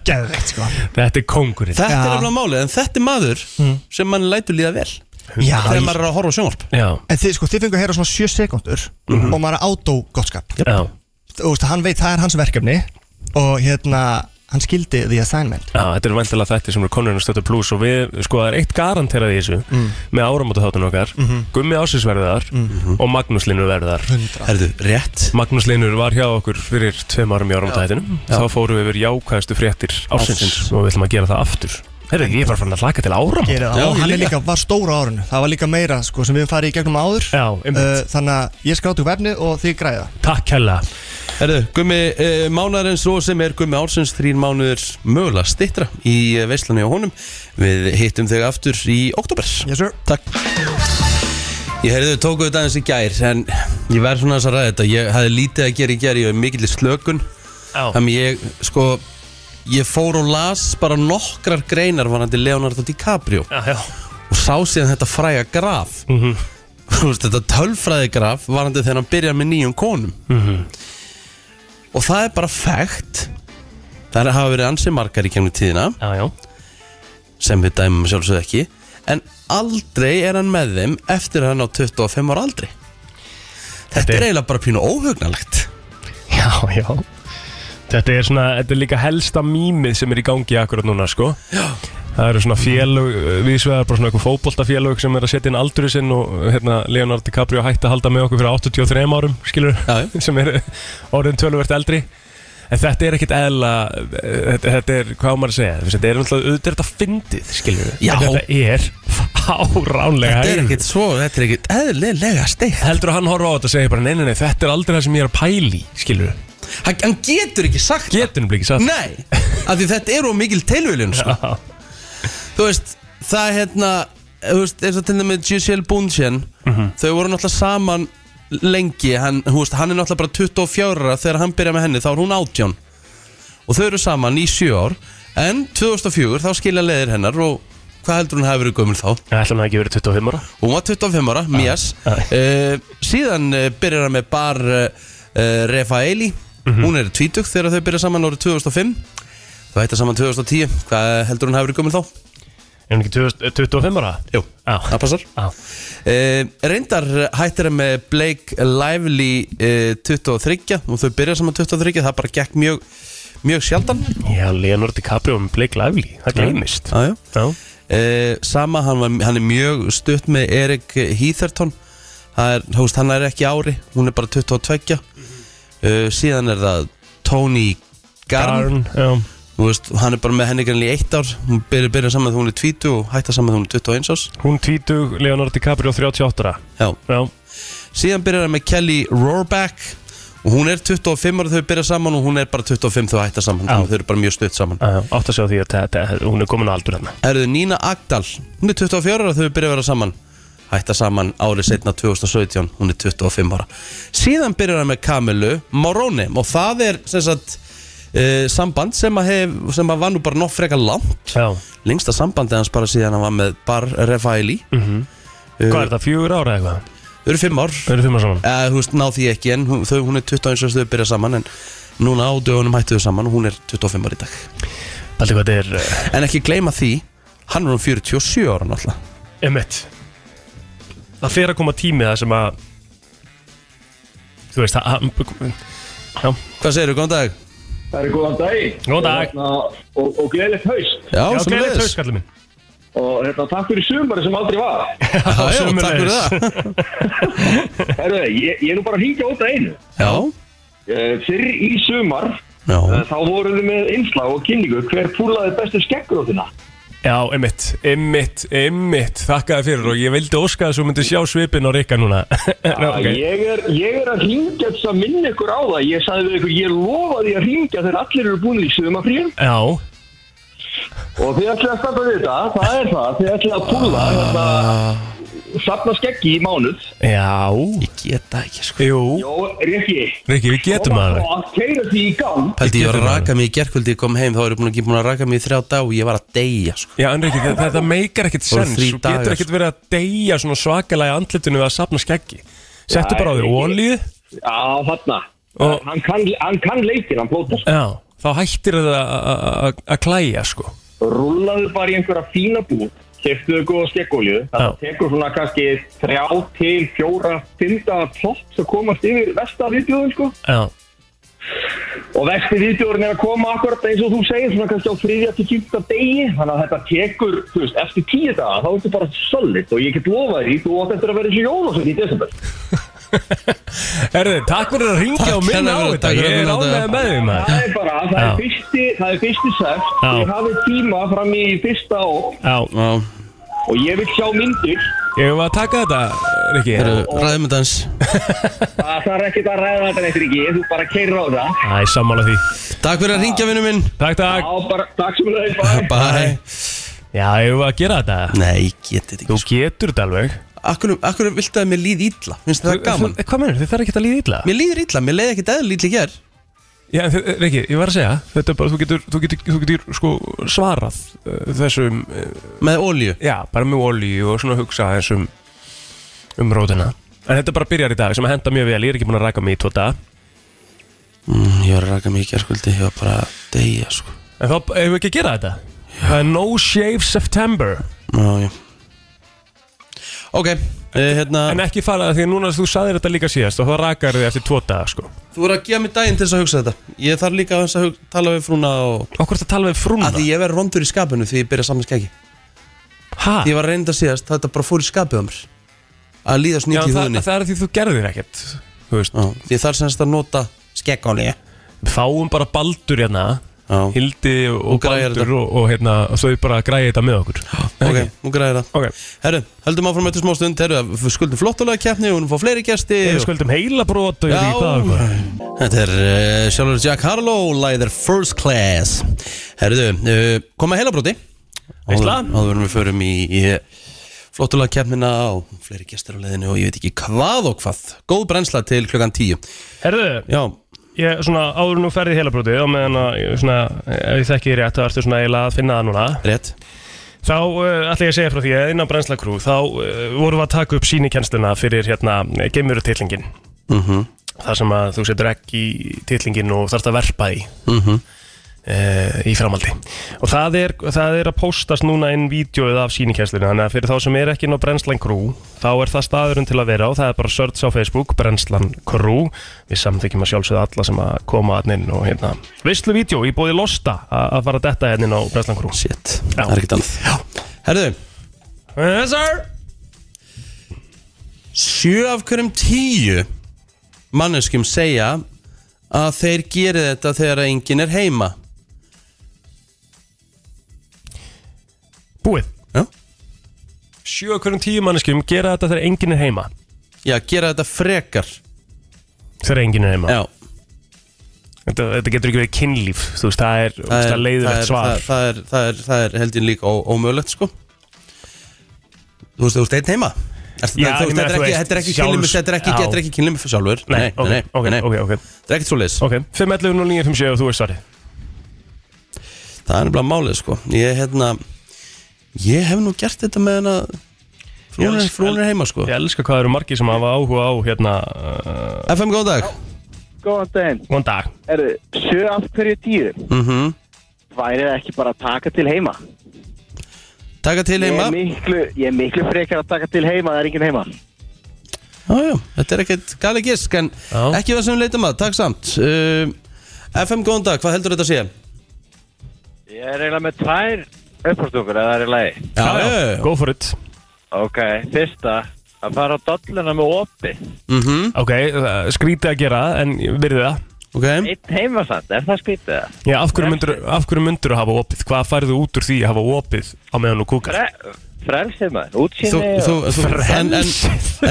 [SPEAKER 5] Geðveikt sko
[SPEAKER 3] Þetta er kongurinn
[SPEAKER 2] Þetta er
[SPEAKER 5] Já.
[SPEAKER 2] alveg málið En þetta er maður sem mann lætur líða vel
[SPEAKER 5] Já,
[SPEAKER 2] Þegar
[SPEAKER 5] ég-
[SPEAKER 2] maður er að horfa á sjónvarp
[SPEAKER 3] Já,
[SPEAKER 5] en þið sko, þið fengu að heyra svona 7 sekundur
[SPEAKER 2] Mhm.
[SPEAKER 5] Og maður er átó gottskap
[SPEAKER 3] já,
[SPEAKER 5] Þú veist, hann veit, það er hans verkefni Og hérna, hann skildi the assignment
[SPEAKER 3] já, þetta er vantilega þetta sem eru konurinn að stötu pluss og við, sko, það er eitt garanterað í þessu með áramóta þáttunum okkar Gummi Ásisverðar Mhm. og Magnús Linur verðar
[SPEAKER 2] Herðu, rétt
[SPEAKER 3] Magnús Linur var hjá okkur fyrir tveim árum í áramóta þættinum Þá fórum við yfir jákvæðustu fréttir ásinsins og við ætlum að gera það aftur Herru, ég var farin að hlaka til áramóta
[SPEAKER 5] Gerið það,
[SPEAKER 2] Já,
[SPEAKER 5] og
[SPEAKER 2] ég
[SPEAKER 5] hann er
[SPEAKER 2] líka.
[SPEAKER 5] líka, var stóra árinu Það var líka meira, sko, sem við höfum farið í gegnum áður
[SPEAKER 3] Já,
[SPEAKER 5] uh,
[SPEAKER 3] einmitt,
[SPEAKER 5] Þannig að ég skráti upp efni og þið græða
[SPEAKER 3] takk hella
[SPEAKER 2] Herðu, gummi uh, mánarins og sem er gummi ársins þrín mánuður mögulega stittra í eh, veislunni á honum Við hittum þau aftur í oktober
[SPEAKER 5] Yes sir
[SPEAKER 2] Takk Ég heyrðu tóku þetta aðeins í gær en ég verð svona aðeins að ræða þetta ég hafði lítið að gera í gær, ég hef mikill í slökun
[SPEAKER 3] Já.
[SPEAKER 2] þannig ég sko ég fór og las bara nokkrar greinar varandi Leonardo DiCaprio
[SPEAKER 3] Já, já,
[SPEAKER 2] og sá síðan þetta fræga graf mm -hmm. þetta tölfræði graf varandi þegar hann byrjar með nýjum konum Mhm. og það er bara fægt það hafa verið ansið margar í kemni tíðina
[SPEAKER 3] já, já
[SPEAKER 2] sem við dæmum sjálfsög ekki en aldrei er hann með þeim eftir að hann á 25 ára aldri þetta
[SPEAKER 3] Þetta
[SPEAKER 2] er
[SPEAKER 3] er-
[SPEAKER 2] eiginlega bara pínu óhugnalegt
[SPEAKER 3] Já, já Þetta er svona, þetta er líka helsta mýmið sem er í gangi akkurat núna, sko Já Það eru svona félög, við svegar bara svona eitthvað fótboltafélög sem er að setja inn aldurinn sinn og hérna Leonardo DiCaprio hætti að halda með okkur fyrir 83 árum, skilur
[SPEAKER 2] Já, já.
[SPEAKER 3] sem er orðin töluvert eldri En þetta er ekkit eðla, þetta, þetta er, hvað á maður að segja, þetta er náttúrulega, auðvitað er þetta fyndið, skilur
[SPEAKER 2] Já.
[SPEAKER 3] Þetta er fáránlega
[SPEAKER 2] þetta er
[SPEAKER 3] hægur.
[SPEAKER 2] ekkit svo, þetta er ekkit eðlilega steik
[SPEAKER 3] Heldur að hann horfa á þetta og segja bara, nei, nei, nei, þetta er aldrei það sem ég er að pæli, skilur
[SPEAKER 2] hann, hann getur ekki sagt það.
[SPEAKER 3] Getur hann ekki satt
[SPEAKER 2] Nei, af því þetta er of mikil tilviljun sko. Þú veist, það er hérna Þú veist, eins og til dæmi Giselle Bundchen Þau voru náttúrulega saman lengi hann, þú veist, hann er náttúrulega bara 24 ára Þegar hann byrja með henni, þá er hún 18 Og þau eru saman í 7 ár En 2004, þá skilja leiðir hennar Og hvað heldur hún hafi verið gömul þá?
[SPEAKER 3] Það ætla hann hafi ekki verið 25 ára
[SPEAKER 2] Hún var 25 ára, Mías
[SPEAKER 3] já.
[SPEAKER 2] uh, Síðan uh, byrjar hann með bar uh, Refaeli Hún er tvítug þegar þau byrja saman árið 2005 Þau hættar saman 2010 Hvað heldur hún hafi verið gömul þá?
[SPEAKER 3] Er hann ekki eh, 20 25 ára?
[SPEAKER 2] Jú,
[SPEAKER 3] Já.
[SPEAKER 2] það passar
[SPEAKER 3] Já
[SPEAKER 2] uh, Reyndar hættir hann með Blake Lively uh, 23 og þau byrja saman 23 það bara gekk mjög, mjög sjaldan
[SPEAKER 3] Já, Leonardo DiCaprio með Blake Lively Það gleymist
[SPEAKER 2] Ah, Já, já
[SPEAKER 3] Já
[SPEAKER 2] Eh, sama, hann, var, hann er mjög stutt með Erik Heatherton það er, hóst, hann er ekki ári hún er bara 22 uh, síðan er það Tony Garn,
[SPEAKER 3] Garn Já
[SPEAKER 2] Þú Veist, hann er bara með henni grannlega í eitt ár hún byrjar byrja saman þegar hún er 20 og hættar saman þegar hún er 21 árs
[SPEAKER 3] Hún 20, Leonardo DiCaprio 38 ára
[SPEAKER 2] Já.
[SPEAKER 3] Já
[SPEAKER 2] síðan byrjar hann með Kelly Rohrback og hún er 25 ára þau byrja saman og hún er bara 25 þegar hættar saman
[SPEAKER 3] Já.
[SPEAKER 2] þannig að þau eru bara mjög stutt saman
[SPEAKER 3] Já, Átt að sjá því að þetta, hún er komin á aldur þarna
[SPEAKER 2] Erðu Nína Agdal Hún er 24 ára þau byrja að vera saman hætta saman árið setna 2017, hún er 25 ára síðan byrjar hann með Kamilu Moroni og það er sem sagt uh, samband sem að, hef, sem að var nú bara nokk frekar langt
[SPEAKER 3] Já.
[SPEAKER 2] lengsta sambandi hans bara síðan hann var með Bar Refaili mm -hmm.
[SPEAKER 3] Hvað er það, fjögur ára eða eitthvað?
[SPEAKER 2] Þau eru fimm ár
[SPEAKER 3] Eru fimm ára saman?
[SPEAKER 2] eða þú veist, ná því ekki en hún, þau, hún er 21 og þau byrja saman en núna á dögunum hættu þau saman og hún er 25 ára í dag
[SPEAKER 3] Paldi hvað þetta er, uh,
[SPEAKER 2] en ekki gleyma því, hann er um 47 ára náttúrulega
[SPEAKER 3] emitt Það fer að koma tími það sem að Þú veist, það hann- Já,
[SPEAKER 2] hvað segirðu, góðan dag?
[SPEAKER 9] Það er góðan daginn
[SPEAKER 3] góðan dag
[SPEAKER 9] og, og, og gleðilegt haust
[SPEAKER 2] Já,
[SPEAKER 3] Já,
[SPEAKER 2] sem
[SPEAKER 3] gleðið
[SPEAKER 2] leiðis
[SPEAKER 3] tauskallið minn
[SPEAKER 9] og hérna, takk fyrir sumari sem aldrei var
[SPEAKER 2] Já, já,
[SPEAKER 3] sömuleiðis.
[SPEAKER 2] takk fyrir það
[SPEAKER 9] Heru, ég, ég er nú bara að hingja út að einu
[SPEAKER 2] Já,
[SPEAKER 9] Eh, Fyrr í sumar
[SPEAKER 2] já,
[SPEAKER 9] eh, þá voruð við með innslag og kynningu hver púlaði bestu skeggrótina
[SPEAKER 3] Já, emitt, emitt, emitt Þakka þér fyrir og ég vildi óska þess að þú myndir sjá svipin og rikka núna Ná,
[SPEAKER 9] okay. ég, er, ég er að hringja þess að minna ykkur á það ég sagði við ykkur, ég lofa því að hringja þegar allir eru búin í sumarfríum
[SPEAKER 3] Já,
[SPEAKER 9] og þið ætlið að standa við þetta, það er það þið ætlið að púla þetta safna skeggi í mánuð
[SPEAKER 3] já,
[SPEAKER 2] ég geta ekki sko
[SPEAKER 3] jú
[SPEAKER 9] Jó, Rikki
[SPEAKER 3] Rikki, við getum að það
[SPEAKER 9] og keira því í gang
[SPEAKER 2] Pældi ég var að
[SPEAKER 3] Getum
[SPEAKER 2] raka mig í gerkvöldi ég kom heim þá eru búin að ekki búin að raka mig í þrjá dag og ég var að deyja sko
[SPEAKER 3] Já, en Rikki, það, það, það meikar ekkert
[SPEAKER 2] Voru
[SPEAKER 3] sens
[SPEAKER 2] þrír
[SPEAKER 3] Þú getur
[SPEAKER 2] dagar.
[SPEAKER 3] ekkert verið að deyja svona svakalega í andlitinu við að sapna skeggi Settu
[SPEAKER 9] Já,
[SPEAKER 3] bara á því
[SPEAKER 9] Rikki.
[SPEAKER 3] ólíð
[SPEAKER 9] Já, þarna
[SPEAKER 3] Og-
[SPEAKER 9] hann, kann, hann kann leikin, hann plótar
[SPEAKER 3] Já, þá hættir það að- að- að- að klæja sko
[SPEAKER 9] Rúlaðu bara í einhverja fína bú Keftuðu góða skekkólju Það
[SPEAKER 3] Já.
[SPEAKER 9] tekur svona kannski þrjá til fjóra, fymta plopp sem komast yfir vesta viðbjóðum sko.
[SPEAKER 3] Já,
[SPEAKER 9] og vesti viðbjóðurinn er að koma akkurat eins og þú segir svona kannski á þriðja til fymta degi þannig að þetta tekur, þú veist, eftir tíu daga þá ertu bara solid og ég get lofað því þú átt eftir að vera eins og jólasönd í desember
[SPEAKER 3] Herðu, takk fyrir að ringja
[SPEAKER 2] Takk
[SPEAKER 3] og minna á
[SPEAKER 2] kærlega fyrir-
[SPEAKER 3] þetta
[SPEAKER 2] takk fyrir
[SPEAKER 3] Ég
[SPEAKER 2] að
[SPEAKER 3] er
[SPEAKER 2] minna á
[SPEAKER 3] ánægð
[SPEAKER 2] þetta.
[SPEAKER 3] með því maður
[SPEAKER 9] Það er bara, það
[SPEAKER 3] Já.
[SPEAKER 9] er fyrsti, það er fyrsti seft,
[SPEAKER 3] Já.
[SPEAKER 9] ég hafi tíma fram í fyrsta og,
[SPEAKER 3] Já,
[SPEAKER 2] Já,
[SPEAKER 9] og ég vil sjá myndir
[SPEAKER 3] ég var að taka þetta, Rikki
[SPEAKER 2] eru ræðmyndans
[SPEAKER 9] Það þarf ekkert að ræða þetta neitt ekki, þú bara keirir á það.
[SPEAKER 3] Æ, sammála því
[SPEAKER 2] Takk fyrir að ringja vinnu minn
[SPEAKER 3] Takk,
[SPEAKER 9] Já,
[SPEAKER 3] takk
[SPEAKER 9] bara, takk sem þau, bæ.
[SPEAKER 2] Bye
[SPEAKER 3] Já, ég var að gera þetta
[SPEAKER 2] Nei, ég geti þetta
[SPEAKER 3] Þú
[SPEAKER 2] ekki sko
[SPEAKER 3] getur þetta alveg
[SPEAKER 2] Akkur, akkur viltu að mér líð ítla? Finnst þér það gaman?
[SPEAKER 3] Þú- Hvað mennur, þið þarf ekki að líða illa
[SPEAKER 2] Mér líður ítla, mér leiði ekki dæðil ítla í ger
[SPEAKER 3] Já, en þið- eh, Rikki, ég var að segja Þetta er bara, þú getur, þú getur, þú getur sko svarað uh, þessum uh,
[SPEAKER 2] Með olíu
[SPEAKER 3] Já, bara með olíu og svona hugsa þessum um rótina En þetta bara byrjar í dag sem að henda mjög vel Ég er ekki búin að ræka mig í tvo dag
[SPEAKER 2] Mm, Ég var að raka mig í gerkvöldi, ég var bara að deyja sko
[SPEAKER 3] En þá hefur við ekki að gera þetta Það er No Shave September
[SPEAKER 2] Já, já Ok, uh, hérna
[SPEAKER 3] En ekki fara því að núna þú saðir þetta líka síðast og þá rakar þið eftir tvo daga sko
[SPEAKER 2] Þú voru að gefa mér daginn til þess að hugsa þetta Ég þarf líka aðeins að hug, tala við frúna og
[SPEAKER 3] Okkur þetta tala við frúna
[SPEAKER 2] að því ég verður vondur í skapinu því ég byrja saman skeggi Því
[SPEAKER 3] Ha?
[SPEAKER 2] ég var reynda síðast, þetta bara fór í skapið á mér Að líða
[SPEAKER 3] Já,
[SPEAKER 2] snýtt í
[SPEAKER 3] það,
[SPEAKER 2] húðinni
[SPEAKER 3] það er því þú gerðir ekkert Þú veist,
[SPEAKER 2] Já, Því ég þarf semst að nota skeggóli Já,
[SPEAKER 3] fáum bara baldur hérna
[SPEAKER 2] ok,
[SPEAKER 3] Hildi og
[SPEAKER 2] græjar
[SPEAKER 3] baldur og, og hérna og þau bara græði þetta með okkur Ekki?
[SPEAKER 2] nú græði það
[SPEAKER 3] Ok,
[SPEAKER 2] Herru, höldum áfram eftir smá stund Herru, við skuldum flottulega keppni og hún fá fleiri gesti
[SPEAKER 3] við
[SPEAKER 2] og-
[SPEAKER 3] skuldum heila brot og ég veit ekki hvað og hvað.
[SPEAKER 2] Þetta er uh, sjálfur Jack Harlow Læðir First Class Herruðu, uh, koma heilabróti
[SPEAKER 3] Veistla.
[SPEAKER 2] Áður en við förum í, í flottulega keppnina og fleiri gestur á leiðinu og ég veit ekki hvað og hvað Góð brennsla til klukkan 10
[SPEAKER 3] Herðu,
[SPEAKER 2] Já,
[SPEAKER 3] ég svona áður nú ferði heila brotið og meðan að ég svona, ef ég þekki þér rétt þá ertu svona eiginlega að finna það núna
[SPEAKER 2] rétt
[SPEAKER 3] Þá uh, ætla ég að segja frá því að innan Brennsla Crew þá uh, vorum við að taka upp sínikennsluna fyrir hérna geimurutillingin
[SPEAKER 2] mm -hmm.
[SPEAKER 3] þar sem að þú setur ekki í tillingin og þarfst að verpa í
[SPEAKER 2] Mm
[SPEAKER 3] uh, í framaldi og það er, það er að postast núna inn vídeoið af sínikennsluna þannig að fyrir þá sem er ekki inn á Brennslan Crew þá er það staðurinn til að vera á það er bara search á Facebook, Brennslan Crew við samþykjum að sjálfsögða alla sem að koma að inn og hérna veistlu vídeo í bóði Losta að að fara að detta hérna inn á Brennslan Crew
[SPEAKER 2] Shit,
[SPEAKER 3] Já.
[SPEAKER 2] það er ekkert annað Herruðu,
[SPEAKER 3] Yes sir!
[SPEAKER 2] 7 af hverjum 10 manneskjum segja að þeir geri þetta þegar að enginn er heima
[SPEAKER 3] Búið
[SPEAKER 2] Já.
[SPEAKER 3] Sjö okkur um tíu manneskjum gera þetta þegar enginn er heima
[SPEAKER 2] Já, gera þetta frekar
[SPEAKER 3] Þegar enginn er heima
[SPEAKER 2] Já
[SPEAKER 3] þetta, þetta getur ekki verið kynlíf Þú veist, það er, það er
[SPEAKER 2] það
[SPEAKER 3] leiðilegt
[SPEAKER 2] er-
[SPEAKER 3] svar
[SPEAKER 2] það, það, er, það, er, það er held ég líka ó, ómögulegt sko Þú veist, þú veist einn heima Er,
[SPEAKER 3] Já,
[SPEAKER 2] þú,
[SPEAKER 3] ég
[SPEAKER 2] veist,
[SPEAKER 3] meina,
[SPEAKER 2] þetta er
[SPEAKER 3] þú
[SPEAKER 2] ekki-
[SPEAKER 3] veist,
[SPEAKER 2] þetta er ekki kynlimi
[SPEAKER 3] sjálfs-
[SPEAKER 2] Þetta er ekki,
[SPEAKER 3] Já.
[SPEAKER 2] þetta er ekki kynlimi fyrir sjálfur
[SPEAKER 3] Nei, ok, ok, ok, ok.
[SPEAKER 2] Það er ekkert svo leis
[SPEAKER 3] Ok, 511 og 957 og þú veist svarið
[SPEAKER 2] Það er nefnilega málið sko Ég, hérna, ég hef nú gert þetta með hana Frún er,
[SPEAKER 3] Ég-
[SPEAKER 2] frún er heima sko
[SPEAKER 3] Ég elska hvað eru margir sem hafa áhuga á hérna uh,
[SPEAKER 2] FM, góðan dag
[SPEAKER 9] Góðan daginn.
[SPEAKER 3] Góðan dag
[SPEAKER 9] Er þið sjö af hverju tíu?
[SPEAKER 2] mm
[SPEAKER 9] Væri það ekki bara að taka til heima?
[SPEAKER 2] Taka til
[SPEAKER 9] Ég
[SPEAKER 2] heima
[SPEAKER 9] er miklu, ég er miklu frekar að taka til heima, það er enginn heima.
[SPEAKER 2] Já, já, þetta er ekkert gali gisk En
[SPEAKER 3] Já.
[SPEAKER 2] ekki það sem við leitum að, takk samt uh, FM, góðan dag, hvað heldur þetta að sé?
[SPEAKER 9] Ég er eiginlega með tvær uppfórstungur, eða það er í lagi.
[SPEAKER 2] Já, já, já, já.
[SPEAKER 3] Go for it
[SPEAKER 9] Ok, fyrsta, að fara á dolluna með opi.
[SPEAKER 2] Mhm,
[SPEAKER 3] Ok, uh, skrítið að gera það, en virðið það
[SPEAKER 2] Ok,
[SPEAKER 9] Eitt heima samt, er það skrítið það?
[SPEAKER 3] Já, af hverju myndur, af hverju myndur að hafa opið? Hvað færðu út úr því að hafa opið á meðan þú kúkar?
[SPEAKER 9] Fre, frelsið maður, útsýni
[SPEAKER 2] þú, þú,
[SPEAKER 9] og...
[SPEAKER 2] þú en, en,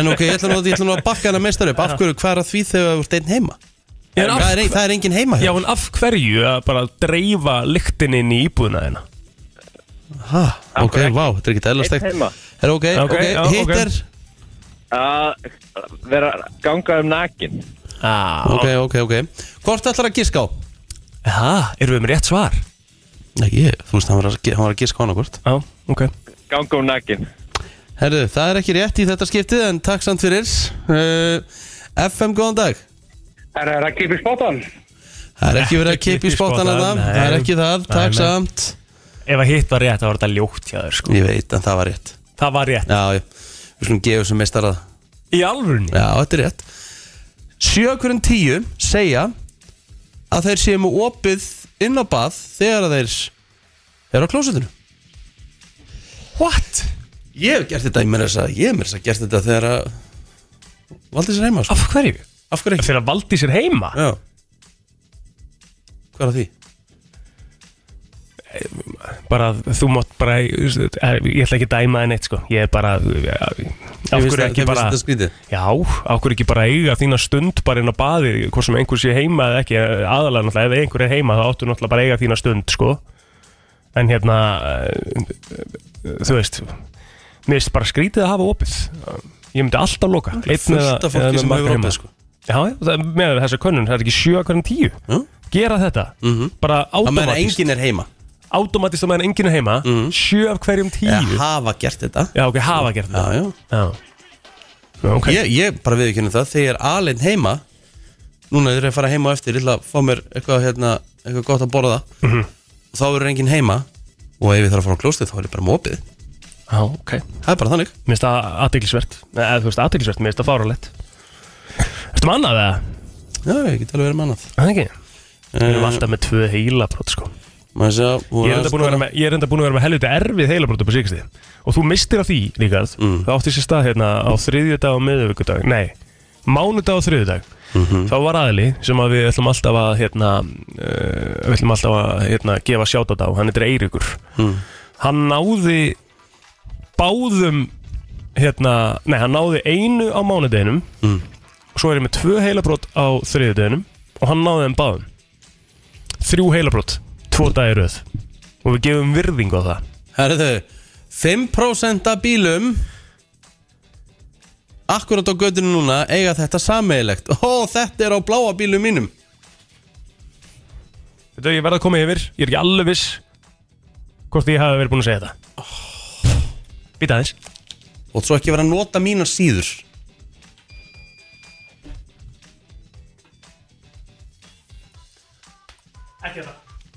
[SPEAKER 2] en ok, ég ætla nú að, ég ætla nú að bakka hana meistar upp Af hverju, hvað er að því þegar þú ert einn heima?
[SPEAKER 3] Já, en af,
[SPEAKER 2] Það er, ein, það er engin heima
[SPEAKER 3] já,
[SPEAKER 2] hér
[SPEAKER 3] en af hverju að bara dreifa lyktin inn í íbúðina þeina?
[SPEAKER 2] ha, Ok, vá, þetta er ekkert eðlastegt
[SPEAKER 9] Einn heima.
[SPEAKER 2] Er ok,
[SPEAKER 3] Ok,
[SPEAKER 2] ok,
[SPEAKER 3] já,
[SPEAKER 2] hitt
[SPEAKER 3] ok.
[SPEAKER 2] er
[SPEAKER 9] Að vera ganga um nakin.
[SPEAKER 3] Ah,
[SPEAKER 2] Ok, ok, ok Hvort ætlar að giska á?
[SPEAKER 3] Ha, erum við með rétt svar?
[SPEAKER 2] Nei, ég, þú veist, hann var að, gi- hann var að giska á hana hvort
[SPEAKER 3] Já, ok
[SPEAKER 9] Ganga um nakin.
[SPEAKER 2] Herðu, það er ekki rétt í þetta skiptið En takk samt fyrir uh, FM, góðan dag
[SPEAKER 9] Er það að kipa í spottan?
[SPEAKER 2] Það er ekki verið að
[SPEAKER 3] Ekki
[SPEAKER 2] kipa í
[SPEAKER 3] í
[SPEAKER 2] spottan að
[SPEAKER 3] spottana,
[SPEAKER 2] það
[SPEAKER 3] nei.
[SPEAKER 2] Það er ekki það,
[SPEAKER 3] Nei,
[SPEAKER 2] takk
[SPEAKER 3] nei.
[SPEAKER 2] samt
[SPEAKER 3] Ef að hitt var rétt, þá var þetta ljótt hjá þér, sko
[SPEAKER 2] Ég veit, en það var rétt
[SPEAKER 3] Það var rétt
[SPEAKER 2] Já, já, við slum gefa sem meistar að
[SPEAKER 3] Í alvörunni?
[SPEAKER 2] Já, þetta er rétt Sjökurinn tíu segja að þeir séu með opið inn á bað þegar að þeir eru á klósutinu What? Ég hef gert þetta, ég meira þess að ég meira þess að gert þetta þegar að Valdi sér heima, sko.
[SPEAKER 3] Af hverju?
[SPEAKER 2] af hverju ekki?
[SPEAKER 3] Fyrir að valdi sér heima?
[SPEAKER 2] Já Hvað er að því?
[SPEAKER 3] Bara, þú mátt bara Ég ætla ekki að dæma það neitt, sko Ég er bara Af
[SPEAKER 2] Ég finnst
[SPEAKER 3] hverju ekki
[SPEAKER 2] það- ég finnst
[SPEAKER 3] bara
[SPEAKER 2] þetta skrítið.
[SPEAKER 3] Já, af hverju ekki bara eiga þína stund bara inn á baði, hvort sem einhver sé heima eða ekki, aðalega náttúrulega, ef einhver er heima þá áttu náttúrulega bara að eiga þína stund, sko en hérna eh, eh, þú veist mér finnst bara skrítið að hafa opið ég myndi alltaf loka einn eða-
[SPEAKER 2] Fullt af
[SPEAKER 3] eða með
[SPEAKER 2] fólki sem
[SPEAKER 3] marga
[SPEAKER 2] hefur
[SPEAKER 3] heima.
[SPEAKER 2] opið sko.
[SPEAKER 3] Já, já, það er með þessa könnun, það er ekki sjö hverjum tíu
[SPEAKER 2] Jú.
[SPEAKER 3] gera þetta,
[SPEAKER 2] Mhm.
[SPEAKER 3] bara
[SPEAKER 2] Það meðan
[SPEAKER 3] automatist
[SPEAKER 2] enginn er heima
[SPEAKER 3] automatist á meðan enginn er heima
[SPEAKER 2] Mhm.
[SPEAKER 3] sjö af hverjum tíu
[SPEAKER 2] Eða hafa gert þetta
[SPEAKER 3] já, ok, hafa gert
[SPEAKER 2] Já,
[SPEAKER 3] þetta
[SPEAKER 2] já
[SPEAKER 3] já. ok,
[SPEAKER 2] Ég, ég bara við ekki það, þegar ég er alinn heima Núna þegar ég að fara heima á eftir Ég ætla að fá mér eitthvað, hérna, eitthvað gott að borða
[SPEAKER 3] Mhm.
[SPEAKER 2] Og þá verður enginn heima Og ef ég þarf að fara á klóstið þá er ég bara mópið
[SPEAKER 3] já, ok
[SPEAKER 2] Það er bara þannig
[SPEAKER 3] Mér finnst það aðdeglisvert Eða þú veist aðdeglisvert, mér finnst það fáralegt Ertu mannað eða?
[SPEAKER 2] Já, ég get alveg verið með annað
[SPEAKER 3] Það ekki Við erum
[SPEAKER 2] Eh,
[SPEAKER 3] alltaf með tvö heilabrót sko
[SPEAKER 2] maður sjá, og
[SPEAKER 3] Ég er enda búin að
[SPEAKER 2] sko-
[SPEAKER 3] vera með, ég er enda búin að vera með helviti erfið heilabrót upp á síksti Og þú mistir af því líka Það átti sér stað hérna á þriðjudag og miðvikudag Nei, mánudag og þriðjudag Þá var aðli sem að við ætlum alltaf að hérna, uh, Við ætlum alltaf að hérna, gefa sjátt á Hann heitir Eiríkur Hann náði báðum hérna, Nei, hann náði einu á mánudeginum Svo er ég með tvö heilabrót á þriðudeginum Og hann náði þeim báðum Þrjú heilabrót Tvo dagir röð Og við gefum virðingu á það
[SPEAKER 2] Herðu, 5% af bílum Akkurat á göttinu núna eiga þetta sameigilegt Ó, þetta er á bláa bílum mínum
[SPEAKER 3] Þetta er ég verð að koma yfir Ég er ekki alveg viss Hvort ég hafi verið búin að segja þetta Býta Oh. aðeins
[SPEAKER 2] Og svo ekki vera að nota mína síður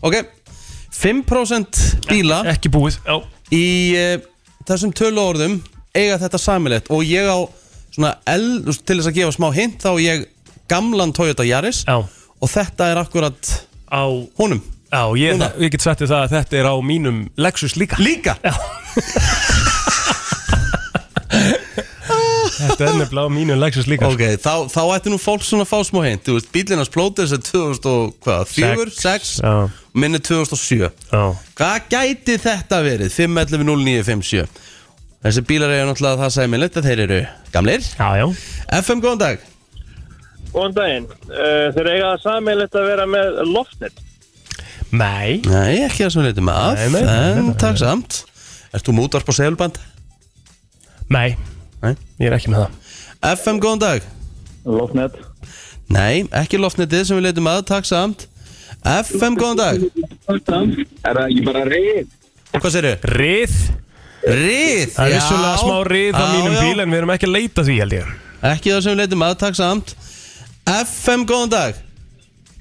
[SPEAKER 2] Ok 5% bíla
[SPEAKER 3] Ekki búið Já
[SPEAKER 2] í uh, þessum tölu orðum eiga þetta samilegt og ég á svona L, til þess að gefa smá hint þá á ég gamlan Toyota Yaris
[SPEAKER 3] Já
[SPEAKER 2] og þetta er akkurat
[SPEAKER 3] Á
[SPEAKER 2] honum
[SPEAKER 3] Já, ég,
[SPEAKER 2] Núna.
[SPEAKER 3] ég get sagt þér það að þetta er á mínum Lexus líka
[SPEAKER 2] líka
[SPEAKER 3] Þetta er nefnilega á mínum Lexus líka sko.
[SPEAKER 2] ok, þá, þá ætti nú fólk svona að fá smá hint þú veist, bílinnars plóter sem 2004,
[SPEAKER 3] Sex.
[SPEAKER 2] 6
[SPEAKER 3] Já.
[SPEAKER 2] minni 2007
[SPEAKER 3] Já
[SPEAKER 2] Hvað gæti þetta verið? 5.11.09.57 Þessi bílar eru náttúrulega það sæmilegt að þeir eru gamlir
[SPEAKER 3] Já, já
[SPEAKER 2] FM, góðan dag
[SPEAKER 9] Góðan daginn. Uh, þeir eiga það sammeilegt að vera með loftnet.
[SPEAKER 3] Nei
[SPEAKER 2] Nei, ekki það sem við leytum af
[SPEAKER 3] Nei, nei, nei, nei,
[SPEAKER 2] En
[SPEAKER 3] nei.
[SPEAKER 2] takk samt Ert þú mútvarp á segulband?
[SPEAKER 3] Nei
[SPEAKER 2] Nei.
[SPEAKER 3] ég er ekki með það
[SPEAKER 2] FM, góðan dag
[SPEAKER 10] Lofnet
[SPEAKER 2] Nei, ekki loftnetið sem við leitum að, takk samt FM, góðan dag
[SPEAKER 10] Er það ekki bara reyð?
[SPEAKER 2] Hvað séru?
[SPEAKER 3] Rið,
[SPEAKER 2] Rið,
[SPEAKER 3] það er vissulega smá rið á mínum bíl en við erum ekki að leita því held ég
[SPEAKER 2] Ekki það sem við leitum að, takk samt FM, góðan dag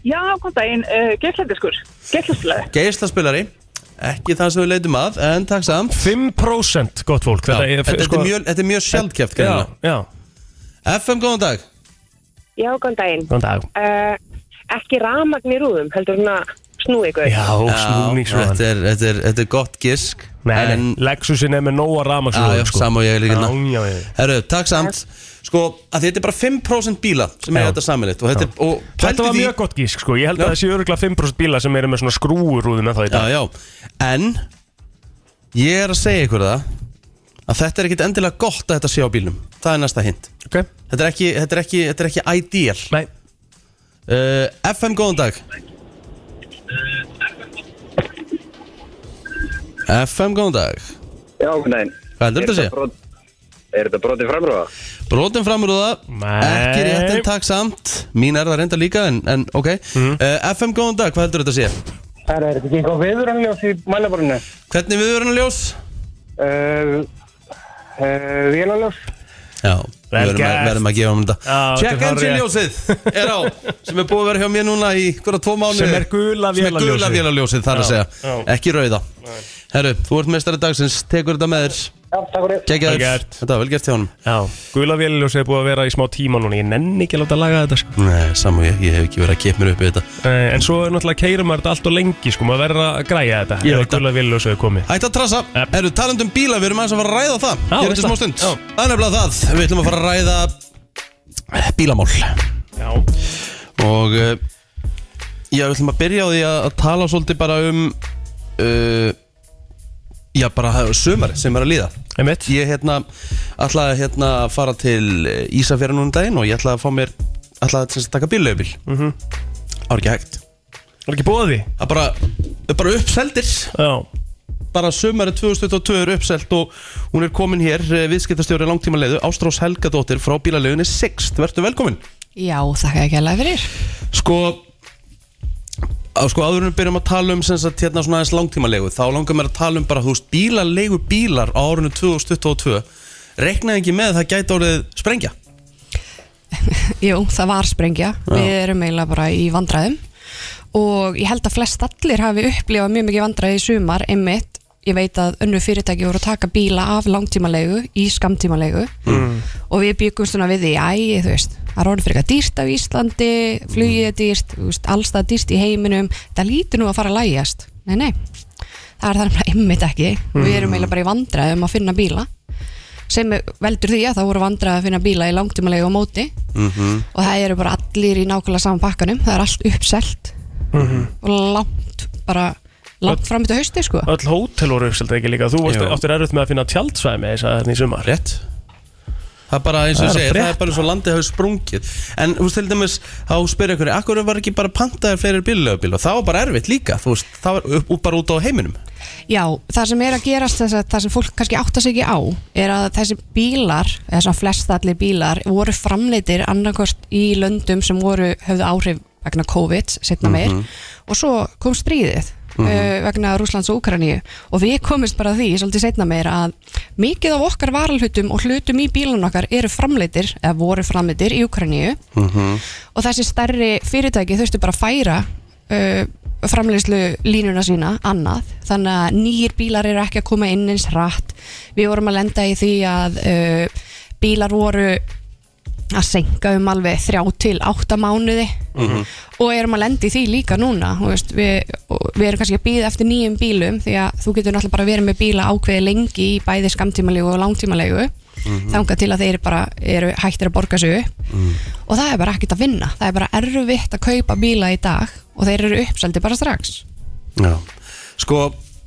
[SPEAKER 11] Já, kom daginn, uh, geirklæðiskur, geirklæðislega.
[SPEAKER 2] Geislaspilari Ekki það sem við leitum að, en takk samt
[SPEAKER 3] 5% gott fólk sko,
[SPEAKER 2] Já, Þetta er mjög- þetta er mjög sjaldkjæft
[SPEAKER 3] Já, já,
[SPEAKER 2] FM, góðan dag
[SPEAKER 11] Já, kom daginn.
[SPEAKER 3] góðan dag
[SPEAKER 11] Uh, ekki ramagn í rúðum, heldur hún að snú ykkur.
[SPEAKER 3] Já, snúningsrúðan
[SPEAKER 2] þetta er, þetta, er, þetta er gott gisk
[SPEAKER 3] Nei,
[SPEAKER 2] En
[SPEAKER 3] Lexusin er með nóa
[SPEAKER 2] Já, já,
[SPEAKER 3] ramagsrúðan
[SPEAKER 2] sama og ég líka
[SPEAKER 3] Já,
[SPEAKER 2] hérna.
[SPEAKER 3] já, já
[SPEAKER 2] Herru, takk samt Sko, að þetta er bara 5% bíla sem
[SPEAKER 3] Já.
[SPEAKER 2] er þetta samanlitt og þetta er, og
[SPEAKER 3] Þetta
[SPEAKER 2] pældu
[SPEAKER 3] var
[SPEAKER 2] því-
[SPEAKER 3] mjög gott gísk sko, ég held
[SPEAKER 2] Já.
[SPEAKER 3] að það sé öruglega 5% bíla sem eru með svona skrúurúðum en þá í
[SPEAKER 2] Já,
[SPEAKER 3] dag
[SPEAKER 2] já, en ég er að segja ykkur það að þetta er ekkit endilega gott að þetta sé á bílnum það er næsta hint
[SPEAKER 3] Ok,
[SPEAKER 2] Þetta er ekki, þetta er ekki, þetta er ekki ideal
[SPEAKER 3] nei,
[SPEAKER 2] uh, FM, góðan dag FM, góðan dag
[SPEAKER 10] Já, hvernig
[SPEAKER 2] Hvað heldur þetta að segja?
[SPEAKER 10] brot, er þetta brotið framröða?
[SPEAKER 2] Brotin framrúða,
[SPEAKER 3] Nei.
[SPEAKER 2] ekki rétt en takk samt Mín er það reynda líka, en, en ok
[SPEAKER 3] Mhm.
[SPEAKER 2] uh, FM, góðan dag, hvað heldur þetta að segja?
[SPEAKER 10] Er þetta ekki eitthvað viðurannljós í mælaborinu?
[SPEAKER 2] Hvernig við verðum ljós?
[SPEAKER 10] Uh, uh, Vélaljós?
[SPEAKER 2] Já,
[SPEAKER 3] Vel
[SPEAKER 2] við verðum að,
[SPEAKER 3] gert.
[SPEAKER 2] verðum að gefa um þetta
[SPEAKER 3] Já, þetta
[SPEAKER 2] Check
[SPEAKER 3] er
[SPEAKER 2] engine
[SPEAKER 3] hárrétt.
[SPEAKER 2] ljósið er á sem er búið að vera hjá mér núna í hverja tvo mánu
[SPEAKER 3] Sem er gula vélarljósið.
[SPEAKER 2] gula vélarljósið, þar að
[SPEAKER 3] Já,
[SPEAKER 2] segja,
[SPEAKER 3] já.
[SPEAKER 2] ekki rauða Herru, þú ert mestari dagsins, tekur þetta með þér
[SPEAKER 10] Já, takk fyrir.
[SPEAKER 2] Kekja
[SPEAKER 3] Vel
[SPEAKER 2] þér,
[SPEAKER 3] gert.
[SPEAKER 2] þetta var vel gert hjá honum
[SPEAKER 3] já Gula véliljós er búið að vera í smá tíma núna Ég nenni ekki að láta að laga þetta sko
[SPEAKER 2] Nei, saman ég, ég hef ekki verið að kepp mér upp í þetta
[SPEAKER 3] Nei, En svo er náttúrulega keirum maður þetta allt og lengi sko Maður verður að græja þetta
[SPEAKER 2] Ég
[SPEAKER 3] Ég
[SPEAKER 2] veit
[SPEAKER 3] veit Gula véliljós hefur komið
[SPEAKER 2] Hætt að trassa,
[SPEAKER 3] Jep.
[SPEAKER 2] eru talandum um bíla, við erum aðeins að fara að ræða það
[SPEAKER 3] Já,
[SPEAKER 2] Hér eftir
[SPEAKER 3] veist
[SPEAKER 2] smá
[SPEAKER 3] það.
[SPEAKER 2] stund
[SPEAKER 3] Já.
[SPEAKER 2] Það er nefnilega það, við ætlum að fara að ræða bílamál
[SPEAKER 3] Já,
[SPEAKER 2] Og uh, já, við ætlum að byrja á því að, að tala svolítið bara um uh, Já, bara sömari sem er að líða
[SPEAKER 3] einmitt
[SPEAKER 2] Ég hérna, ætlaði hérna að fara til eh, Ísafjara núna um daginn og ég ætlaði að fá mér ætlaði til þess að taka bílaugbíl mm -hmm. Það var ekki hægt
[SPEAKER 3] Var ekki bóði?
[SPEAKER 2] Það bara, bara uppseldir
[SPEAKER 3] Já,
[SPEAKER 2] bara sömari 2022 er uppselt og hún er komin hér, eh, viðskiptastjóri langtíma leiðu, Ástrós Helgadóttir frá bílalauðinni 6, vertu velkomin
[SPEAKER 9] Já, þakka ekki alveg fyrir.
[SPEAKER 2] Sko, á, sko áður en við byrjum að tala um sem sagt hérna svona aðeins langtíma leiðu, þá langar mér að tala um bara, þú veist, bílalegu bílar á árinu 2022, reiknaði ekki með að það gæti orðið sprengja
[SPEAKER 9] Jú, það var sprengja. Við erum eiginlega bara í vandræðum og ég held að flest allir hafi upplifað mjög mikið vandræði í sumar einmitt. Ég veit að önnu fyrirtæki voru að taka bíla af langtímalegu í skamtímalegu og við byggum svona við því, æ, þú veist, það er orðið fyrir eitthvað dýrt á Íslandi, flugið er dýrt, þú veist, allstað dýrt í heiminum, það lítur nú að fara að lægjast. Nei, nei, það er þannig að einmitt ekki. Við erum eiginlega bara í vandræðum að finna bíla sem er- veldur því að það voru vandræði að finna bíla í langtímalegu á móti -hmm. og það eru bara allir í nákvæmlega saman pakkanum það er allt uppselt og langt bara langt fram til hausti sko
[SPEAKER 3] öll hótel voru uppselt ekki líka Þú varst
[SPEAKER 2] Jú.
[SPEAKER 3] áttur erfitt með að finna tjaldsvæmi þess að þetta í sumar
[SPEAKER 2] Rétt Það er bara eins og
[SPEAKER 3] Það er
[SPEAKER 2] ég segir, það er
[SPEAKER 3] frétt.
[SPEAKER 2] bara eins og landið hafi sprungið En þú veist til dæmis, þá spyrir ykkur Akkur var ekki bara pantaðir fleiri bíllegubíl Og það var bara erfitt líka, þú veist, það var upp, upp bara út á heiminum
[SPEAKER 9] Já, það sem er að gerast þess að það sem fólk kannski átta sig ekki á er að þessi bílar, eða svona flest allir bílar voru framleitir annarkost í löndum sem voru höfðu áhrif vegna COVID, setna meir og svo kom stríðið mm vegna Rúslands og Úkraníu og við komist bara að því, svolítið setna meir að mikið af okkar varalhutum og hlutum í bílun okkar eru framleitir eða voru framleitir í Úkraníu og þessi stærri fyrirtæki þurftu bara að færa uh, framleiðslu línuna sína annað, þannig að nýjir bílar eru ekki að koma inn eins hratt við vorum að lenda í því að uh, bílar voru að senka um alveg þrjá til átta mánuði og erum að lenda í því líka núna þú veist, við, og við erum kannski að býða eftir nýjum bílum því að þú getur náttúrulega bara verið með bíla ákveði lengi í bæði skamtímalegu og langtímalegu þangað til að þeir bara eru hættir að borga sig upp og það er bara ekkert að vinna það er bara erfitt að kaupa bíla í dag og þeir eru uppseldi bara strax
[SPEAKER 2] Já. Sko,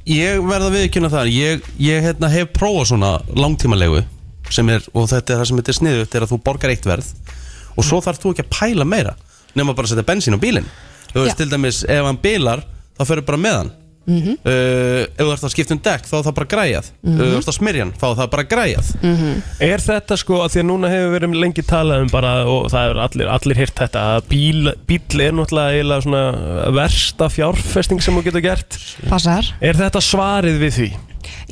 [SPEAKER 2] ég verða viðkynna þar Ég, ég hérna, hef prófað svona langtímalegu sem er, og þetta er það sem þetta er sniðugt er að þú borgar eitt verð og svo þarf þú ekki að pæla meira nema bara að setja bensín á bílinn Þú veist,
[SPEAKER 9] Já.
[SPEAKER 2] til dæmis, ef hann bílar þá ferur bara með hann
[SPEAKER 12] Mhm.
[SPEAKER 2] uh, ef þú ert að skipta um dekk þá er það bara græjað
[SPEAKER 3] Mhm.
[SPEAKER 2] ef þú ert að smyrja hann þá er það bara græjað
[SPEAKER 3] Er þetta sko að því að núna hefur verið lengi talað um bara og það er allir, allir hýrt þetta að bíl, bíl er náttúrulega eiginlega svona versta fjárfesting sem þú getur gert
[SPEAKER 12] Passar.
[SPEAKER 3] Er þetta svarið við því?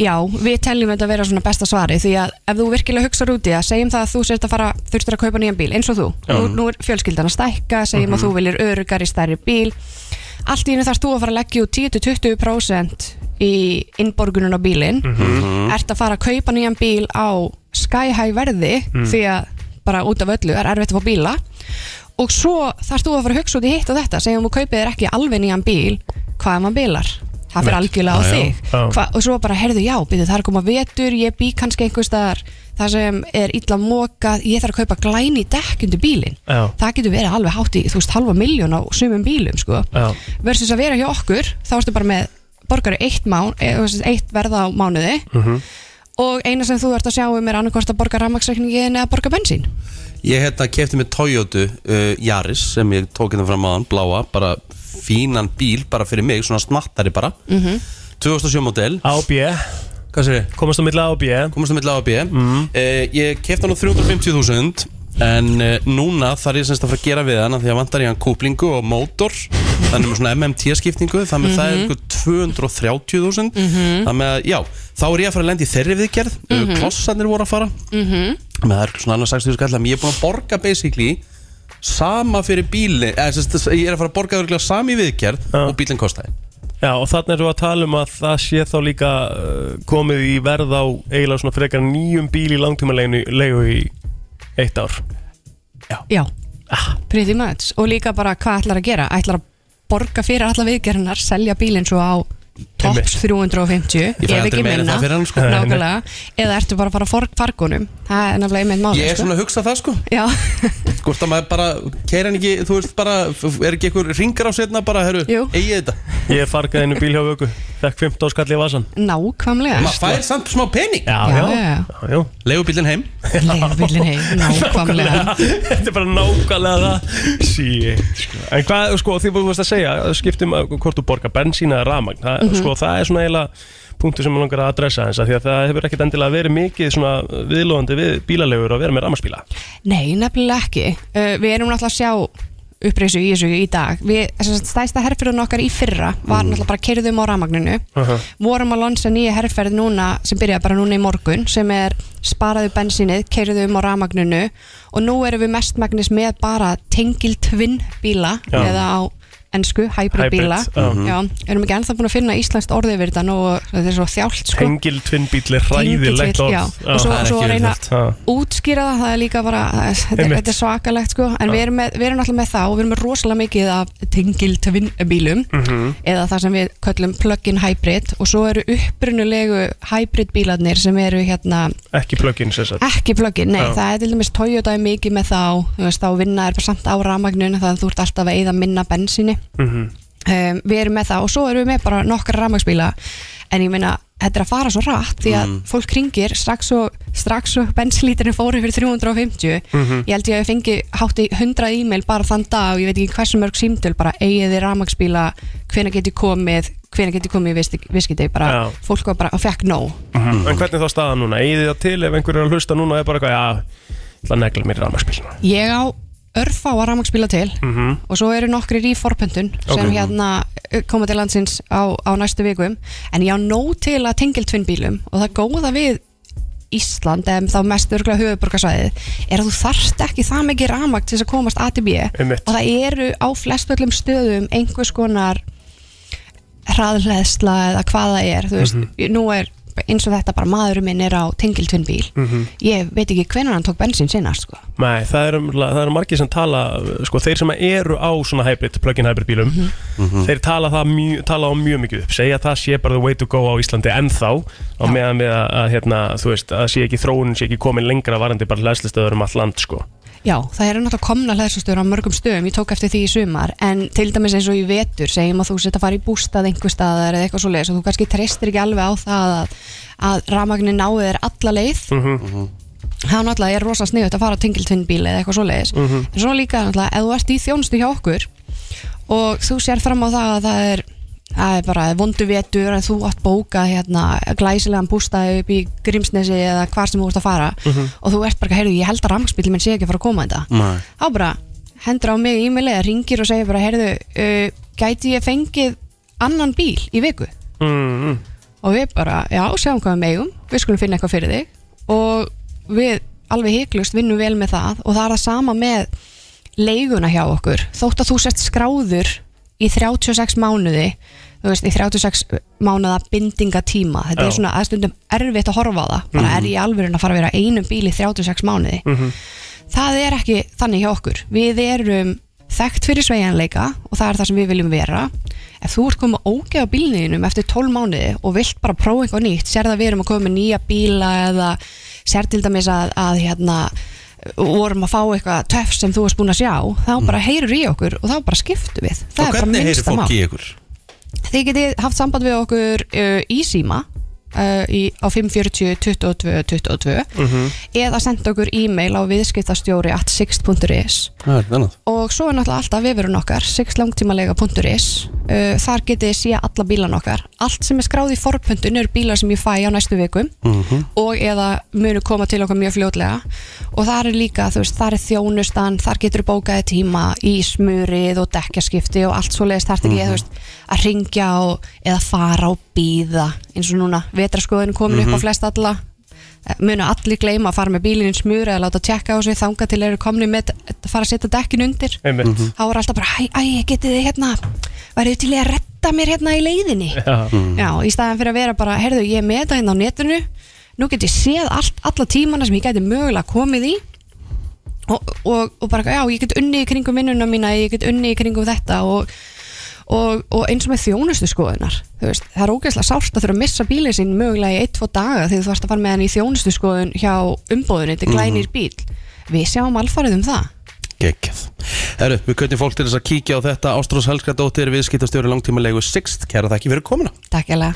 [SPEAKER 12] Já, við teljum þetta að vera svona besta svari því að ef þú virkilega hugsar út í það, segjum það að þú sért að fara, þurftir að kaupa nýjan bíl eins og þú,
[SPEAKER 3] Já.
[SPEAKER 12] nú, nú er fjölskyldan að stækka segjum
[SPEAKER 3] Mhm.
[SPEAKER 12] að þú viljir örugar í stærri bíl allt í henni þarf þú að fara að leggja út 10-20% í innborgunun á bílinn
[SPEAKER 13] Mhm.
[SPEAKER 12] ert að fara að kaupa nýjan bíl á sky high verði
[SPEAKER 13] Mm.
[SPEAKER 12] því að bara út af öllu er erfitt að fá bíla og svo þarf þú að fara að hugsa út í hitt og þetta segjum þú kaupið þér ekki alveg nýjan bíl hvað maður bílar, það fyrir
[SPEAKER 13] Einmitt.
[SPEAKER 12] algjörlega á
[SPEAKER 13] Já, já.
[SPEAKER 12] þig
[SPEAKER 13] Já.
[SPEAKER 12] Hva, og svo bara, heyrðu, já, byrju, það er að koma vetur ég bý kannski einhvers staðar það sem er illa mokað, ég þarf að kaupa glæni dekk undir bílinn,
[SPEAKER 3] Já.
[SPEAKER 12] það getur verið alveg hátt í, þú veist, halva miljón á sumum bílum, sko,
[SPEAKER 3] Já.
[SPEAKER 12] versus að vera hjá okkur þá erstu bara með borgari eitt, mán, eh, þú veist, eitt verða á mánuði
[SPEAKER 13] Mhm.
[SPEAKER 12] og eina sem þú ert að sjá um er annarkvort að borga rammaksreikningin eða borga bensín
[SPEAKER 2] Ég hérna kefti með Toyota uh, Yaris sem ég tók hérna fram aðan, bláa bara fínan bíl bara fyrir mig, svona snattari bara 2007 model
[SPEAKER 3] AOB
[SPEAKER 2] Hvað sér ég?
[SPEAKER 3] Komast á milla AOB
[SPEAKER 2] Komast á milla AOB Eh, Ég kefti hann á 350.000 En uh, núna þarf ég semst að fara að gera við hann af Því að vantar ég hann kúplingu og mótor Þannig með svona MMT skiptingu Þannig með það er
[SPEAKER 14] Mhm.
[SPEAKER 2] ykkur 230.000 Þannig að já, þá er ég að fara að lenda í þeirri viðgerð mm
[SPEAKER 14] Mhm.
[SPEAKER 2] Klossarnir voru að fara
[SPEAKER 14] Mhm.
[SPEAKER 2] Þannig að það er svona annars 60 skall Þannig að ég er búin að borga basically Sama fyrir bíli eða, semst, Ég er að fara að borga örugglega sami viðgerð Og bílinn kostaði
[SPEAKER 3] Já og þannig erum við að tala um að það sé þá líka uh, komið í verð á eiginlega svona frekar nýjum bíl í langtíma leigu í eitt ár
[SPEAKER 12] Já, pretty much og líka bara hvað ætlar að gera ætlar að borga fyrir alla viðgerðinar selja bílinn svo á tops 350
[SPEAKER 2] Ég fæ
[SPEAKER 12] ef
[SPEAKER 2] aldrei
[SPEAKER 12] ekki
[SPEAKER 2] meira en
[SPEAKER 12] minna,
[SPEAKER 2] það fyrir hann, sko.
[SPEAKER 12] nákvæmlega eða ertu bara að fara að forg fargunum það er nefnilega einmitt máli
[SPEAKER 2] Ég er
[SPEAKER 12] sko.
[SPEAKER 2] svona að hugsa það sko
[SPEAKER 12] Já.
[SPEAKER 2] Hvort að Sko, maður bara, keir hann ekki, þú veist bara Er ekki einhver ringar á setna bara, herru Egið þetta
[SPEAKER 3] Ég fargaði einu bíl hjá vöku Fekk 15 skall í vasan
[SPEAKER 12] nákvæmlega
[SPEAKER 2] Maður fær samt smá pening
[SPEAKER 3] Já,
[SPEAKER 12] Já,
[SPEAKER 3] já,
[SPEAKER 12] já.
[SPEAKER 3] já, já.
[SPEAKER 2] Leigubílinn heim
[SPEAKER 12] Leigubílinn heim, nákvæmlega
[SPEAKER 3] Þetta er bara nákvæmlega það Shit, sko. En hvað, sko, því búið að segja Skiptum að hvort þú borgar bensín eða rafmagn það,
[SPEAKER 14] Mhm.
[SPEAKER 3] Sko, það er svona eiginlega punktu sem ég langar að adressa eins Því að það hefur ekkert endilega verið mikið svona viðlóðandi við bílalegur að vera með rafmagnsbíla
[SPEAKER 12] Nei, nefnilega ekki uh, Við erum náttúrulega að sjá uppreysu í þessu í dag Við, þess að stæsta herfyrðun okkar í fyrra var
[SPEAKER 2] Mm.
[SPEAKER 12] náttúrulega bara kerðum á rafmagninu vorum að lonsa nýja herrferð núna sem byrjaði bara núna í morgun sem er sparaðu bensinnið, keiriðu um á rafmagninu og nú erum við mestmagnis með bara tengiltvinn bíla
[SPEAKER 13] Já.
[SPEAKER 12] eða á ennsku, hybrid
[SPEAKER 3] Hybrid,
[SPEAKER 12] bíla
[SPEAKER 3] já.
[SPEAKER 12] já, erum ekki ennþá búin að finna íslenskt orðið yfir þetta nú, þetta er svo þjált sko.
[SPEAKER 3] Tengil tvinnbíli, ræðilegt
[SPEAKER 12] Tengiltvill,
[SPEAKER 3] orð
[SPEAKER 12] já. og svo, svo að reyna að útskýra það, það er líka bara þetta er,
[SPEAKER 3] Einmitt.
[SPEAKER 12] þetta er svakalegt sko, en
[SPEAKER 3] Já.
[SPEAKER 12] við erum, með, við erum alltaf með það og við erum með rosalega mikið af tengiltvinn bílum
[SPEAKER 3] Mhm.
[SPEAKER 12] eða það sem við köllum plug-in hybrid og svo eru upprunulegu hybrid bílarnir sem eru hérna
[SPEAKER 3] Ekki plugin, sér satt
[SPEAKER 12] ekki plug-in, nei,
[SPEAKER 3] Já.
[SPEAKER 12] það er til dæmis Toyota er mikið með þá, þú veist, þá vinna er bara samt á rafmagninu, það þú ert alltaf að eyða minna bensinni um, við erum með það og svo erum við með bara nokkra rafmagsbíla en ég meina, þetta er að fara svo rætt því að
[SPEAKER 3] Mhm.
[SPEAKER 13] Mm.
[SPEAKER 12] fólk ringir strax og, strax og benslítirinn fóru fyrir 350
[SPEAKER 13] Mhm.
[SPEAKER 12] ég held ég að fengi hátt í 100 e-mail bara þann dag og ég veit ekki hversu mörg símtöl bara eigið þið rafmagsbíla, hvena geti komið hvena geti komið í viskiti bara
[SPEAKER 3] Já.
[SPEAKER 12] fólk var bara og fekk nóg
[SPEAKER 3] En hvernig þá staðan núna? Eigið þið það til ef einhver er að hlusta núna og er bara eitthvað, já, ég ætla að negla mér rafmagnsbíl
[SPEAKER 12] ég á örfá að rafmagsbíla til
[SPEAKER 3] Mhm.
[SPEAKER 12] og svo eru nokkrir í forpöntun sem
[SPEAKER 3] Ok.
[SPEAKER 12] hérna uh, koma til landsins á, á næstu vikum en ég á nóg til að tengiltvinnbílum og það góða við Ísland eða þá mest örgulega höfuborgarsvæðið er að þú þarft ekki það mikið rafmagn til þess að komast ATB
[SPEAKER 3] Einmitt.
[SPEAKER 12] og það eru á flestöllum stöðum einhvers konar hraðleðsla eða hvað það er þú veist,
[SPEAKER 13] Mhm.
[SPEAKER 12] nú er eins og þetta bara maðurinn minn er á tengiltvinnbíl
[SPEAKER 3] Mhm.
[SPEAKER 12] ég veit ekki hvenær hann tók bensín sinna sko.
[SPEAKER 3] Nei, það eru, um- það eru margir sem tala sko, þeir sem eru á svona hybrid, plug-in hybrid bílum
[SPEAKER 12] Mhm.
[SPEAKER 3] þeir tala, það mjö, tala á mjög mikið upp segja að það sé bara the way to go á Íslandi ennþá á meðan við að, að hérna, þú veist, að sé ekki þróunin, sé ekki komin lengra varandi bara hlæslistöður um all land sko.
[SPEAKER 12] Já, það eru náttúrulega komna hlæðsustöður á mörgum stöðum, ég tók eftir því í sumar en til dæmis eins og í vetur segjum að þú setja að fara í bústað einhver staðar eða eitthvað svo leiðis og þú kannski treystir ekki alveg á það að, að rafmagnin náði þér alla leið
[SPEAKER 13] Mhm.
[SPEAKER 12] það er náttúrulega, ég er rosa sniðut að fara á tengiltvinnbíl eða eitthvað svo leiðis
[SPEAKER 13] Mhm.
[SPEAKER 12] en svo líka náttúrulega, ef þú ert í þjónustu hjá okkur og þú sér fram á það að það er það er bara vondu vetur að þú átt bóka hérna, glæsilegan bústaði upp í Grímsnesi eða hvar sem þú ert að fara
[SPEAKER 13] Mhm.
[SPEAKER 12] og þú ert bara, heyrðu, ég held að rafmagnsbíl minn sé ekki að fara að koma þetta
[SPEAKER 13] Nei.
[SPEAKER 12] þá bara hendur á mig e-mail eða ringir og segir bara, heyrðu, uh, gæti ég fengið annan bíl í viku
[SPEAKER 3] mm.
[SPEAKER 12] og við bara, já, sjáum hvað við megum við skulum finna eitthvað fyrir þig og við alveg heiklust vinnum vel með það og það er það sama með leiguna hjá okkur, þótt að þú sett skráður í 36 mánuði þú veist, í 36 mánuða bindingatíma, þetta
[SPEAKER 13] Já.
[SPEAKER 12] er svona aðstundum erfitt að horfa á það, bara
[SPEAKER 13] Mhm.
[SPEAKER 12] er ég alveg að fara að vera í einum bíl í 36 mánuði það er ekki þannig hjá okkur við erum þekkt fyrir sveigjanleika og það er það sem við viljum vera ef þú ert komið ógeð á bílniðinum eftir 12 mánuði og vilt bara prófa eitthvað nýtt sér það við erum að koma með nýja bíla eða sér til dæmis að, að hérna, vorum að fá eitthvað töff sem þú varst búin að sjá þá bara heyrur í okkur og þá bara skiptum við það
[SPEAKER 2] Og
[SPEAKER 12] er bara
[SPEAKER 2] Mm. hvernig heyrir
[SPEAKER 12] minnsta mál
[SPEAKER 2] fólk í ykkur?
[SPEAKER 12] Þið getið haft samband við okkur uh, í síma uh, í, á 540 22 22
[SPEAKER 2] Mhm.
[SPEAKER 12] eða senda okkur e-mail á viðskiptastjóri at 6.is
[SPEAKER 2] Það er annað
[SPEAKER 12] og svo er náttúrulega alltaf vefurinn okkar 6langtímalega.is uh, þar getið þið séð alla bílan okkar allt sem er skráð í forpöntun eru bílar sem ég fæ á næstu vikum og eða munu koma til okkar mjög fljótlega og þar er líka, þú veist, þar er þjónustan þar getur bókaði tíma í smurið og dekkjaskipti og allt svo leiðist þar til
[SPEAKER 13] Mhm.
[SPEAKER 12] ég, þú veist, að ringja og, eða fara og býða eins og núna, vetraskoðin komin upp
[SPEAKER 13] Mhm.
[SPEAKER 12] á flest alla Eh, munu allir gleyma að fara með bílinn í smurið eða láta tjekka á sig þanga til eru komni með að fara að setja dekkin undir
[SPEAKER 3] Einmitt. Mhm.
[SPEAKER 12] þá er alltaf bara, æ, æ, getið þið hérna værið til í að retta mér hérna í leiðinni
[SPEAKER 3] Já. Mm.
[SPEAKER 12] Já, í staðan fyrir að vera bara, heyrðu, ég er með þetta hérna á netinu nú get ég séð allt, alla tímana sem ég gæti mögulega komið í og, og, og bara, já, ég get unni í kringum vinnuna mína, ég get unni í kringum þetta og, og, og eins og með þjónustu skoðunar, þú veist, það er ógeðslega sárt að þurfa að missa bílið sín mögulega í 1-2 daga þegar þú varst að fara með hann í þjónustu skoðun hjá umbóðinu, þetta er glænir bíl við sjáum alfarið um það
[SPEAKER 2] Gekkið. Herru, við köttum fólk til þess að kíkja á þetta Ástrós Helskardóttir, viðskiptastjóri langtímalegu 6 Kæra þakki fyrir komuna
[SPEAKER 12] Takk ég lega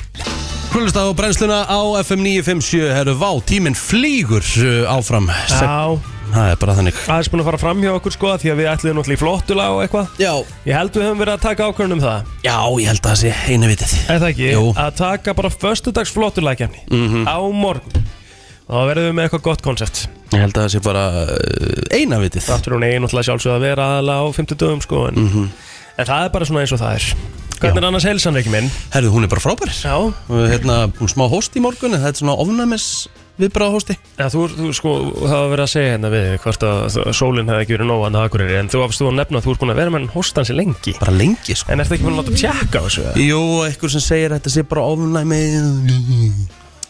[SPEAKER 2] Hlust á brennsluna á FM 957 Herru, vá, tíminn flýgur uh, áfram
[SPEAKER 3] Já.
[SPEAKER 2] Það er bara þannig
[SPEAKER 3] aðeins búin að fara fram hjá okkur sko því að við ætluðum náttúrulega í flottula og eitthvað
[SPEAKER 2] Já
[SPEAKER 3] Ég held við höfum verið að taka ákvörðun um það
[SPEAKER 2] Já, ég held að það sé einu vitið
[SPEAKER 3] Er það ekki?
[SPEAKER 2] Jú.
[SPEAKER 3] Að taka bara föstudags flottula kemni
[SPEAKER 2] Mhm.
[SPEAKER 3] á morgun og þá verðum við með eitthvað gott koncept
[SPEAKER 2] Ég held að það sé bara uh, eina vitið
[SPEAKER 3] Það fyrir hún eigin náttúrulega sjálfsögð að vera aðalega á 50 dögum sko en,
[SPEAKER 2] Mhm.
[SPEAKER 3] en það er bara svona eins og það er Hvernig er annars heilsan ekki minn?
[SPEAKER 2] Herru, hún er bara frábær
[SPEAKER 3] Já
[SPEAKER 2] uh, Hérna, hún smá hóst í morgun en Það er svona ofnæmis viðbrað hósti
[SPEAKER 3] Já, þú, þú sko, það var verið að segja hérna við þig hvort að sólinn hefði ekki verið nóg annað akureyri en þú afstu að nefna að þú ert búin að vera með hann hóstansi lengi
[SPEAKER 2] Bara lengi sko
[SPEAKER 3] En ertu ekki búin að láta tjekka á þessu? eða?
[SPEAKER 2] Jú, einhver sem segir að þetta sé bara ofnæmi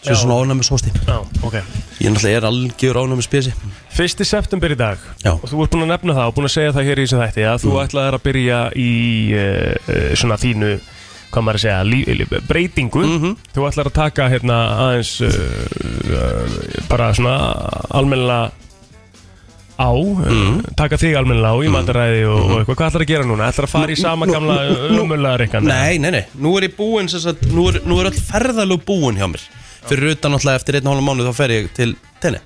[SPEAKER 2] Svo
[SPEAKER 3] Já.
[SPEAKER 2] svona ofnæmis hósti
[SPEAKER 3] Já, ok
[SPEAKER 2] Ég náttúrulega er algjör ofnæmis spesi
[SPEAKER 3] Fyrsti september í dag
[SPEAKER 2] Já.
[SPEAKER 3] og þú ert búin að nefna það og búin að segja það hér í þessu þætti að þú mm. ætlaðir að byrja í uh, uh, svona þínu hvað maður að segja, lí, lí, breytingu
[SPEAKER 2] Mhm.
[SPEAKER 3] þú ætlar að taka hérna aðeins uh, uh, bara svona almennilega á, mm. taka þig almennilega á í mataræði og, og eitthvað, hvað ætlar að gera núna? ætlar að fara í sama
[SPEAKER 2] Mm. Mm-hmm. Nú-
[SPEAKER 3] gamla eh,
[SPEAKER 2] nú- nú-
[SPEAKER 3] umöðlega reykan?
[SPEAKER 2] Nei, nei, nei, nú er ég búinn sem sagt, nú er, nú er all ferðalög búinn hjá mér Fyrir utan náttúrulega eftir einn og hálfa mánuð þá fer ég til tenni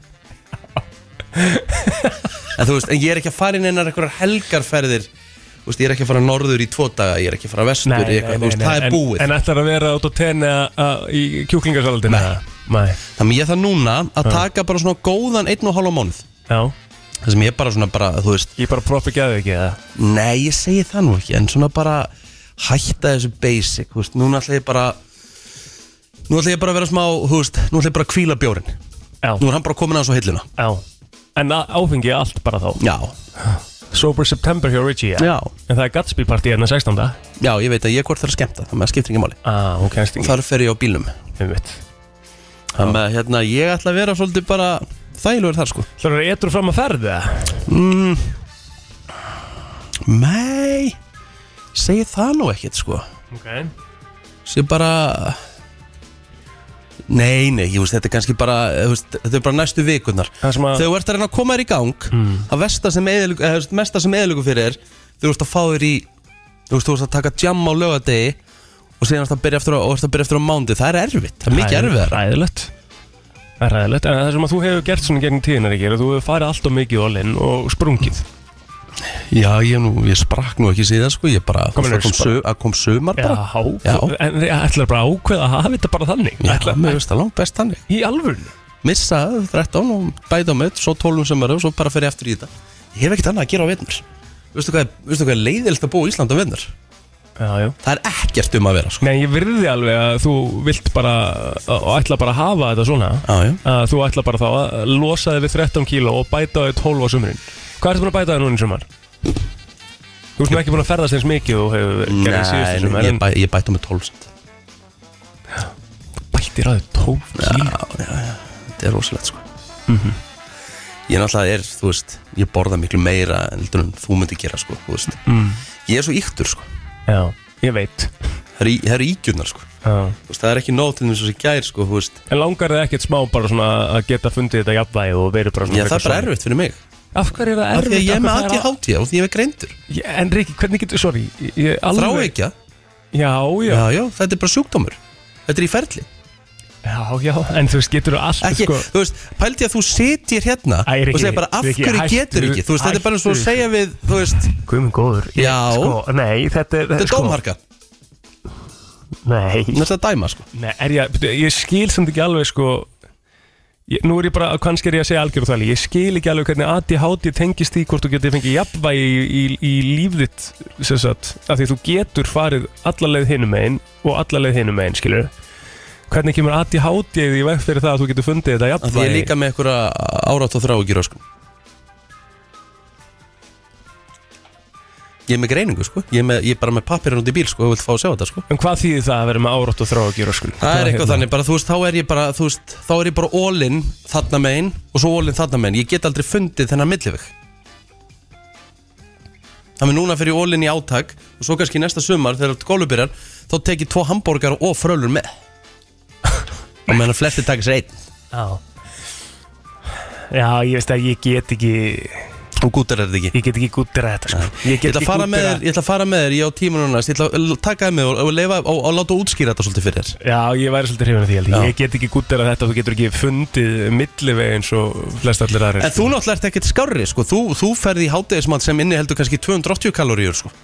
[SPEAKER 2] En þú veist, en ég er ekki að fara inn einar einhverjar helgarferðir Þú veist, ég er ekki að fara norður í tvo daga, ég er ekki að fara vestur í eitthvað, þú veist, það er búið
[SPEAKER 3] en, en ætlar að vera út á tenni eh, í kjúklingarsalaldinu? Nei, nei
[SPEAKER 2] Þannig ég þarf núna að taka bara svona góðan einn og hálfa mánuð
[SPEAKER 3] Já
[SPEAKER 2] Það sem ég bara svona bara, þú veist
[SPEAKER 3] Ég bara proppi gæðu ekki eða?
[SPEAKER 2] Nei, ég segi það nú ekki, en svona bara hætta þessu basic, þú veist Núna ætla ég bara Nú ætla ég bara að vera smá, þú veist Nú ætla ég bara að kvíla bjórin
[SPEAKER 3] Já.
[SPEAKER 2] Nú er hann bara komin að svo hilluna
[SPEAKER 3] Já En að- áfengi er allt bara þá
[SPEAKER 2] Já
[SPEAKER 3] Sober September hjá Richie
[SPEAKER 2] Já.
[SPEAKER 3] En það er Gatsby partí hérna 16.
[SPEAKER 2] Já, ég veit að ég hvort þarf að skemmta, þannig að það skiptir ekki máli
[SPEAKER 3] ah, ok,
[SPEAKER 2] Og þar fer ég á bílnum
[SPEAKER 3] Einmitt.
[SPEAKER 2] Þannig að hérna, ég ætla að vera svolítið bara þægilegur þar sko
[SPEAKER 3] Það eru eitthvað fram að ferða
[SPEAKER 2] mm. Nei Segir það nú ekkert sko
[SPEAKER 3] Ok
[SPEAKER 2] Segir bara Nei, nei, ég veist, þetta er kannski bara þú veist, Þetta er bara næstu vikurnar
[SPEAKER 3] að-
[SPEAKER 2] Þegar þú ert að reyna að koma þér í gang mm. Það versta sem eðilug, eða, þú veist, mesta sem eðilugum fyrir er Þú veist að fá þér í Þú veist, þú veist að taka jam á lögadegi Og síðan ertu að byrja eftir á, og ertu að byrja eftir á mándi Það er erfitt, það er mikið
[SPEAKER 3] Hræ-
[SPEAKER 2] erfiðar
[SPEAKER 3] Hræðilegt Það er hræðilegt En það sem að þú hefur gert svona gegn tíðinar ekki Þú hefur farið allt og mikið all in og sprungið
[SPEAKER 2] Já, ég, nú, ég sprakk nú ekki síðan sko, ég bara,
[SPEAKER 3] Komin
[SPEAKER 2] það
[SPEAKER 3] er
[SPEAKER 2] kom,
[SPEAKER 3] sprakk.
[SPEAKER 2] sö, að kom sömar bara.
[SPEAKER 3] Já, en ætlar bara að ákveða að hafa þetta bara þannig
[SPEAKER 2] Já, mér finnst það langt best þannig.
[SPEAKER 3] Í alvörinu?
[SPEAKER 2] Missa 13 og bæta á mitt, svo 12 sem eru og svo bara fer ég aftur í þetta. Ég hef ekkert annað að gera á vetnar. Veistu hvað, er- veistu hvað er leiðilt að búa í Ísland á vetnar?
[SPEAKER 3] Já, já.
[SPEAKER 2] Það er ekkert um að vera sko.
[SPEAKER 3] Nei, ég virði alveg að þú vilt bara og ætla bara að hafa þetta svona
[SPEAKER 2] Já, já.
[SPEAKER 3] að þú ætla bara þá að losa þig við 13 kíló og bæta þig 12 á sumurinn Hvað ertu búin að bæta þig núna í sumar? Þú veist nú ekki búin að ferðast eins mikið og hefur gerðið síðustu
[SPEAKER 2] Nei,
[SPEAKER 3] sumar
[SPEAKER 2] ég, bæ, ég bæta á mig 12 cent.
[SPEAKER 3] bættir að þig 12 kíló
[SPEAKER 2] Já, já, já, þetta er rosalegt sko.
[SPEAKER 3] Mhm.
[SPEAKER 2] Ég náttúrulega er, þú veist, ég borða miklu meira heldur en þú myndi gera sko, þú veist.
[SPEAKER 3] Mm.
[SPEAKER 2] Ég er svo íktur sko.
[SPEAKER 3] Já, ég veit.
[SPEAKER 2] Það eru- það eru ígjurnar sko.
[SPEAKER 3] Já.
[SPEAKER 2] Þú veist, það er ekki nót til þess að ég gær sko, þú veist
[SPEAKER 3] En langar þið ekkert smá bara svona að geta fundið þetta jafnvægi og verið bara svona
[SPEAKER 2] Já, það er bara erfitt fyrir mig
[SPEAKER 3] Af hverju er það
[SPEAKER 2] Af því að
[SPEAKER 3] erfitt?
[SPEAKER 2] ég er
[SPEAKER 3] Af
[SPEAKER 2] með
[SPEAKER 3] hverju það er
[SPEAKER 2] ADHD og því ég er greindur
[SPEAKER 3] Já, En Riki, hvernig getur, sorry ég- alveg-
[SPEAKER 2] Þrá ekki
[SPEAKER 3] Já, já
[SPEAKER 2] Já, já, þetta er bara sjúkdómur Þetta er í ferli
[SPEAKER 3] Já, já, en þú veist, getur þú allt
[SPEAKER 2] Ekki,
[SPEAKER 3] sko,
[SPEAKER 2] þú veist, pældi að þú sitir hérna
[SPEAKER 3] Æ, Riki,
[SPEAKER 2] Og segir bara, af
[SPEAKER 3] Riki,
[SPEAKER 2] hverju
[SPEAKER 3] hættu-
[SPEAKER 2] getur ekki Þú veist, þetta er bara eins og að
[SPEAKER 3] hættu
[SPEAKER 2] segja við, þú veist
[SPEAKER 3] Guðmund góður ég,
[SPEAKER 2] Já.
[SPEAKER 3] sko, Nei, þetta er
[SPEAKER 2] Þetta er
[SPEAKER 3] sko,
[SPEAKER 2] dómharka,
[SPEAKER 3] Nei,
[SPEAKER 2] þetta er að dæma sko
[SPEAKER 3] nei er ég, byrju, ég skil samt ekki alveg sko ég, Nú er ég bara, kannski er ég að segja algjörðu þvæli Ég skil ekki alveg hvernig ADHD tengist því hvort þú getur fengið jafnvægi í, í, í líf þitt sem sagt, af því þú getur farið allaleið hinum einn og allaleið hinum einn, skilur Hvernig kemur ADHD í veg fyrir það að þú getur fundið þetta
[SPEAKER 2] Af því
[SPEAKER 3] jafnvægi
[SPEAKER 2] ég er líka með einhverja árátt og þrá sko. ekki röskum Ég er með greiningu sko Ég er, með, ég er bara með pappirinn út í bíl sko Þú vilt fá að sjá þetta sko
[SPEAKER 3] En hvað þýðir það að vera með árátt og þrá að gera skil?
[SPEAKER 2] Það er eitthvað
[SPEAKER 3] hérna.
[SPEAKER 2] þannig, bara þú veist, þá er ég bara, þú veist, þá er ég bara ólinn þarna megin og svo ólinn þarna megin. Ég get aldrei fundið þennan milliveg. Þannig núna fyrir ég ólinn í átak og svo kannski næsta sumar þegar golfu byrjar, þá tek ég tvo hambúrgar og frölur með. og meðan að flesti taka sér einn.
[SPEAKER 3] Já Já, ég veist að ég get ekki
[SPEAKER 2] Þú gútar er þetta ekki.
[SPEAKER 3] Ég get ekki gúttirað þetta sko. Ég
[SPEAKER 2] Ég
[SPEAKER 3] get
[SPEAKER 2] ætla að
[SPEAKER 3] ekki
[SPEAKER 2] fara með
[SPEAKER 3] gútterað-
[SPEAKER 2] þér, ég ætla að fara með þér, ég á tímann og næst, ég ætla að taka þér með og, og, leifa, og, og láta útskýra þetta svolítið fyrir þér.
[SPEAKER 3] Já, ég væri svolítið hrifin af því held ég.
[SPEAKER 2] Já.
[SPEAKER 3] Ég get ekki gúttirað þetta Þú getur ekki fundið milliveg eins og flest allir aðrir
[SPEAKER 2] En þú náttúrulega ert ekkert skárri sko. þú, þú ferði í hátegismat sem inni heldur kannski 280 kaloríur sko.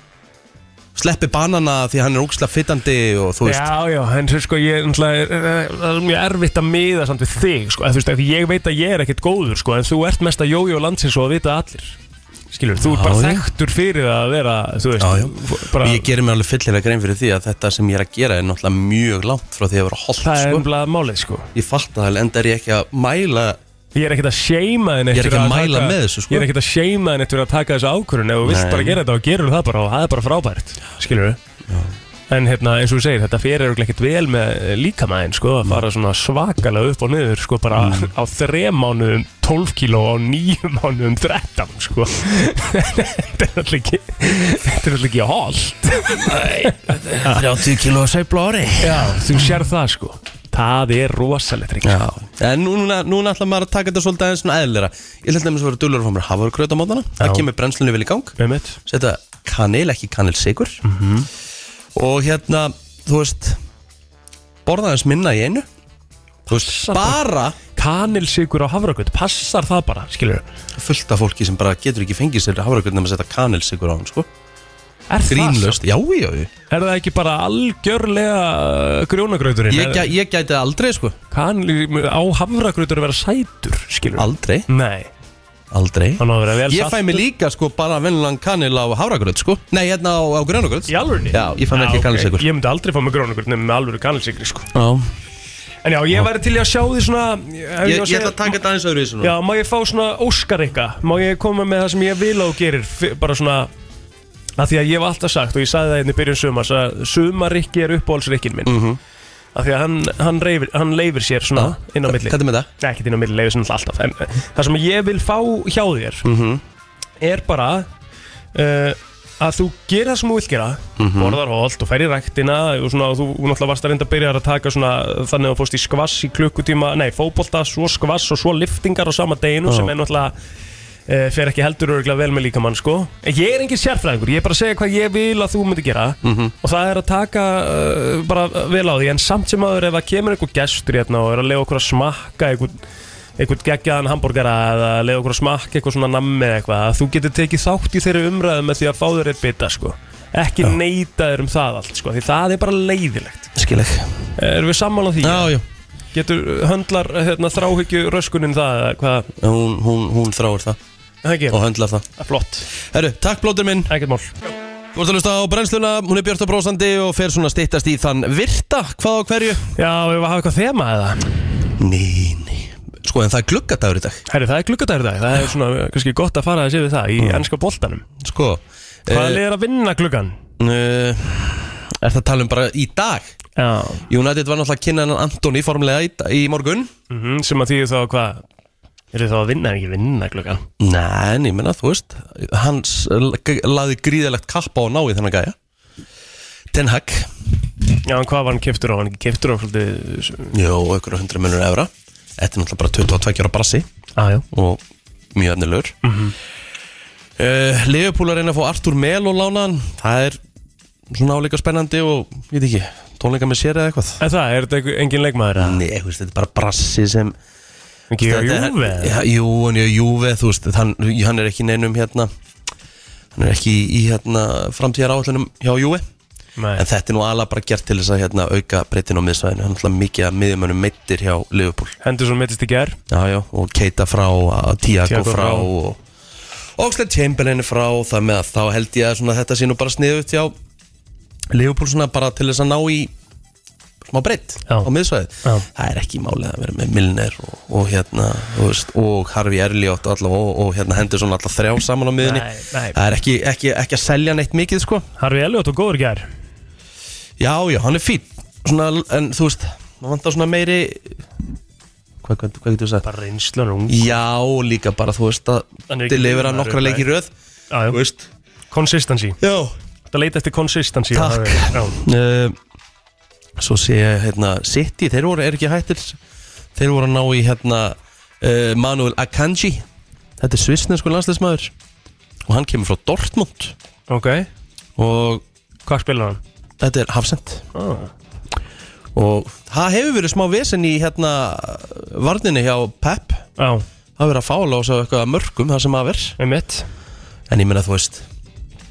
[SPEAKER 2] Sleppi banana því hann er ógislega fytandi og þú veist
[SPEAKER 3] Já, já, en svo sko ég náttúrulega er- er- Það er mjög erfitt að miða samt við þig sko. en, Þú veist, af því ég veit að ég er ekkert góður sko, En þú ert mesta jójó landsins og að vita allir Skilur, þú ert
[SPEAKER 2] Já,
[SPEAKER 3] bara
[SPEAKER 2] já.
[SPEAKER 3] þekktur fyrir það að vera Þú veist,
[SPEAKER 2] Já, já.
[SPEAKER 3] f-
[SPEAKER 2] Og
[SPEAKER 3] bara
[SPEAKER 2] ég gerir mér alveg fyllilega grein fyrir því að þetta sem ég er að gera er náttúrulega mjög langt frá því að vera holdt
[SPEAKER 3] Það er
[SPEAKER 2] sko.
[SPEAKER 3] umlað málið sko
[SPEAKER 2] Ég fatt að það, enda er ég ekki að mæla
[SPEAKER 3] Ég er ekkert að seima þinn
[SPEAKER 2] Ég er
[SPEAKER 3] eftir
[SPEAKER 2] ekki að
[SPEAKER 3] taka-
[SPEAKER 2] mæla með þessu, sko.
[SPEAKER 3] Ég er ekkert að seima þinn eftir að taka þessu ákvörun Ef þú vilt
[SPEAKER 2] Nei.
[SPEAKER 3] bara gera þetta og gerur það bara og það er bara frábært Skilur En hérna, eins og þú segir, þetta fyrir örugglega ekkert vel með líkamæðin sko, að fara svona svakalega upp og niður sko, bara
[SPEAKER 2] Mm.
[SPEAKER 3] á þrem mánuðum 12 kíló og á nýjum mánuðum 13 sko. þetta er alltaf ekki þetta er alltaf ekki hálft
[SPEAKER 2] 30 kilo sæfla ári
[SPEAKER 3] Já, þú sér það sko Það er rosalegt Ríkir.
[SPEAKER 2] Já, en nú- núna, núna ætla maður að taka þetta svolítið aðeins svona eðlera Ég ætla nefnir að vera dullur og fá mér hafurkraut á mótana
[SPEAKER 3] Já.
[SPEAKER 2] Það kemur brennslunni vel í gang
[SPEAKER 3] Með mitt
[SPEAKER 2] setja kanil, ekki kanilsikur og hérna þú veist borðaðins minna í einu þú veist,
[SPEAKER 3] Passa
[SPEAKER 2] bara
[SPEAKER 3] Kanilsykur á hafragut, passar það bara, skilur
[SPEAKER 2] fullt af fólki sem bara getur ekki fengið sér hafragröð nema að setja kanilsikur á hann sko.
[SPEAKER 3] Er það
[SPEAKER 2] grínlöst, já, já, já
[SPEAKER 3] Er það ekki bara algjörlega uh, grjónagrauturinn?
[SPEAKER 2] ég, gæ, ég gæti það aldrei, sko
[SPEAKER 3] Kann á hafragrautur að vera sætur, skilur
[SPEAKER 2] aldrei,
[SPEAKER 3] Nei,
[SPEAKER 2] aldrei
[SPEAKER 3] hann á að vera vel
[SPEAKER 2] ég fæ
[SPEAKER 3] saltur.
[SPEAKER 2] mig líka, sko, bara venlan kanil á hafragröð, sko, nei, hérna á, á grjónagröð
[SPEAKER 3] Í alvörni?
[SPEAKER 2] Já, ég fæ mér ekki kanilsykur.
[SPEAKER 3] Ég myndi aldrei fá mig grjónagröð nefnum með alvöru kannilsikri sko
[SPEAKER 2] já,
[SPEAKER 3] En já, ég væri til í að sjá því svona ef
[SPEAKER 2] ég,
[SPEAKER 3] á
[SPEAKER 2] ég,
[SPEAKER 3] að segja-
[SPEAKER 2] ætla að taka þetta aðeins öðru í þessu
[SPEAKER 3] Já, má ég fá svona óskar eitthvað? Má ég koma með það sem ég vil á og gerir? F- Bara svona að því að ég hef alltaf sagt og ég sagði það hérna í byrjun sumars að sumarrikki er uppáhaldsrikkin minn mm að því að hann, hann, reifir, hann leifir sér svona inn á milli
[SPEAKER 2] hvað er með það?
[SPEAKER 3] Nei, ekkert inn á milli leifir sér náttúrulega alltaf en eh, það sem ég vil fá hjá þér er bara uh, að þú gerir það sem þú vilt gera borðar holt og fer í ræktina og svona, og þú þú náttúrulega varst að reynda að byrja að taka svona, þannig að þú fórst í skvass í klukkutíma nei, fótbolta, svo skvass og svo liftingar á sama deginu sem er náttúrulega uh, fer ekki heldur örgulega vel með líkamann sko. En ég er engin sérfræðingur, ég er bara að segja hvað ég vil að þú myndir gera og það er að taka eh, uh, bara vel á því en samt sem aður ef það kemur einhver gestur hérna og er að lega okkur að smakka einhvern einhvern geggjaðan hambúrgara eða leiða okkur að smakka eitthvað svona nammi eða eitthvað að þú getur tekið þátt í þeirri umræðu með því að fá þér eitt bita sko ekki já. neita þér um það allt sko því það er bara leiðilegt
[SPEAKER 2] Skil ekki
[SPEAKER 3] Erum við sammála því?
[SPEAKER 2] Já, já
[SPEAKER 3] Getur höndlar hérna, þráhyggju röskunin það eða hvað?
[SPEAKER 2] Hún, hún, hún þráir það
[SPEAKER 3] Ekki.
[SPEAKER 2] Og höndlar það
[SPEAKER 3] Flott
[SPEAKER 2] Herru, takk blóttur minn
[SPEAKER 3] Ekkert mál
[SPEAKER 2] Þú ert að hlusta á brennsluna, hún er Björta Brósandi og fer svona stýttast í þann virta, hvað á hverju?
[SPEAKER 3] Já, við hafa eitthvað þema eða?
[SPEAKER 2] Nei, nei Sko en það er gluggadagur í dag
[SPEAKER 3] Herri, það er gluggadagur í dag Það er svona kannski gott að fara að séu við það í ennska boltanum
[SPEAKER 2] Sko
[SPEAKER 3] Hvað
[SPEAKER 2] Mm.
[SPEAKER 3] uh,
[SPEAKER 2] eh,
[SPEAKER 3] er að vinna gluggan?
[SPEAKER 2] Uh, er það að tala um bara í dag?
[SPEAKER 3] Já
[SPEAKER 2] United var náttúrulega að kynna hennan Antoni formlega í, í morgun
[SPEAKER 3] mm Sem að því þá hvað? Er það að vinna en ekki vinna gluggan?
[SPEAKER 2] Nei, en ég menna, þú veist Hans laði gríðalegt kappa á að ná í þennan gæja Ten Hag
[SPEAKER 3] Já, en hvað var hann keftur á? Var Hann ekki keftur á svolítið
[SPEAKER 2] Jó, ykkur á 100 minnur evra Þetta er náttúrulega bara 22 ára brassi
[SPEAKER 3] ah,
[SPEAKER 2] Og mjög efnilegur mm -hmm. uh, Leifupúl að reyna að fá Artur Mel og lána hann Það er svona áleika spennandi og, ég veit ekki, tónleika með sér eða eitthvað
[SPEAKER 3] En það, er þetta einhver- engin leikmaður? eða?
[SPEAKER 2] Nei, þú veist, þetta er bara brassi sem
[SPEAKER 3] Ekki á
[SPEAKER 2] Mm. Þetta er-
[SPEAKER 3] Júve?
[SPEAKER 2] Já, Jú, hann er á Júve, þú veist, hann, hann er ekki í neinum hérna Hann er ekki í hérna framtíðar áallunum hjá Júve
[SPEAKER 3] Nei.
[SPEAKER 2] En þetta er nú alveg bara gert til þess að hérna, auka breytin á miðsvæðinu Hann er alltaf mikið að miðjumönum meittir hjá Liverpool
[SPEAKER 3] Hendur svo mittist í ger
[SPEAKER 2] Já, já, og Keita frá, að Tiago
[SPEAKER 3] Thiago
[SPEAKER 2] frá,
[SPEAKER 3] frá.
[SPEAKER 2] og Oxlade Chamberlain er frá og Það með að þá held ég að svona, þetta sé nú bara sniðut hjá Liverpool svona bara til þess að ná í smá breytt á miðsvæði það er ekki málið að vera með Milner og, og hérna, þú veist, og Harfi Erljótt og, allavega- og, og hérna hendur svona alltaf þrjá saman á miðinni,
[SPEAKER 3] Nei, nei.
[SPEAKER 2] það er ekki, ekki, ekki að selja neitt mikið, sko
[SPEAKER 3] Harfi Elliot og góður ger
[SPEAKER 2] já, já, hann er fín, svona, en þú veist maður vantar svona meiri hvað, hvað, hvað getur þú sagt?
[SPEAKER 3] Bara reynslan ung
[SPEAKER 2] já, og líka bara, þú veist,
[SPEAKER 3] Hann er
[SPEAKER 2] að
[SPEAKER 3] ekki
[SPEAKER 2] delivera
[SPEAKER 3] maður,
[SPEAKER 2] nokkra
[SPEAKER 3] nei.
[SPEAKER 2] leiki í röð
[SPEAKER 3] Já, já Consistency
[SPEAKER 2] Já
[SPEAKER 3] Þetta leita eftir consistency Það
[SPEAKER 2] Takk.
[SPEAKER 3] er- Já
[SPEAKER 2] uh, Svo sé ég hérna City, þeir voru er ekki hættir Þeir voru að ná í hérna uh, Manuel Akanji Þetta er svissnesku landsleismæður Og hann kemur frá Dortmund
[SPEAKER 3] Ok
[SPEAKER 2] Og
[SPEAKER 3] Hvað spilar hann?
[SPEAKER 2] Þetta er Hafsend
[SPEAKER 3] ah.
[SPEAKER 2] Og það hefur verið smá vesen í hérna Varninni hjá Pep
[SPEAKER 3] Já
[SPEAKER 2] Það hefur verið að fála á svo eitthvað af mörgum Það sem að ver
[SPEAKER 3] Einmitt
[SPEAKER 2] En ég menna þú veist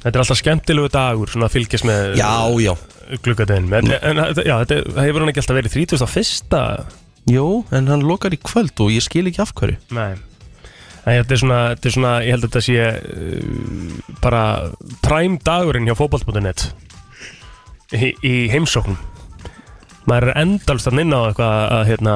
[SPEAKER 3] Þetta er alltaf skemmtilegu dagur Svona að fylgjast með
[SPEAKER 2] Já, já
[SPEAKER 3] Gluggadegin En, en þetta- já, þetta það hefur hann ekki alltaf verið 31.
[SPEAKER 2] Jú, en hann lokar í kvöld og ég skil ekki af hverju
[SPEAKER 3] Nei En þetta er svona, þetta er svona Ég held að þetta sé uh, Bara Prime dagurinn hjá fótbolt.net Í, í heimsóknum Maður er endalst að inn á eitthvað að, að hérna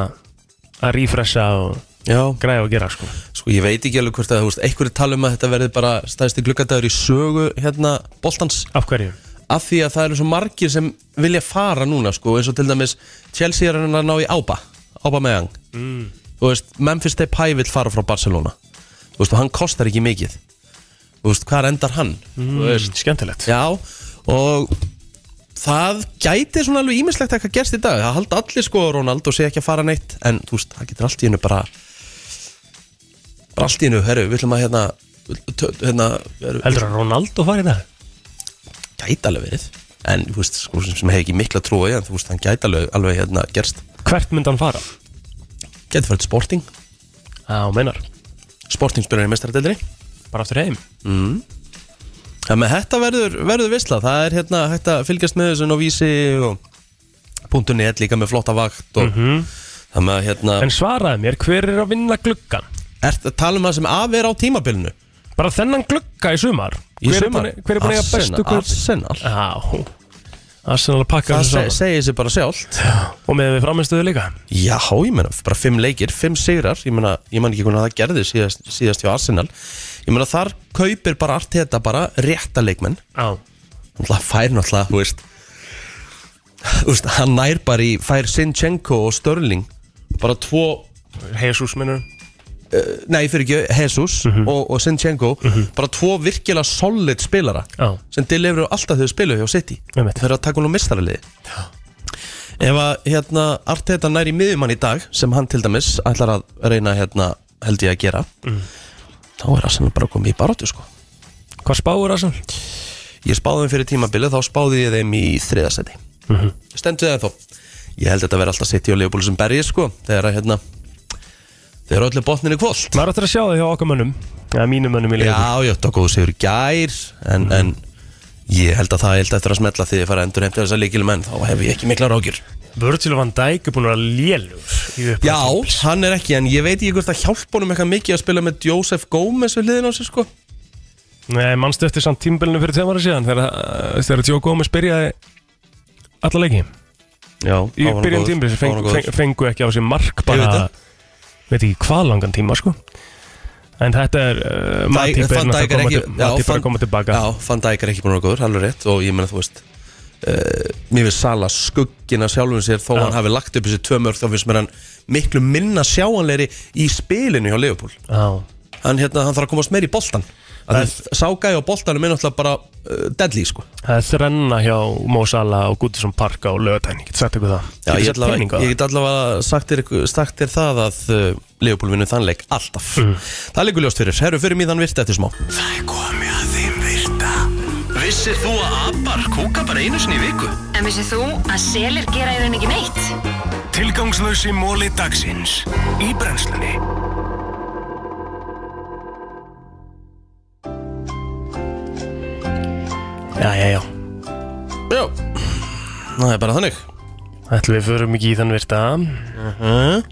[SPEAKER 3] Að refresha og
[SPEAKER 2] Já
[SPEAKER 3] Græða að gera sko
[SPEAKER 2] Sko ég veit ekki alveg hvort að þú veist einhverju tala um að þetta verði bara stæðsti gluggadagur í sögu hérna boltans
[SPEAKER 3] Af hverju?
[SPEAKER 2] Af því að það eru svo margir sem vilja fara núna sko eins og til dæmis Chelsea er hann að ná í Ába Ába með hann
[SPEAKER 3] Mm.
[SPEAKER 2] Þú veist Memphis Depay vill fara frá Barcelona Þú veist og hann kostar ekki mikið Þú veist hvað endar hann
[SPEAKER 3] Mm,
[SPEAKER 2] Þú veist
[SPEAKER 3] Skemmtilegt
[SPEAKER 2] Já og það gæti svona alveg ímislegt að hvað gerst í dag það halda allir sko Ronaldo sé ekki að fara neitt en þú veist það getur allt í hennu bara bara allt í hennu, herru, við ætlum að hérna, tö- hérna
[SPEAKER 3] Heldur að Ronaldo fari það?
[SPEAKER 2] gæti alveg verið en þú veist, sko, sem, sem hefur ekki mikla trúi en þú veist, hann gæti alveg, alveg hérna gerst
[SPEAKER 3] Hvert myndi hann fara?
[SPEAKER 2] gæti farið til Sporting,
[SPEAKER 3] Já, meinar
[SPEAKER 2] Sporting spyrir í mestaradeldri
[SPEAKER 3] Bara aftur heim
[SPEAKER 2] mm. ja, með þetta verður, verður visla það er hérna hægt að fylgjast með þessu og vísi og punktunni er líka með flotta vakt og það með að hérna
[SPEAKER 3] En svaraði mér, hver er að vinna gluggan?
[SPEAKER 2] Ert að tala um það sem af er á tímabilinu?
[SPEAKER 3] Bara þennan glugga í sumar
[SPEAKER 2] Í
[SPEAKER 3] Hver er
[SPEAKER 2] sumar?
[SPEAKER 3] búinn- Hver er búin að eiga
[SPEAKER 2] Arsenal,
[SPEAKER 3] bestu glugg?
[SPEAKER 2] Arsenal.
[SPEAKER 3] Já Arsenal að pakka
[SPEAKER 2] það
[SPEAKER 3] þessu
[SPEAKER 2] se
[SPEAKER 3] saman
[SPEAKER 2] segir sér bara sjálft
[SPEAKER 3] Og með við framistuðu líka
[SPEAKER 2] Já, ég menna, bara fimm leikir, fimm sigrar Ég menna, ég menna ekki hvernig það gerði síðast, síðast hjá Arsenal Ég menna, þar kaupir bara allt þetta bara rétta leikmenn
[SPEAKER 3] Já
[SPEAKER 2] Það fær náttúrulega, þú veist Þú veist, hann nær bara í fær Sinchenko og Störling Bara tvo,
[SPEAKER 3] Jesus minnur
[SPEAKER 2] uh, nei, fyrir ekki, Jesus
[SPEAKER 3] Mhm.
[SPEAKER 2] og, og Sinchenko Bara tvo virkilega solid spilara
[SPEAKER 3] Já.
[SPEAKER 2] sem deliveru alltaf þau spilu hjá City
[SPEAKER 3] Einmitt.
[SPEAKER 2] þeir eru að taka hún á mistaraliði ef að hérna Arteta nær í miðjumann í dag sem hann til dæmis ætlar að reyna hérna held ég að gera
[SPEAKER 3] Mhm.
[SPEAKER 2] þá er Arsenal bara komið í baróttu sko
[SPEAKER 3] Hvað spáur Arsenal?
[SPEAKER 2] ég spáði þeim fyrir tímabilið þá spáði ég þeim í þriðasæti mm
[SPEAKER 3] Mhm.
[SPEAKER 2] -hmm. stendur það þó ég held þetta verði alltaf City og Leopold sem berjið sko þegar að hérna þegar Við erum öllu botninu kvöld
[SPEAKER 3] Maður ættir að sjá það hjá okkar mönnum Já, mínum mönnum í leikur
[SPEAKER 2] Já, já, tók og sigur í gær en, en ég held að það held eftir að smetla því að fara endur heim til þess að líkilu menn þá hef ég ekki mikla rákjur
[SPEAKER 3] Virgil van Dijk er búin að vera lélur
[SPEAKER 2] Já, hann er ekki, en ég veit ekki hvort það hjálpa honum eitthvað mikið að spila með Joseph Gómez við hliðin á sig, sko
[SPEAKER 3] Nei, mannstu eftir samt tímbilinu fyrir tveim ára síðan þegar, eh, þegar Joe Gómez byrjaði alla leiki
[SPEAKER 2] Já,
[SPEAKER 3] Í
[SPEAKER 2] hann var
[SPEAKER 3] byrjun
[SPEAKER 2] góður,
[SPEAKER 3] tímbilinu
[SPEAKER 2] hann
[SPEAKER 3] fengu,
[SPEAKER 2] var góður.
[SPEAKER 3] fengu, fengu ekki á sér mark
[SPEAKER 2] Ég veit
[SPEAKER 3] bara,
[SPEAKER 2] það.
[SPEAKER 3] veit ekki hvað langan tíma sko En þetta er uh, Matip er
[SPEAKER 2] Van
[SPEAKER 3] náttúrulega
[SPEAKER 2] Dijk er
[SPEAKER 3] að koma
[SPEAKER 2] ekki
[SPEAKER 3] til-
[SPEAKER 2] já,
[SPEAKER 3] Matip er
[SPEAKER 2] Van-
[SPEAKER 3] að koma tilbaka
[SPEAKER 2] Já, Van Dijk er ekki búin að vera góður, alveg rétt og ég meina þú veist uh, mér finnst Sala skuggina sjálfum sér þó hann hafi lagt upp þessi tvö mörg þá finnst mér hann miklu minna sjáanleiri í spilinu hjá Leopold
[SPEAKER 3] Já.
[SPEAKER 2] hann, hérna, hann þarf að komast meir í boltan ságæði á boltanum er náttúrulega bara uh, deadly sko
[SPEAKER 3] Það er þrenna hjá Mo Salah og Goodison Park á lögatæn Ég get sagt ykkur það
[SPEAKER 2] Já, ég,
[SPEAKER 3] Getur sett
[SPEAKER 2] ætla,
[SPEAKER 3] pening á það.
[SPEAKER 2] ég get allavega sagt þér, ykkur- sagt þér það að uh, Leopold vinnur þann leik alltaf Það liggur ljóst fyrir, herru fyrir míðan virt eftir smá
[SPEAKER 1] Það er komið að þeim virta Vissir þú að abar kúka bara einu sinni í viku?
[SPEAKER 13] En vissið þú að selir gera í raun ekki neitt?
[SPEAKER 1] Tilgangslösi móli dagsins Í brennslunni
[SPEAKER 3] Já, já, já
[SPEAKER 2] Já Það er bara þannig
[SPEAKER 3] Ætlum við förum ekki í þann virta
[SPEAKER 2] Mhm.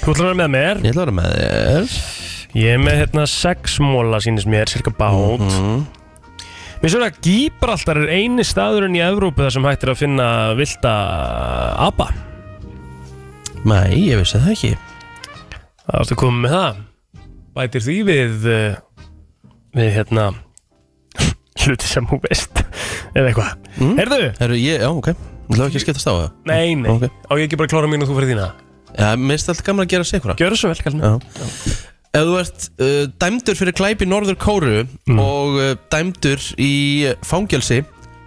[SPEAKER 3] Þú ætlar að vera með mér
[SPEAKER 2] Ég ætlar að vera með þér
[SPEAKER 3] Ég er með hérna sex móla sínist mér, cirka bát Mér svo er að Gíbraltar er eini staðurinn í Evrópu þar sem hægt er að finna vilda apa
[SPEAKER 2] Nei, ég vissi það ekki
[SPEAKER 3] Það ertu komið með það Bætir því við eh, við hérna hluti sem hún veist eða eitthvað mm. Herðu?
[SPEAKER 2] Herru, ég, já, ok Þú ætlaðu ekki að skiptast á það?
[SPEAKER 3] Nei, nei,
[SPEAKER 2] Ok.
[SPEAKER 3] á ég ekki bara að klára mín og þú fyrir þína
[SPEAKER 2] Já, mér finnst alltaf gaman að gera sig ykkur
[SPEAKER 3] Gjör þessu vel,
[SPEAKER 2] kallum Ef þú ert uh, dæmdur fyrir glæp í Norður Kóru og uh, dæmdur í fangjálsi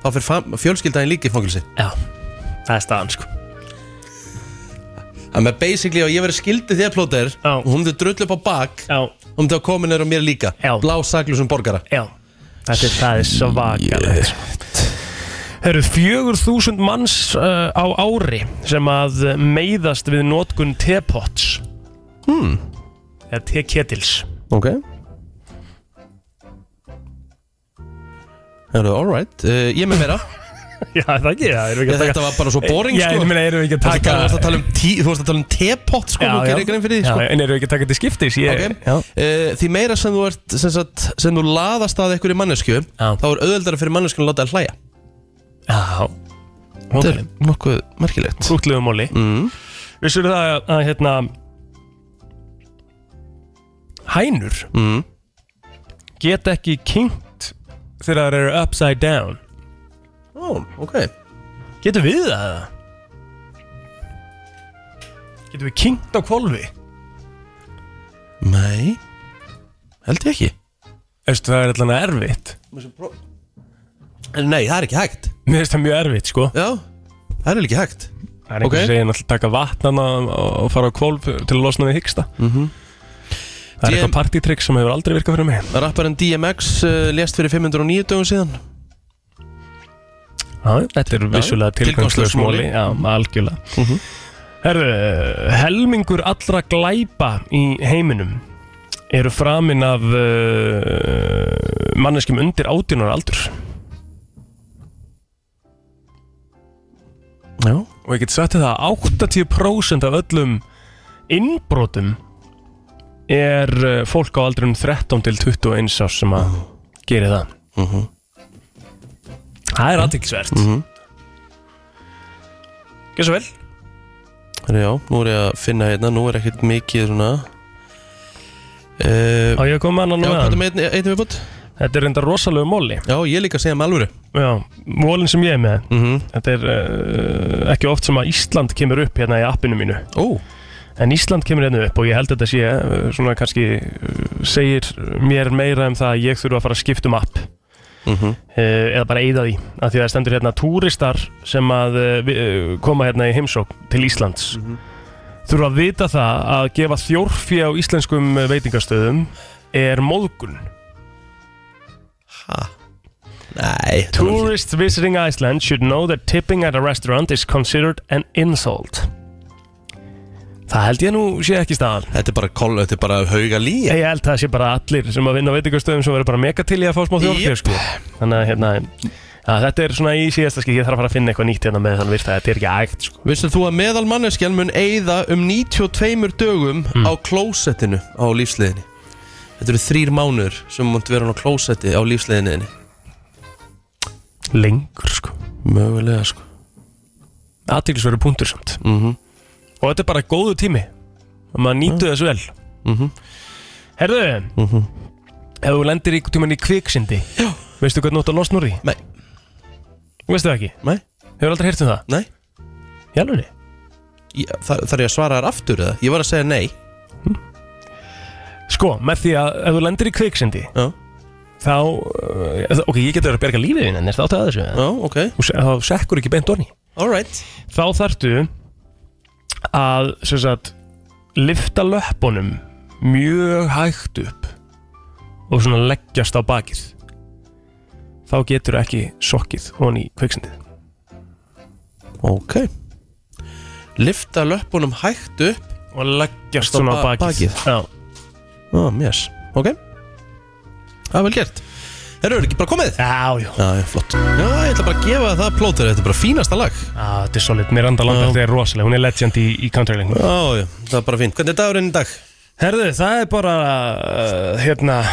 [SPEAKER 2] þá fyrir fam- fjölskyldaðin líka í fangjálsi
[SPEAKER 3] Já, það er staðan sko
[SPEAKER 2] Það með basically að ég verið skildið þér plóter og hún myndi drullu upp á bak
[SPEAKER 3] Já.
[SPEAKER 2] og hún myndi að komin er á mér líka Já. blá saklusum borgara
[SPEAKER 3] Já Þetta er, það er svakalegt sko. Það eru 4000 manns uh, á ári sem að meiðast við notkun tepots
[SPEAKER 2] hmm.
[SPEAKER 3] eða teketils
[SPEAKER 2] Ok Herru, alright uh, Ég er með meira
[SPEAKER 3] Já, það ekki, já, erum við ekki að
[SPEAKER 2] Ég,
[SPEAKER 3] taka
[SPEAKER 2] þetta var bara svo boring,
[SPEAKER 3] Já,
[SPEAKER 2] sko.
[SPEAKER 3] ég meina, erum við ekki að
[SPEAKER 2] Þú
[SPEAKER 3] taka
[SPEAKER 2] ert að tala um tí- Þú varst að tala um tepott, sko,
[SPEAKER 3] Já,
[SPEAKER 2] nú
[SPEAKER 3] já.
[SPEAKER 2] gerir grein fyrir því,
[SPEAKER 3] Já,
[SPEAKER 2] sko.
[SPEAKER 3] en erum við ekki að taka til skiptis ég,
[SPEAKER 2] Ok. uh, Því meira sem þú ert sem, sagt, sem þú laðast að einhverju mannesku þá er auðveldara fyrir manneskun að láta að hlæja
[SPEAKER 3] Já
[SPEAKER 2] Þetta er nokkuð merkilegt
[SPEAKER 3] Útluðum óli
[SPEAKER 2] mm.
[SPEAKER 3] Vissur það að, að hérna Hænur
[SPEAKER 2] mm.
[SPEAKER 3] geta ekki kynnt þegar þær eru upside down
[SPEAKER 2] Ó, ok
[SPEAKER 3] Getum við það? eða? Getum við kynnt á kvolfi?
[SPEAKER 2] Nei Held ég ekki
[SPEAKER 3] Eftir það er allan erfitt
[SPEAKER 2] Nei, það er ekki hægt
[SPEAKER 3] Mér finnst það mjög erfitt sko
[SPEAKER 2] Já, það er ekki hægt
[SPEAKER 3] Það er einhver
[SPEAKER 2] Ok.
[SPEAKER 3] okay. segja náttúrulega taka vatnana og fara á kvolf til að losna við hyggsta
[SPEAKER 2] Mhm.
[SPEAKER 3] Það er
[SPEAKER 2] DM
[SPEAKER 3] eitthvað partytrykk sem hefur aldrei virkað fyrir mig
[SPEAKER 2] Rapparinn DMX uh, lést fyrir 509 dögum síðan
[SPEAKER 3] Já, þetta er
[SPEAKER 2] Já,
[SPEAKER 3] vissulega
[SPEAKER 2] tilgangslaus
[SPEAKER 3] tilgangslaus móli Mhm.
[SPEAKER 2] móli.
[SPEAKER 3] Já, algjörlega Herðu, helmingur allra glæpa í heiminum eru framin af uh, manneskjum undir 18 ára aldur
[SPEAKER 2] Já
[SPEAKER 3] Og ég get sagt þér það að 80% af öllum innbrotum er eh, fólk á aldrum 13 til 21 árs sem að gerir það Það er aðtilsvert mm
[SPEAKER 2] -hmm.
[SPEAKER 3] Gjör svo vel
[SPEAKER 2] Já, nú er ég að finna hérna Nú er ekkert mikið svona uh,
[SPEAKER 3] Á ég að koma annan
[SPEAKER 2] Já,
[SPEAKER 3] með
[SPEAKER 2] hvað er
[SPEAKER 3] hann?
[SPEAKER 2] með einn- einn viðbútt?
[SPEAKER 3] Þetta er reyndar rosalegu móli
[SPEAKER 2] Já, ég líka að segja með alvöru
[SPEAKER 3] Já, mólin sem ég er með
[SPEAKER 2] Mhm.
[SPEAKER 3] Þetta er uh, ekki oft sem að Ísland kemur upp hérna í appinu mínu
[SPEAKER 2] Ó
[SPEAKER 3] En Ísland kemur hérna upp og ég held að þetta sé uh, svona kannski uh, segir mér meira um það að ég þurfa að fara að skipta um app
[SPEAKER 2] Mhm.
[SPEAKER 3] uh, eða bara eyða því af því að það stendur hérna túristar sem að uh, vi- uh, koma hérna í heimsók til Íslands
[SPEAKER 2] Mhm.
[SPEAKER 3] þurfa að vita það að gefa þjórfi á íslenskum uh, veitingastöðum er móðgun
[SPEAKER 2] Nei
[SPEAKER 3] Tourists visiting Iceland should know that tipping at a restaurant is considered an insult Það held ég nú sé ekki staðan
[SPEAKER 2] Þetta er bara, kol, þetta er bara hauga lí
[SPEAKER 3] Ég held það sé bara allir sem að vinna á veitingastöðum sem verður bara mega til í að fá smá þjórfjör sko. Þannig að hérna að þetta er svona í síðasta skil, ég þarf að fara að finna eitthvað nýtt hérna með þannig virta, þetta er ekki ægt sko.
[SPEAKER 2] Vissir þú að meðal manneskjan mun eyða um 92 dögum á klósettinu á lífsliðinni Þetta eru þrýr mánur sem munt vera hún á klósetti á lífsliðinni
[SPEAKER 3] Lengur sko
[SPEAKER 2] Mögulega sko
[SPEAKER 3] Aðtiklisverður punktur samt
[SPEAKER 2] -hmm.
[SPEAKER 3] Og þetta er bara góðu tími og maður nýtu þessu vel
[SPEAKER 2] mm -hmm.
[SPEAKER 3] Herðu,
[SPEAKER 2] Mhm.
[SPEAKER 3] ef þú lendir ykkur tíman í kviksindi Já. Veistu hvernig þú átt að losna úr því?
[SPEAKER 2] Nei
[SPEAKER 3] Veistu það ekki?
[SPEAKER 2] Nei
[SPEAKER 3] Hefur aldrei heyrt um það?
[SPEAKER 2] Nei
[SPEAKER 3] Jálunni?
[SPEAKER 2] Þar, þar ég að svara þar aftur eða? Ég var að segja nei
[SPEAKER 3] Sko, með því að ef þú lendir í kviksindi
[SPEAKER 2] Já
[SPEAKER 3] Þá, uh, ok, ég getur að berga lífið þín en er það átt að þessu Já,
[SPEAKER 2] ok
[SPEAKER 3] Og se- þá sekkur ekki beint orni
[SPEAKER 2] Alright
[SPEAKER 3] Þá þarftu að, sem sagt, lifta löppunum mjög hægt upp og svona leggjast á bakið þá getur ekki sokkið hon í kviksindið
[SPEAKER 2] Ok Lifta löppunum hægt upp
[SPEAKER 3] og leggjast svona á bakið, Já
[SPEAKER 2] Ó, mjöss, ok Það er vel gert Herru, er ekki bara komið?
[SPEAKER 3] Já, já
[SPEAKER 2] Já, já, flott Já, ég ætla bara að gefa þér það plótur Þetta er bara fínasta lag
[SPEAKER 3] Já, Ah, þetta er solid Miranda Lambert er rosaleg, hún er legend í, í countrylengu
[SPEAKER 2] Já, já, það er bara fínt Hvernig er dagurinn í dag?
[SPEAKER 3] Herðu, það er bara, uh, hérna,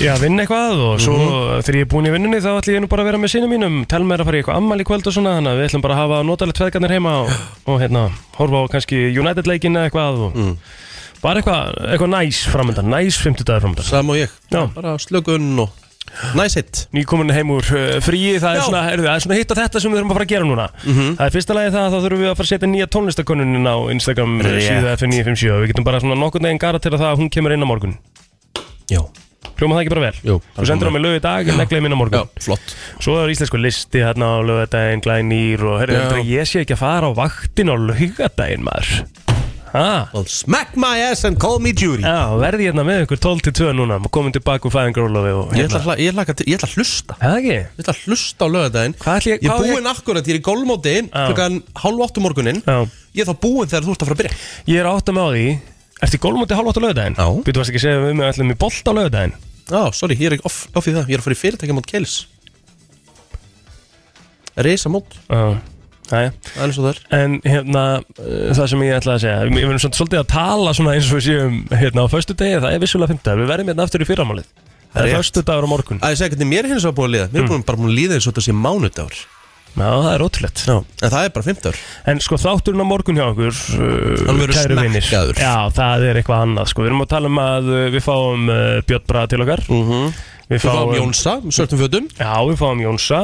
[SPEAKER 3] ég að vinna eitthvað og svo þegar ég er búin í vinnunni þá ætlum ég nú bara að vera með sinni mínum, tel mér að fara í eitthvað ammali kvöld og svona, þannig að við ætlum bara að hafa notalegt feðgarnir heima og, og hérna, horfa á kannski United-leikina eitthvað og bara eitthvað, eitthvað næs framöndan, næs 50 dagar framöndan.
[SPEAKER 2] Sam og ég,
[SPEAKER 3] Já.
[SPEAKER 2] bara slökun og næs hitt.
[SPEAKER 3] Nýkomin heim úr uh, fríi, það er,
[SPEAKER 2] Já.
[SPEAKER 3] svona, heyrðu, það er svona hitt og þetta sem við þurfum að fara að gera núna. Það er fyrsta lagi það að þá þurfum við að fara að setja nýja tónlistakonuninn á Instagram Rétt.
[SPEAKER 2] Rétt.
[SPEAKER 3] síða F957 og við getum bara svona nokkurn veginn gara til að það að hún kemur inn á morgun.
[SPEAKER 2] Já.
[SPEAKER 3] Hljóma það ekki bara vel?
[SPEAKER 2] Jú,
[SPEAKER 3] Þú sendir á mig lög í dag, en neglaði minna morgun
[SPEAKER 2] Já, flott
[SPEAKER 3] Svo er íslensku listi hérna á lögadaginn, glænýr og herri,
[SPEAKER 2] Já.
[SPEAKER 3] heldur að ég sé ekki að fara á vaktin á lögadaginn maður Ha?
[SPEAKER 2] Well, smack my ass and call me Judy
[SPEAKER 3] Já, verði hérna með ykkur 12 til 2 núna og komin tilbaka úr fæðingarólofi og
[SPEAKER 2] Ég ætla, að hla- ég, ætla, að- ég ætla að hlusta
[SPEAKER 3] Það ekki?
[SPEAKER 2] Ég ætla að hlusta á lögadaginn
[SPEAKER 3] Hvað ætla ég-
[SPEAKER 2] Ég er
[SPEAKER 3] hvað á ég-
[SPEAKER 2] búinn akkurat, ég er í gólmóti klukkan hálf áttu morgunin
[SPEAKER 3] Já.
[SPEAKER 2] Ég er þá búinn þegar þú ert að fara að byrja
[SPEAKER 3] Ég er átt að með á því Ertu í gólmóti hálf átt á lögadaginn? Já Býtu varst ekki að segja að við með ætlum í bolt á lögadaginn
[SPEAKER 2] Já, sorry, ég er ekki off, off í það Ég er að fara í fyrirtækja mót Kelis Reisa mót
[SPEAKER 3] Já Æja
[SPEAKER 2] Það er eins og það er
[SPEAKER 3] En hérna, uh, það sem ég ætlaði að segja Við við erum svona svolítið að tala svona eins og við séum hérna á föstu það er vissulega 50 Við verðum hérna aftur í fyrramálið Það er
[SPEAKER 2] Rétt.
[SPEAKER 3] föstu á morgun
[SPEAKER 2] Að ég segja hvernig mér er hins vegar búin að líða Mér er búin bara búin að líða eins og þetta sé mánudagur
[SPEAKER 3] Já, það er ótrúlegt Já.
[SPEAKER 2] En það er bara 50
[SPEAKER 3] En sko þátturinn á morgun hjá okkur
[SPEAKER 2] Hann
[SPEAKER 3] uh,
[SPEAKER 2] verður
[SPEAKER 3] Kæru vinnir
[SPEAKER 2] smekkaður.
[SPEAKER 3] Já, það er eitthvað annað sko Við erum að tala um að uh, við fáum uh, Björn Braga til okkar
[SPEAKER 2] -hmm.
[SPEAKER 3] Mhm. Við
[SPEAKER 2] Við fáum Jónsa, svörtum fötum
[SPEAKER 3] Já, við fáum Jónsa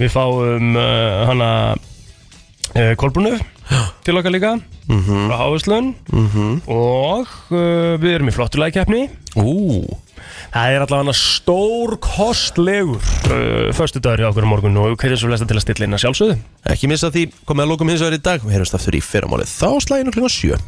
[SPEAKER 3] Við fáum uh, hana uh, Kolbrunu til okkar líka
[SPEAKER 2] Mhm.
[SPEAKER 3] Frá Háðslun
[SPEAKER 2] Mhm.
[SPEAKER 3] Og uh, við erum í flottulægkeppni
[SPEAKER 2] Ú
[SPEAKER 3] Það er allavega stór kostlegur uh, Föstu dagur hjá okkur á morgun Og við kveðum svo flesta til að stilla inn að sjálfsögðu
[SPEAKER 2] Ekki missa því, komið að lókum hins vegar í dag Við heyrjumst aftur í fyrramálið Þá slæðinu klukkan 7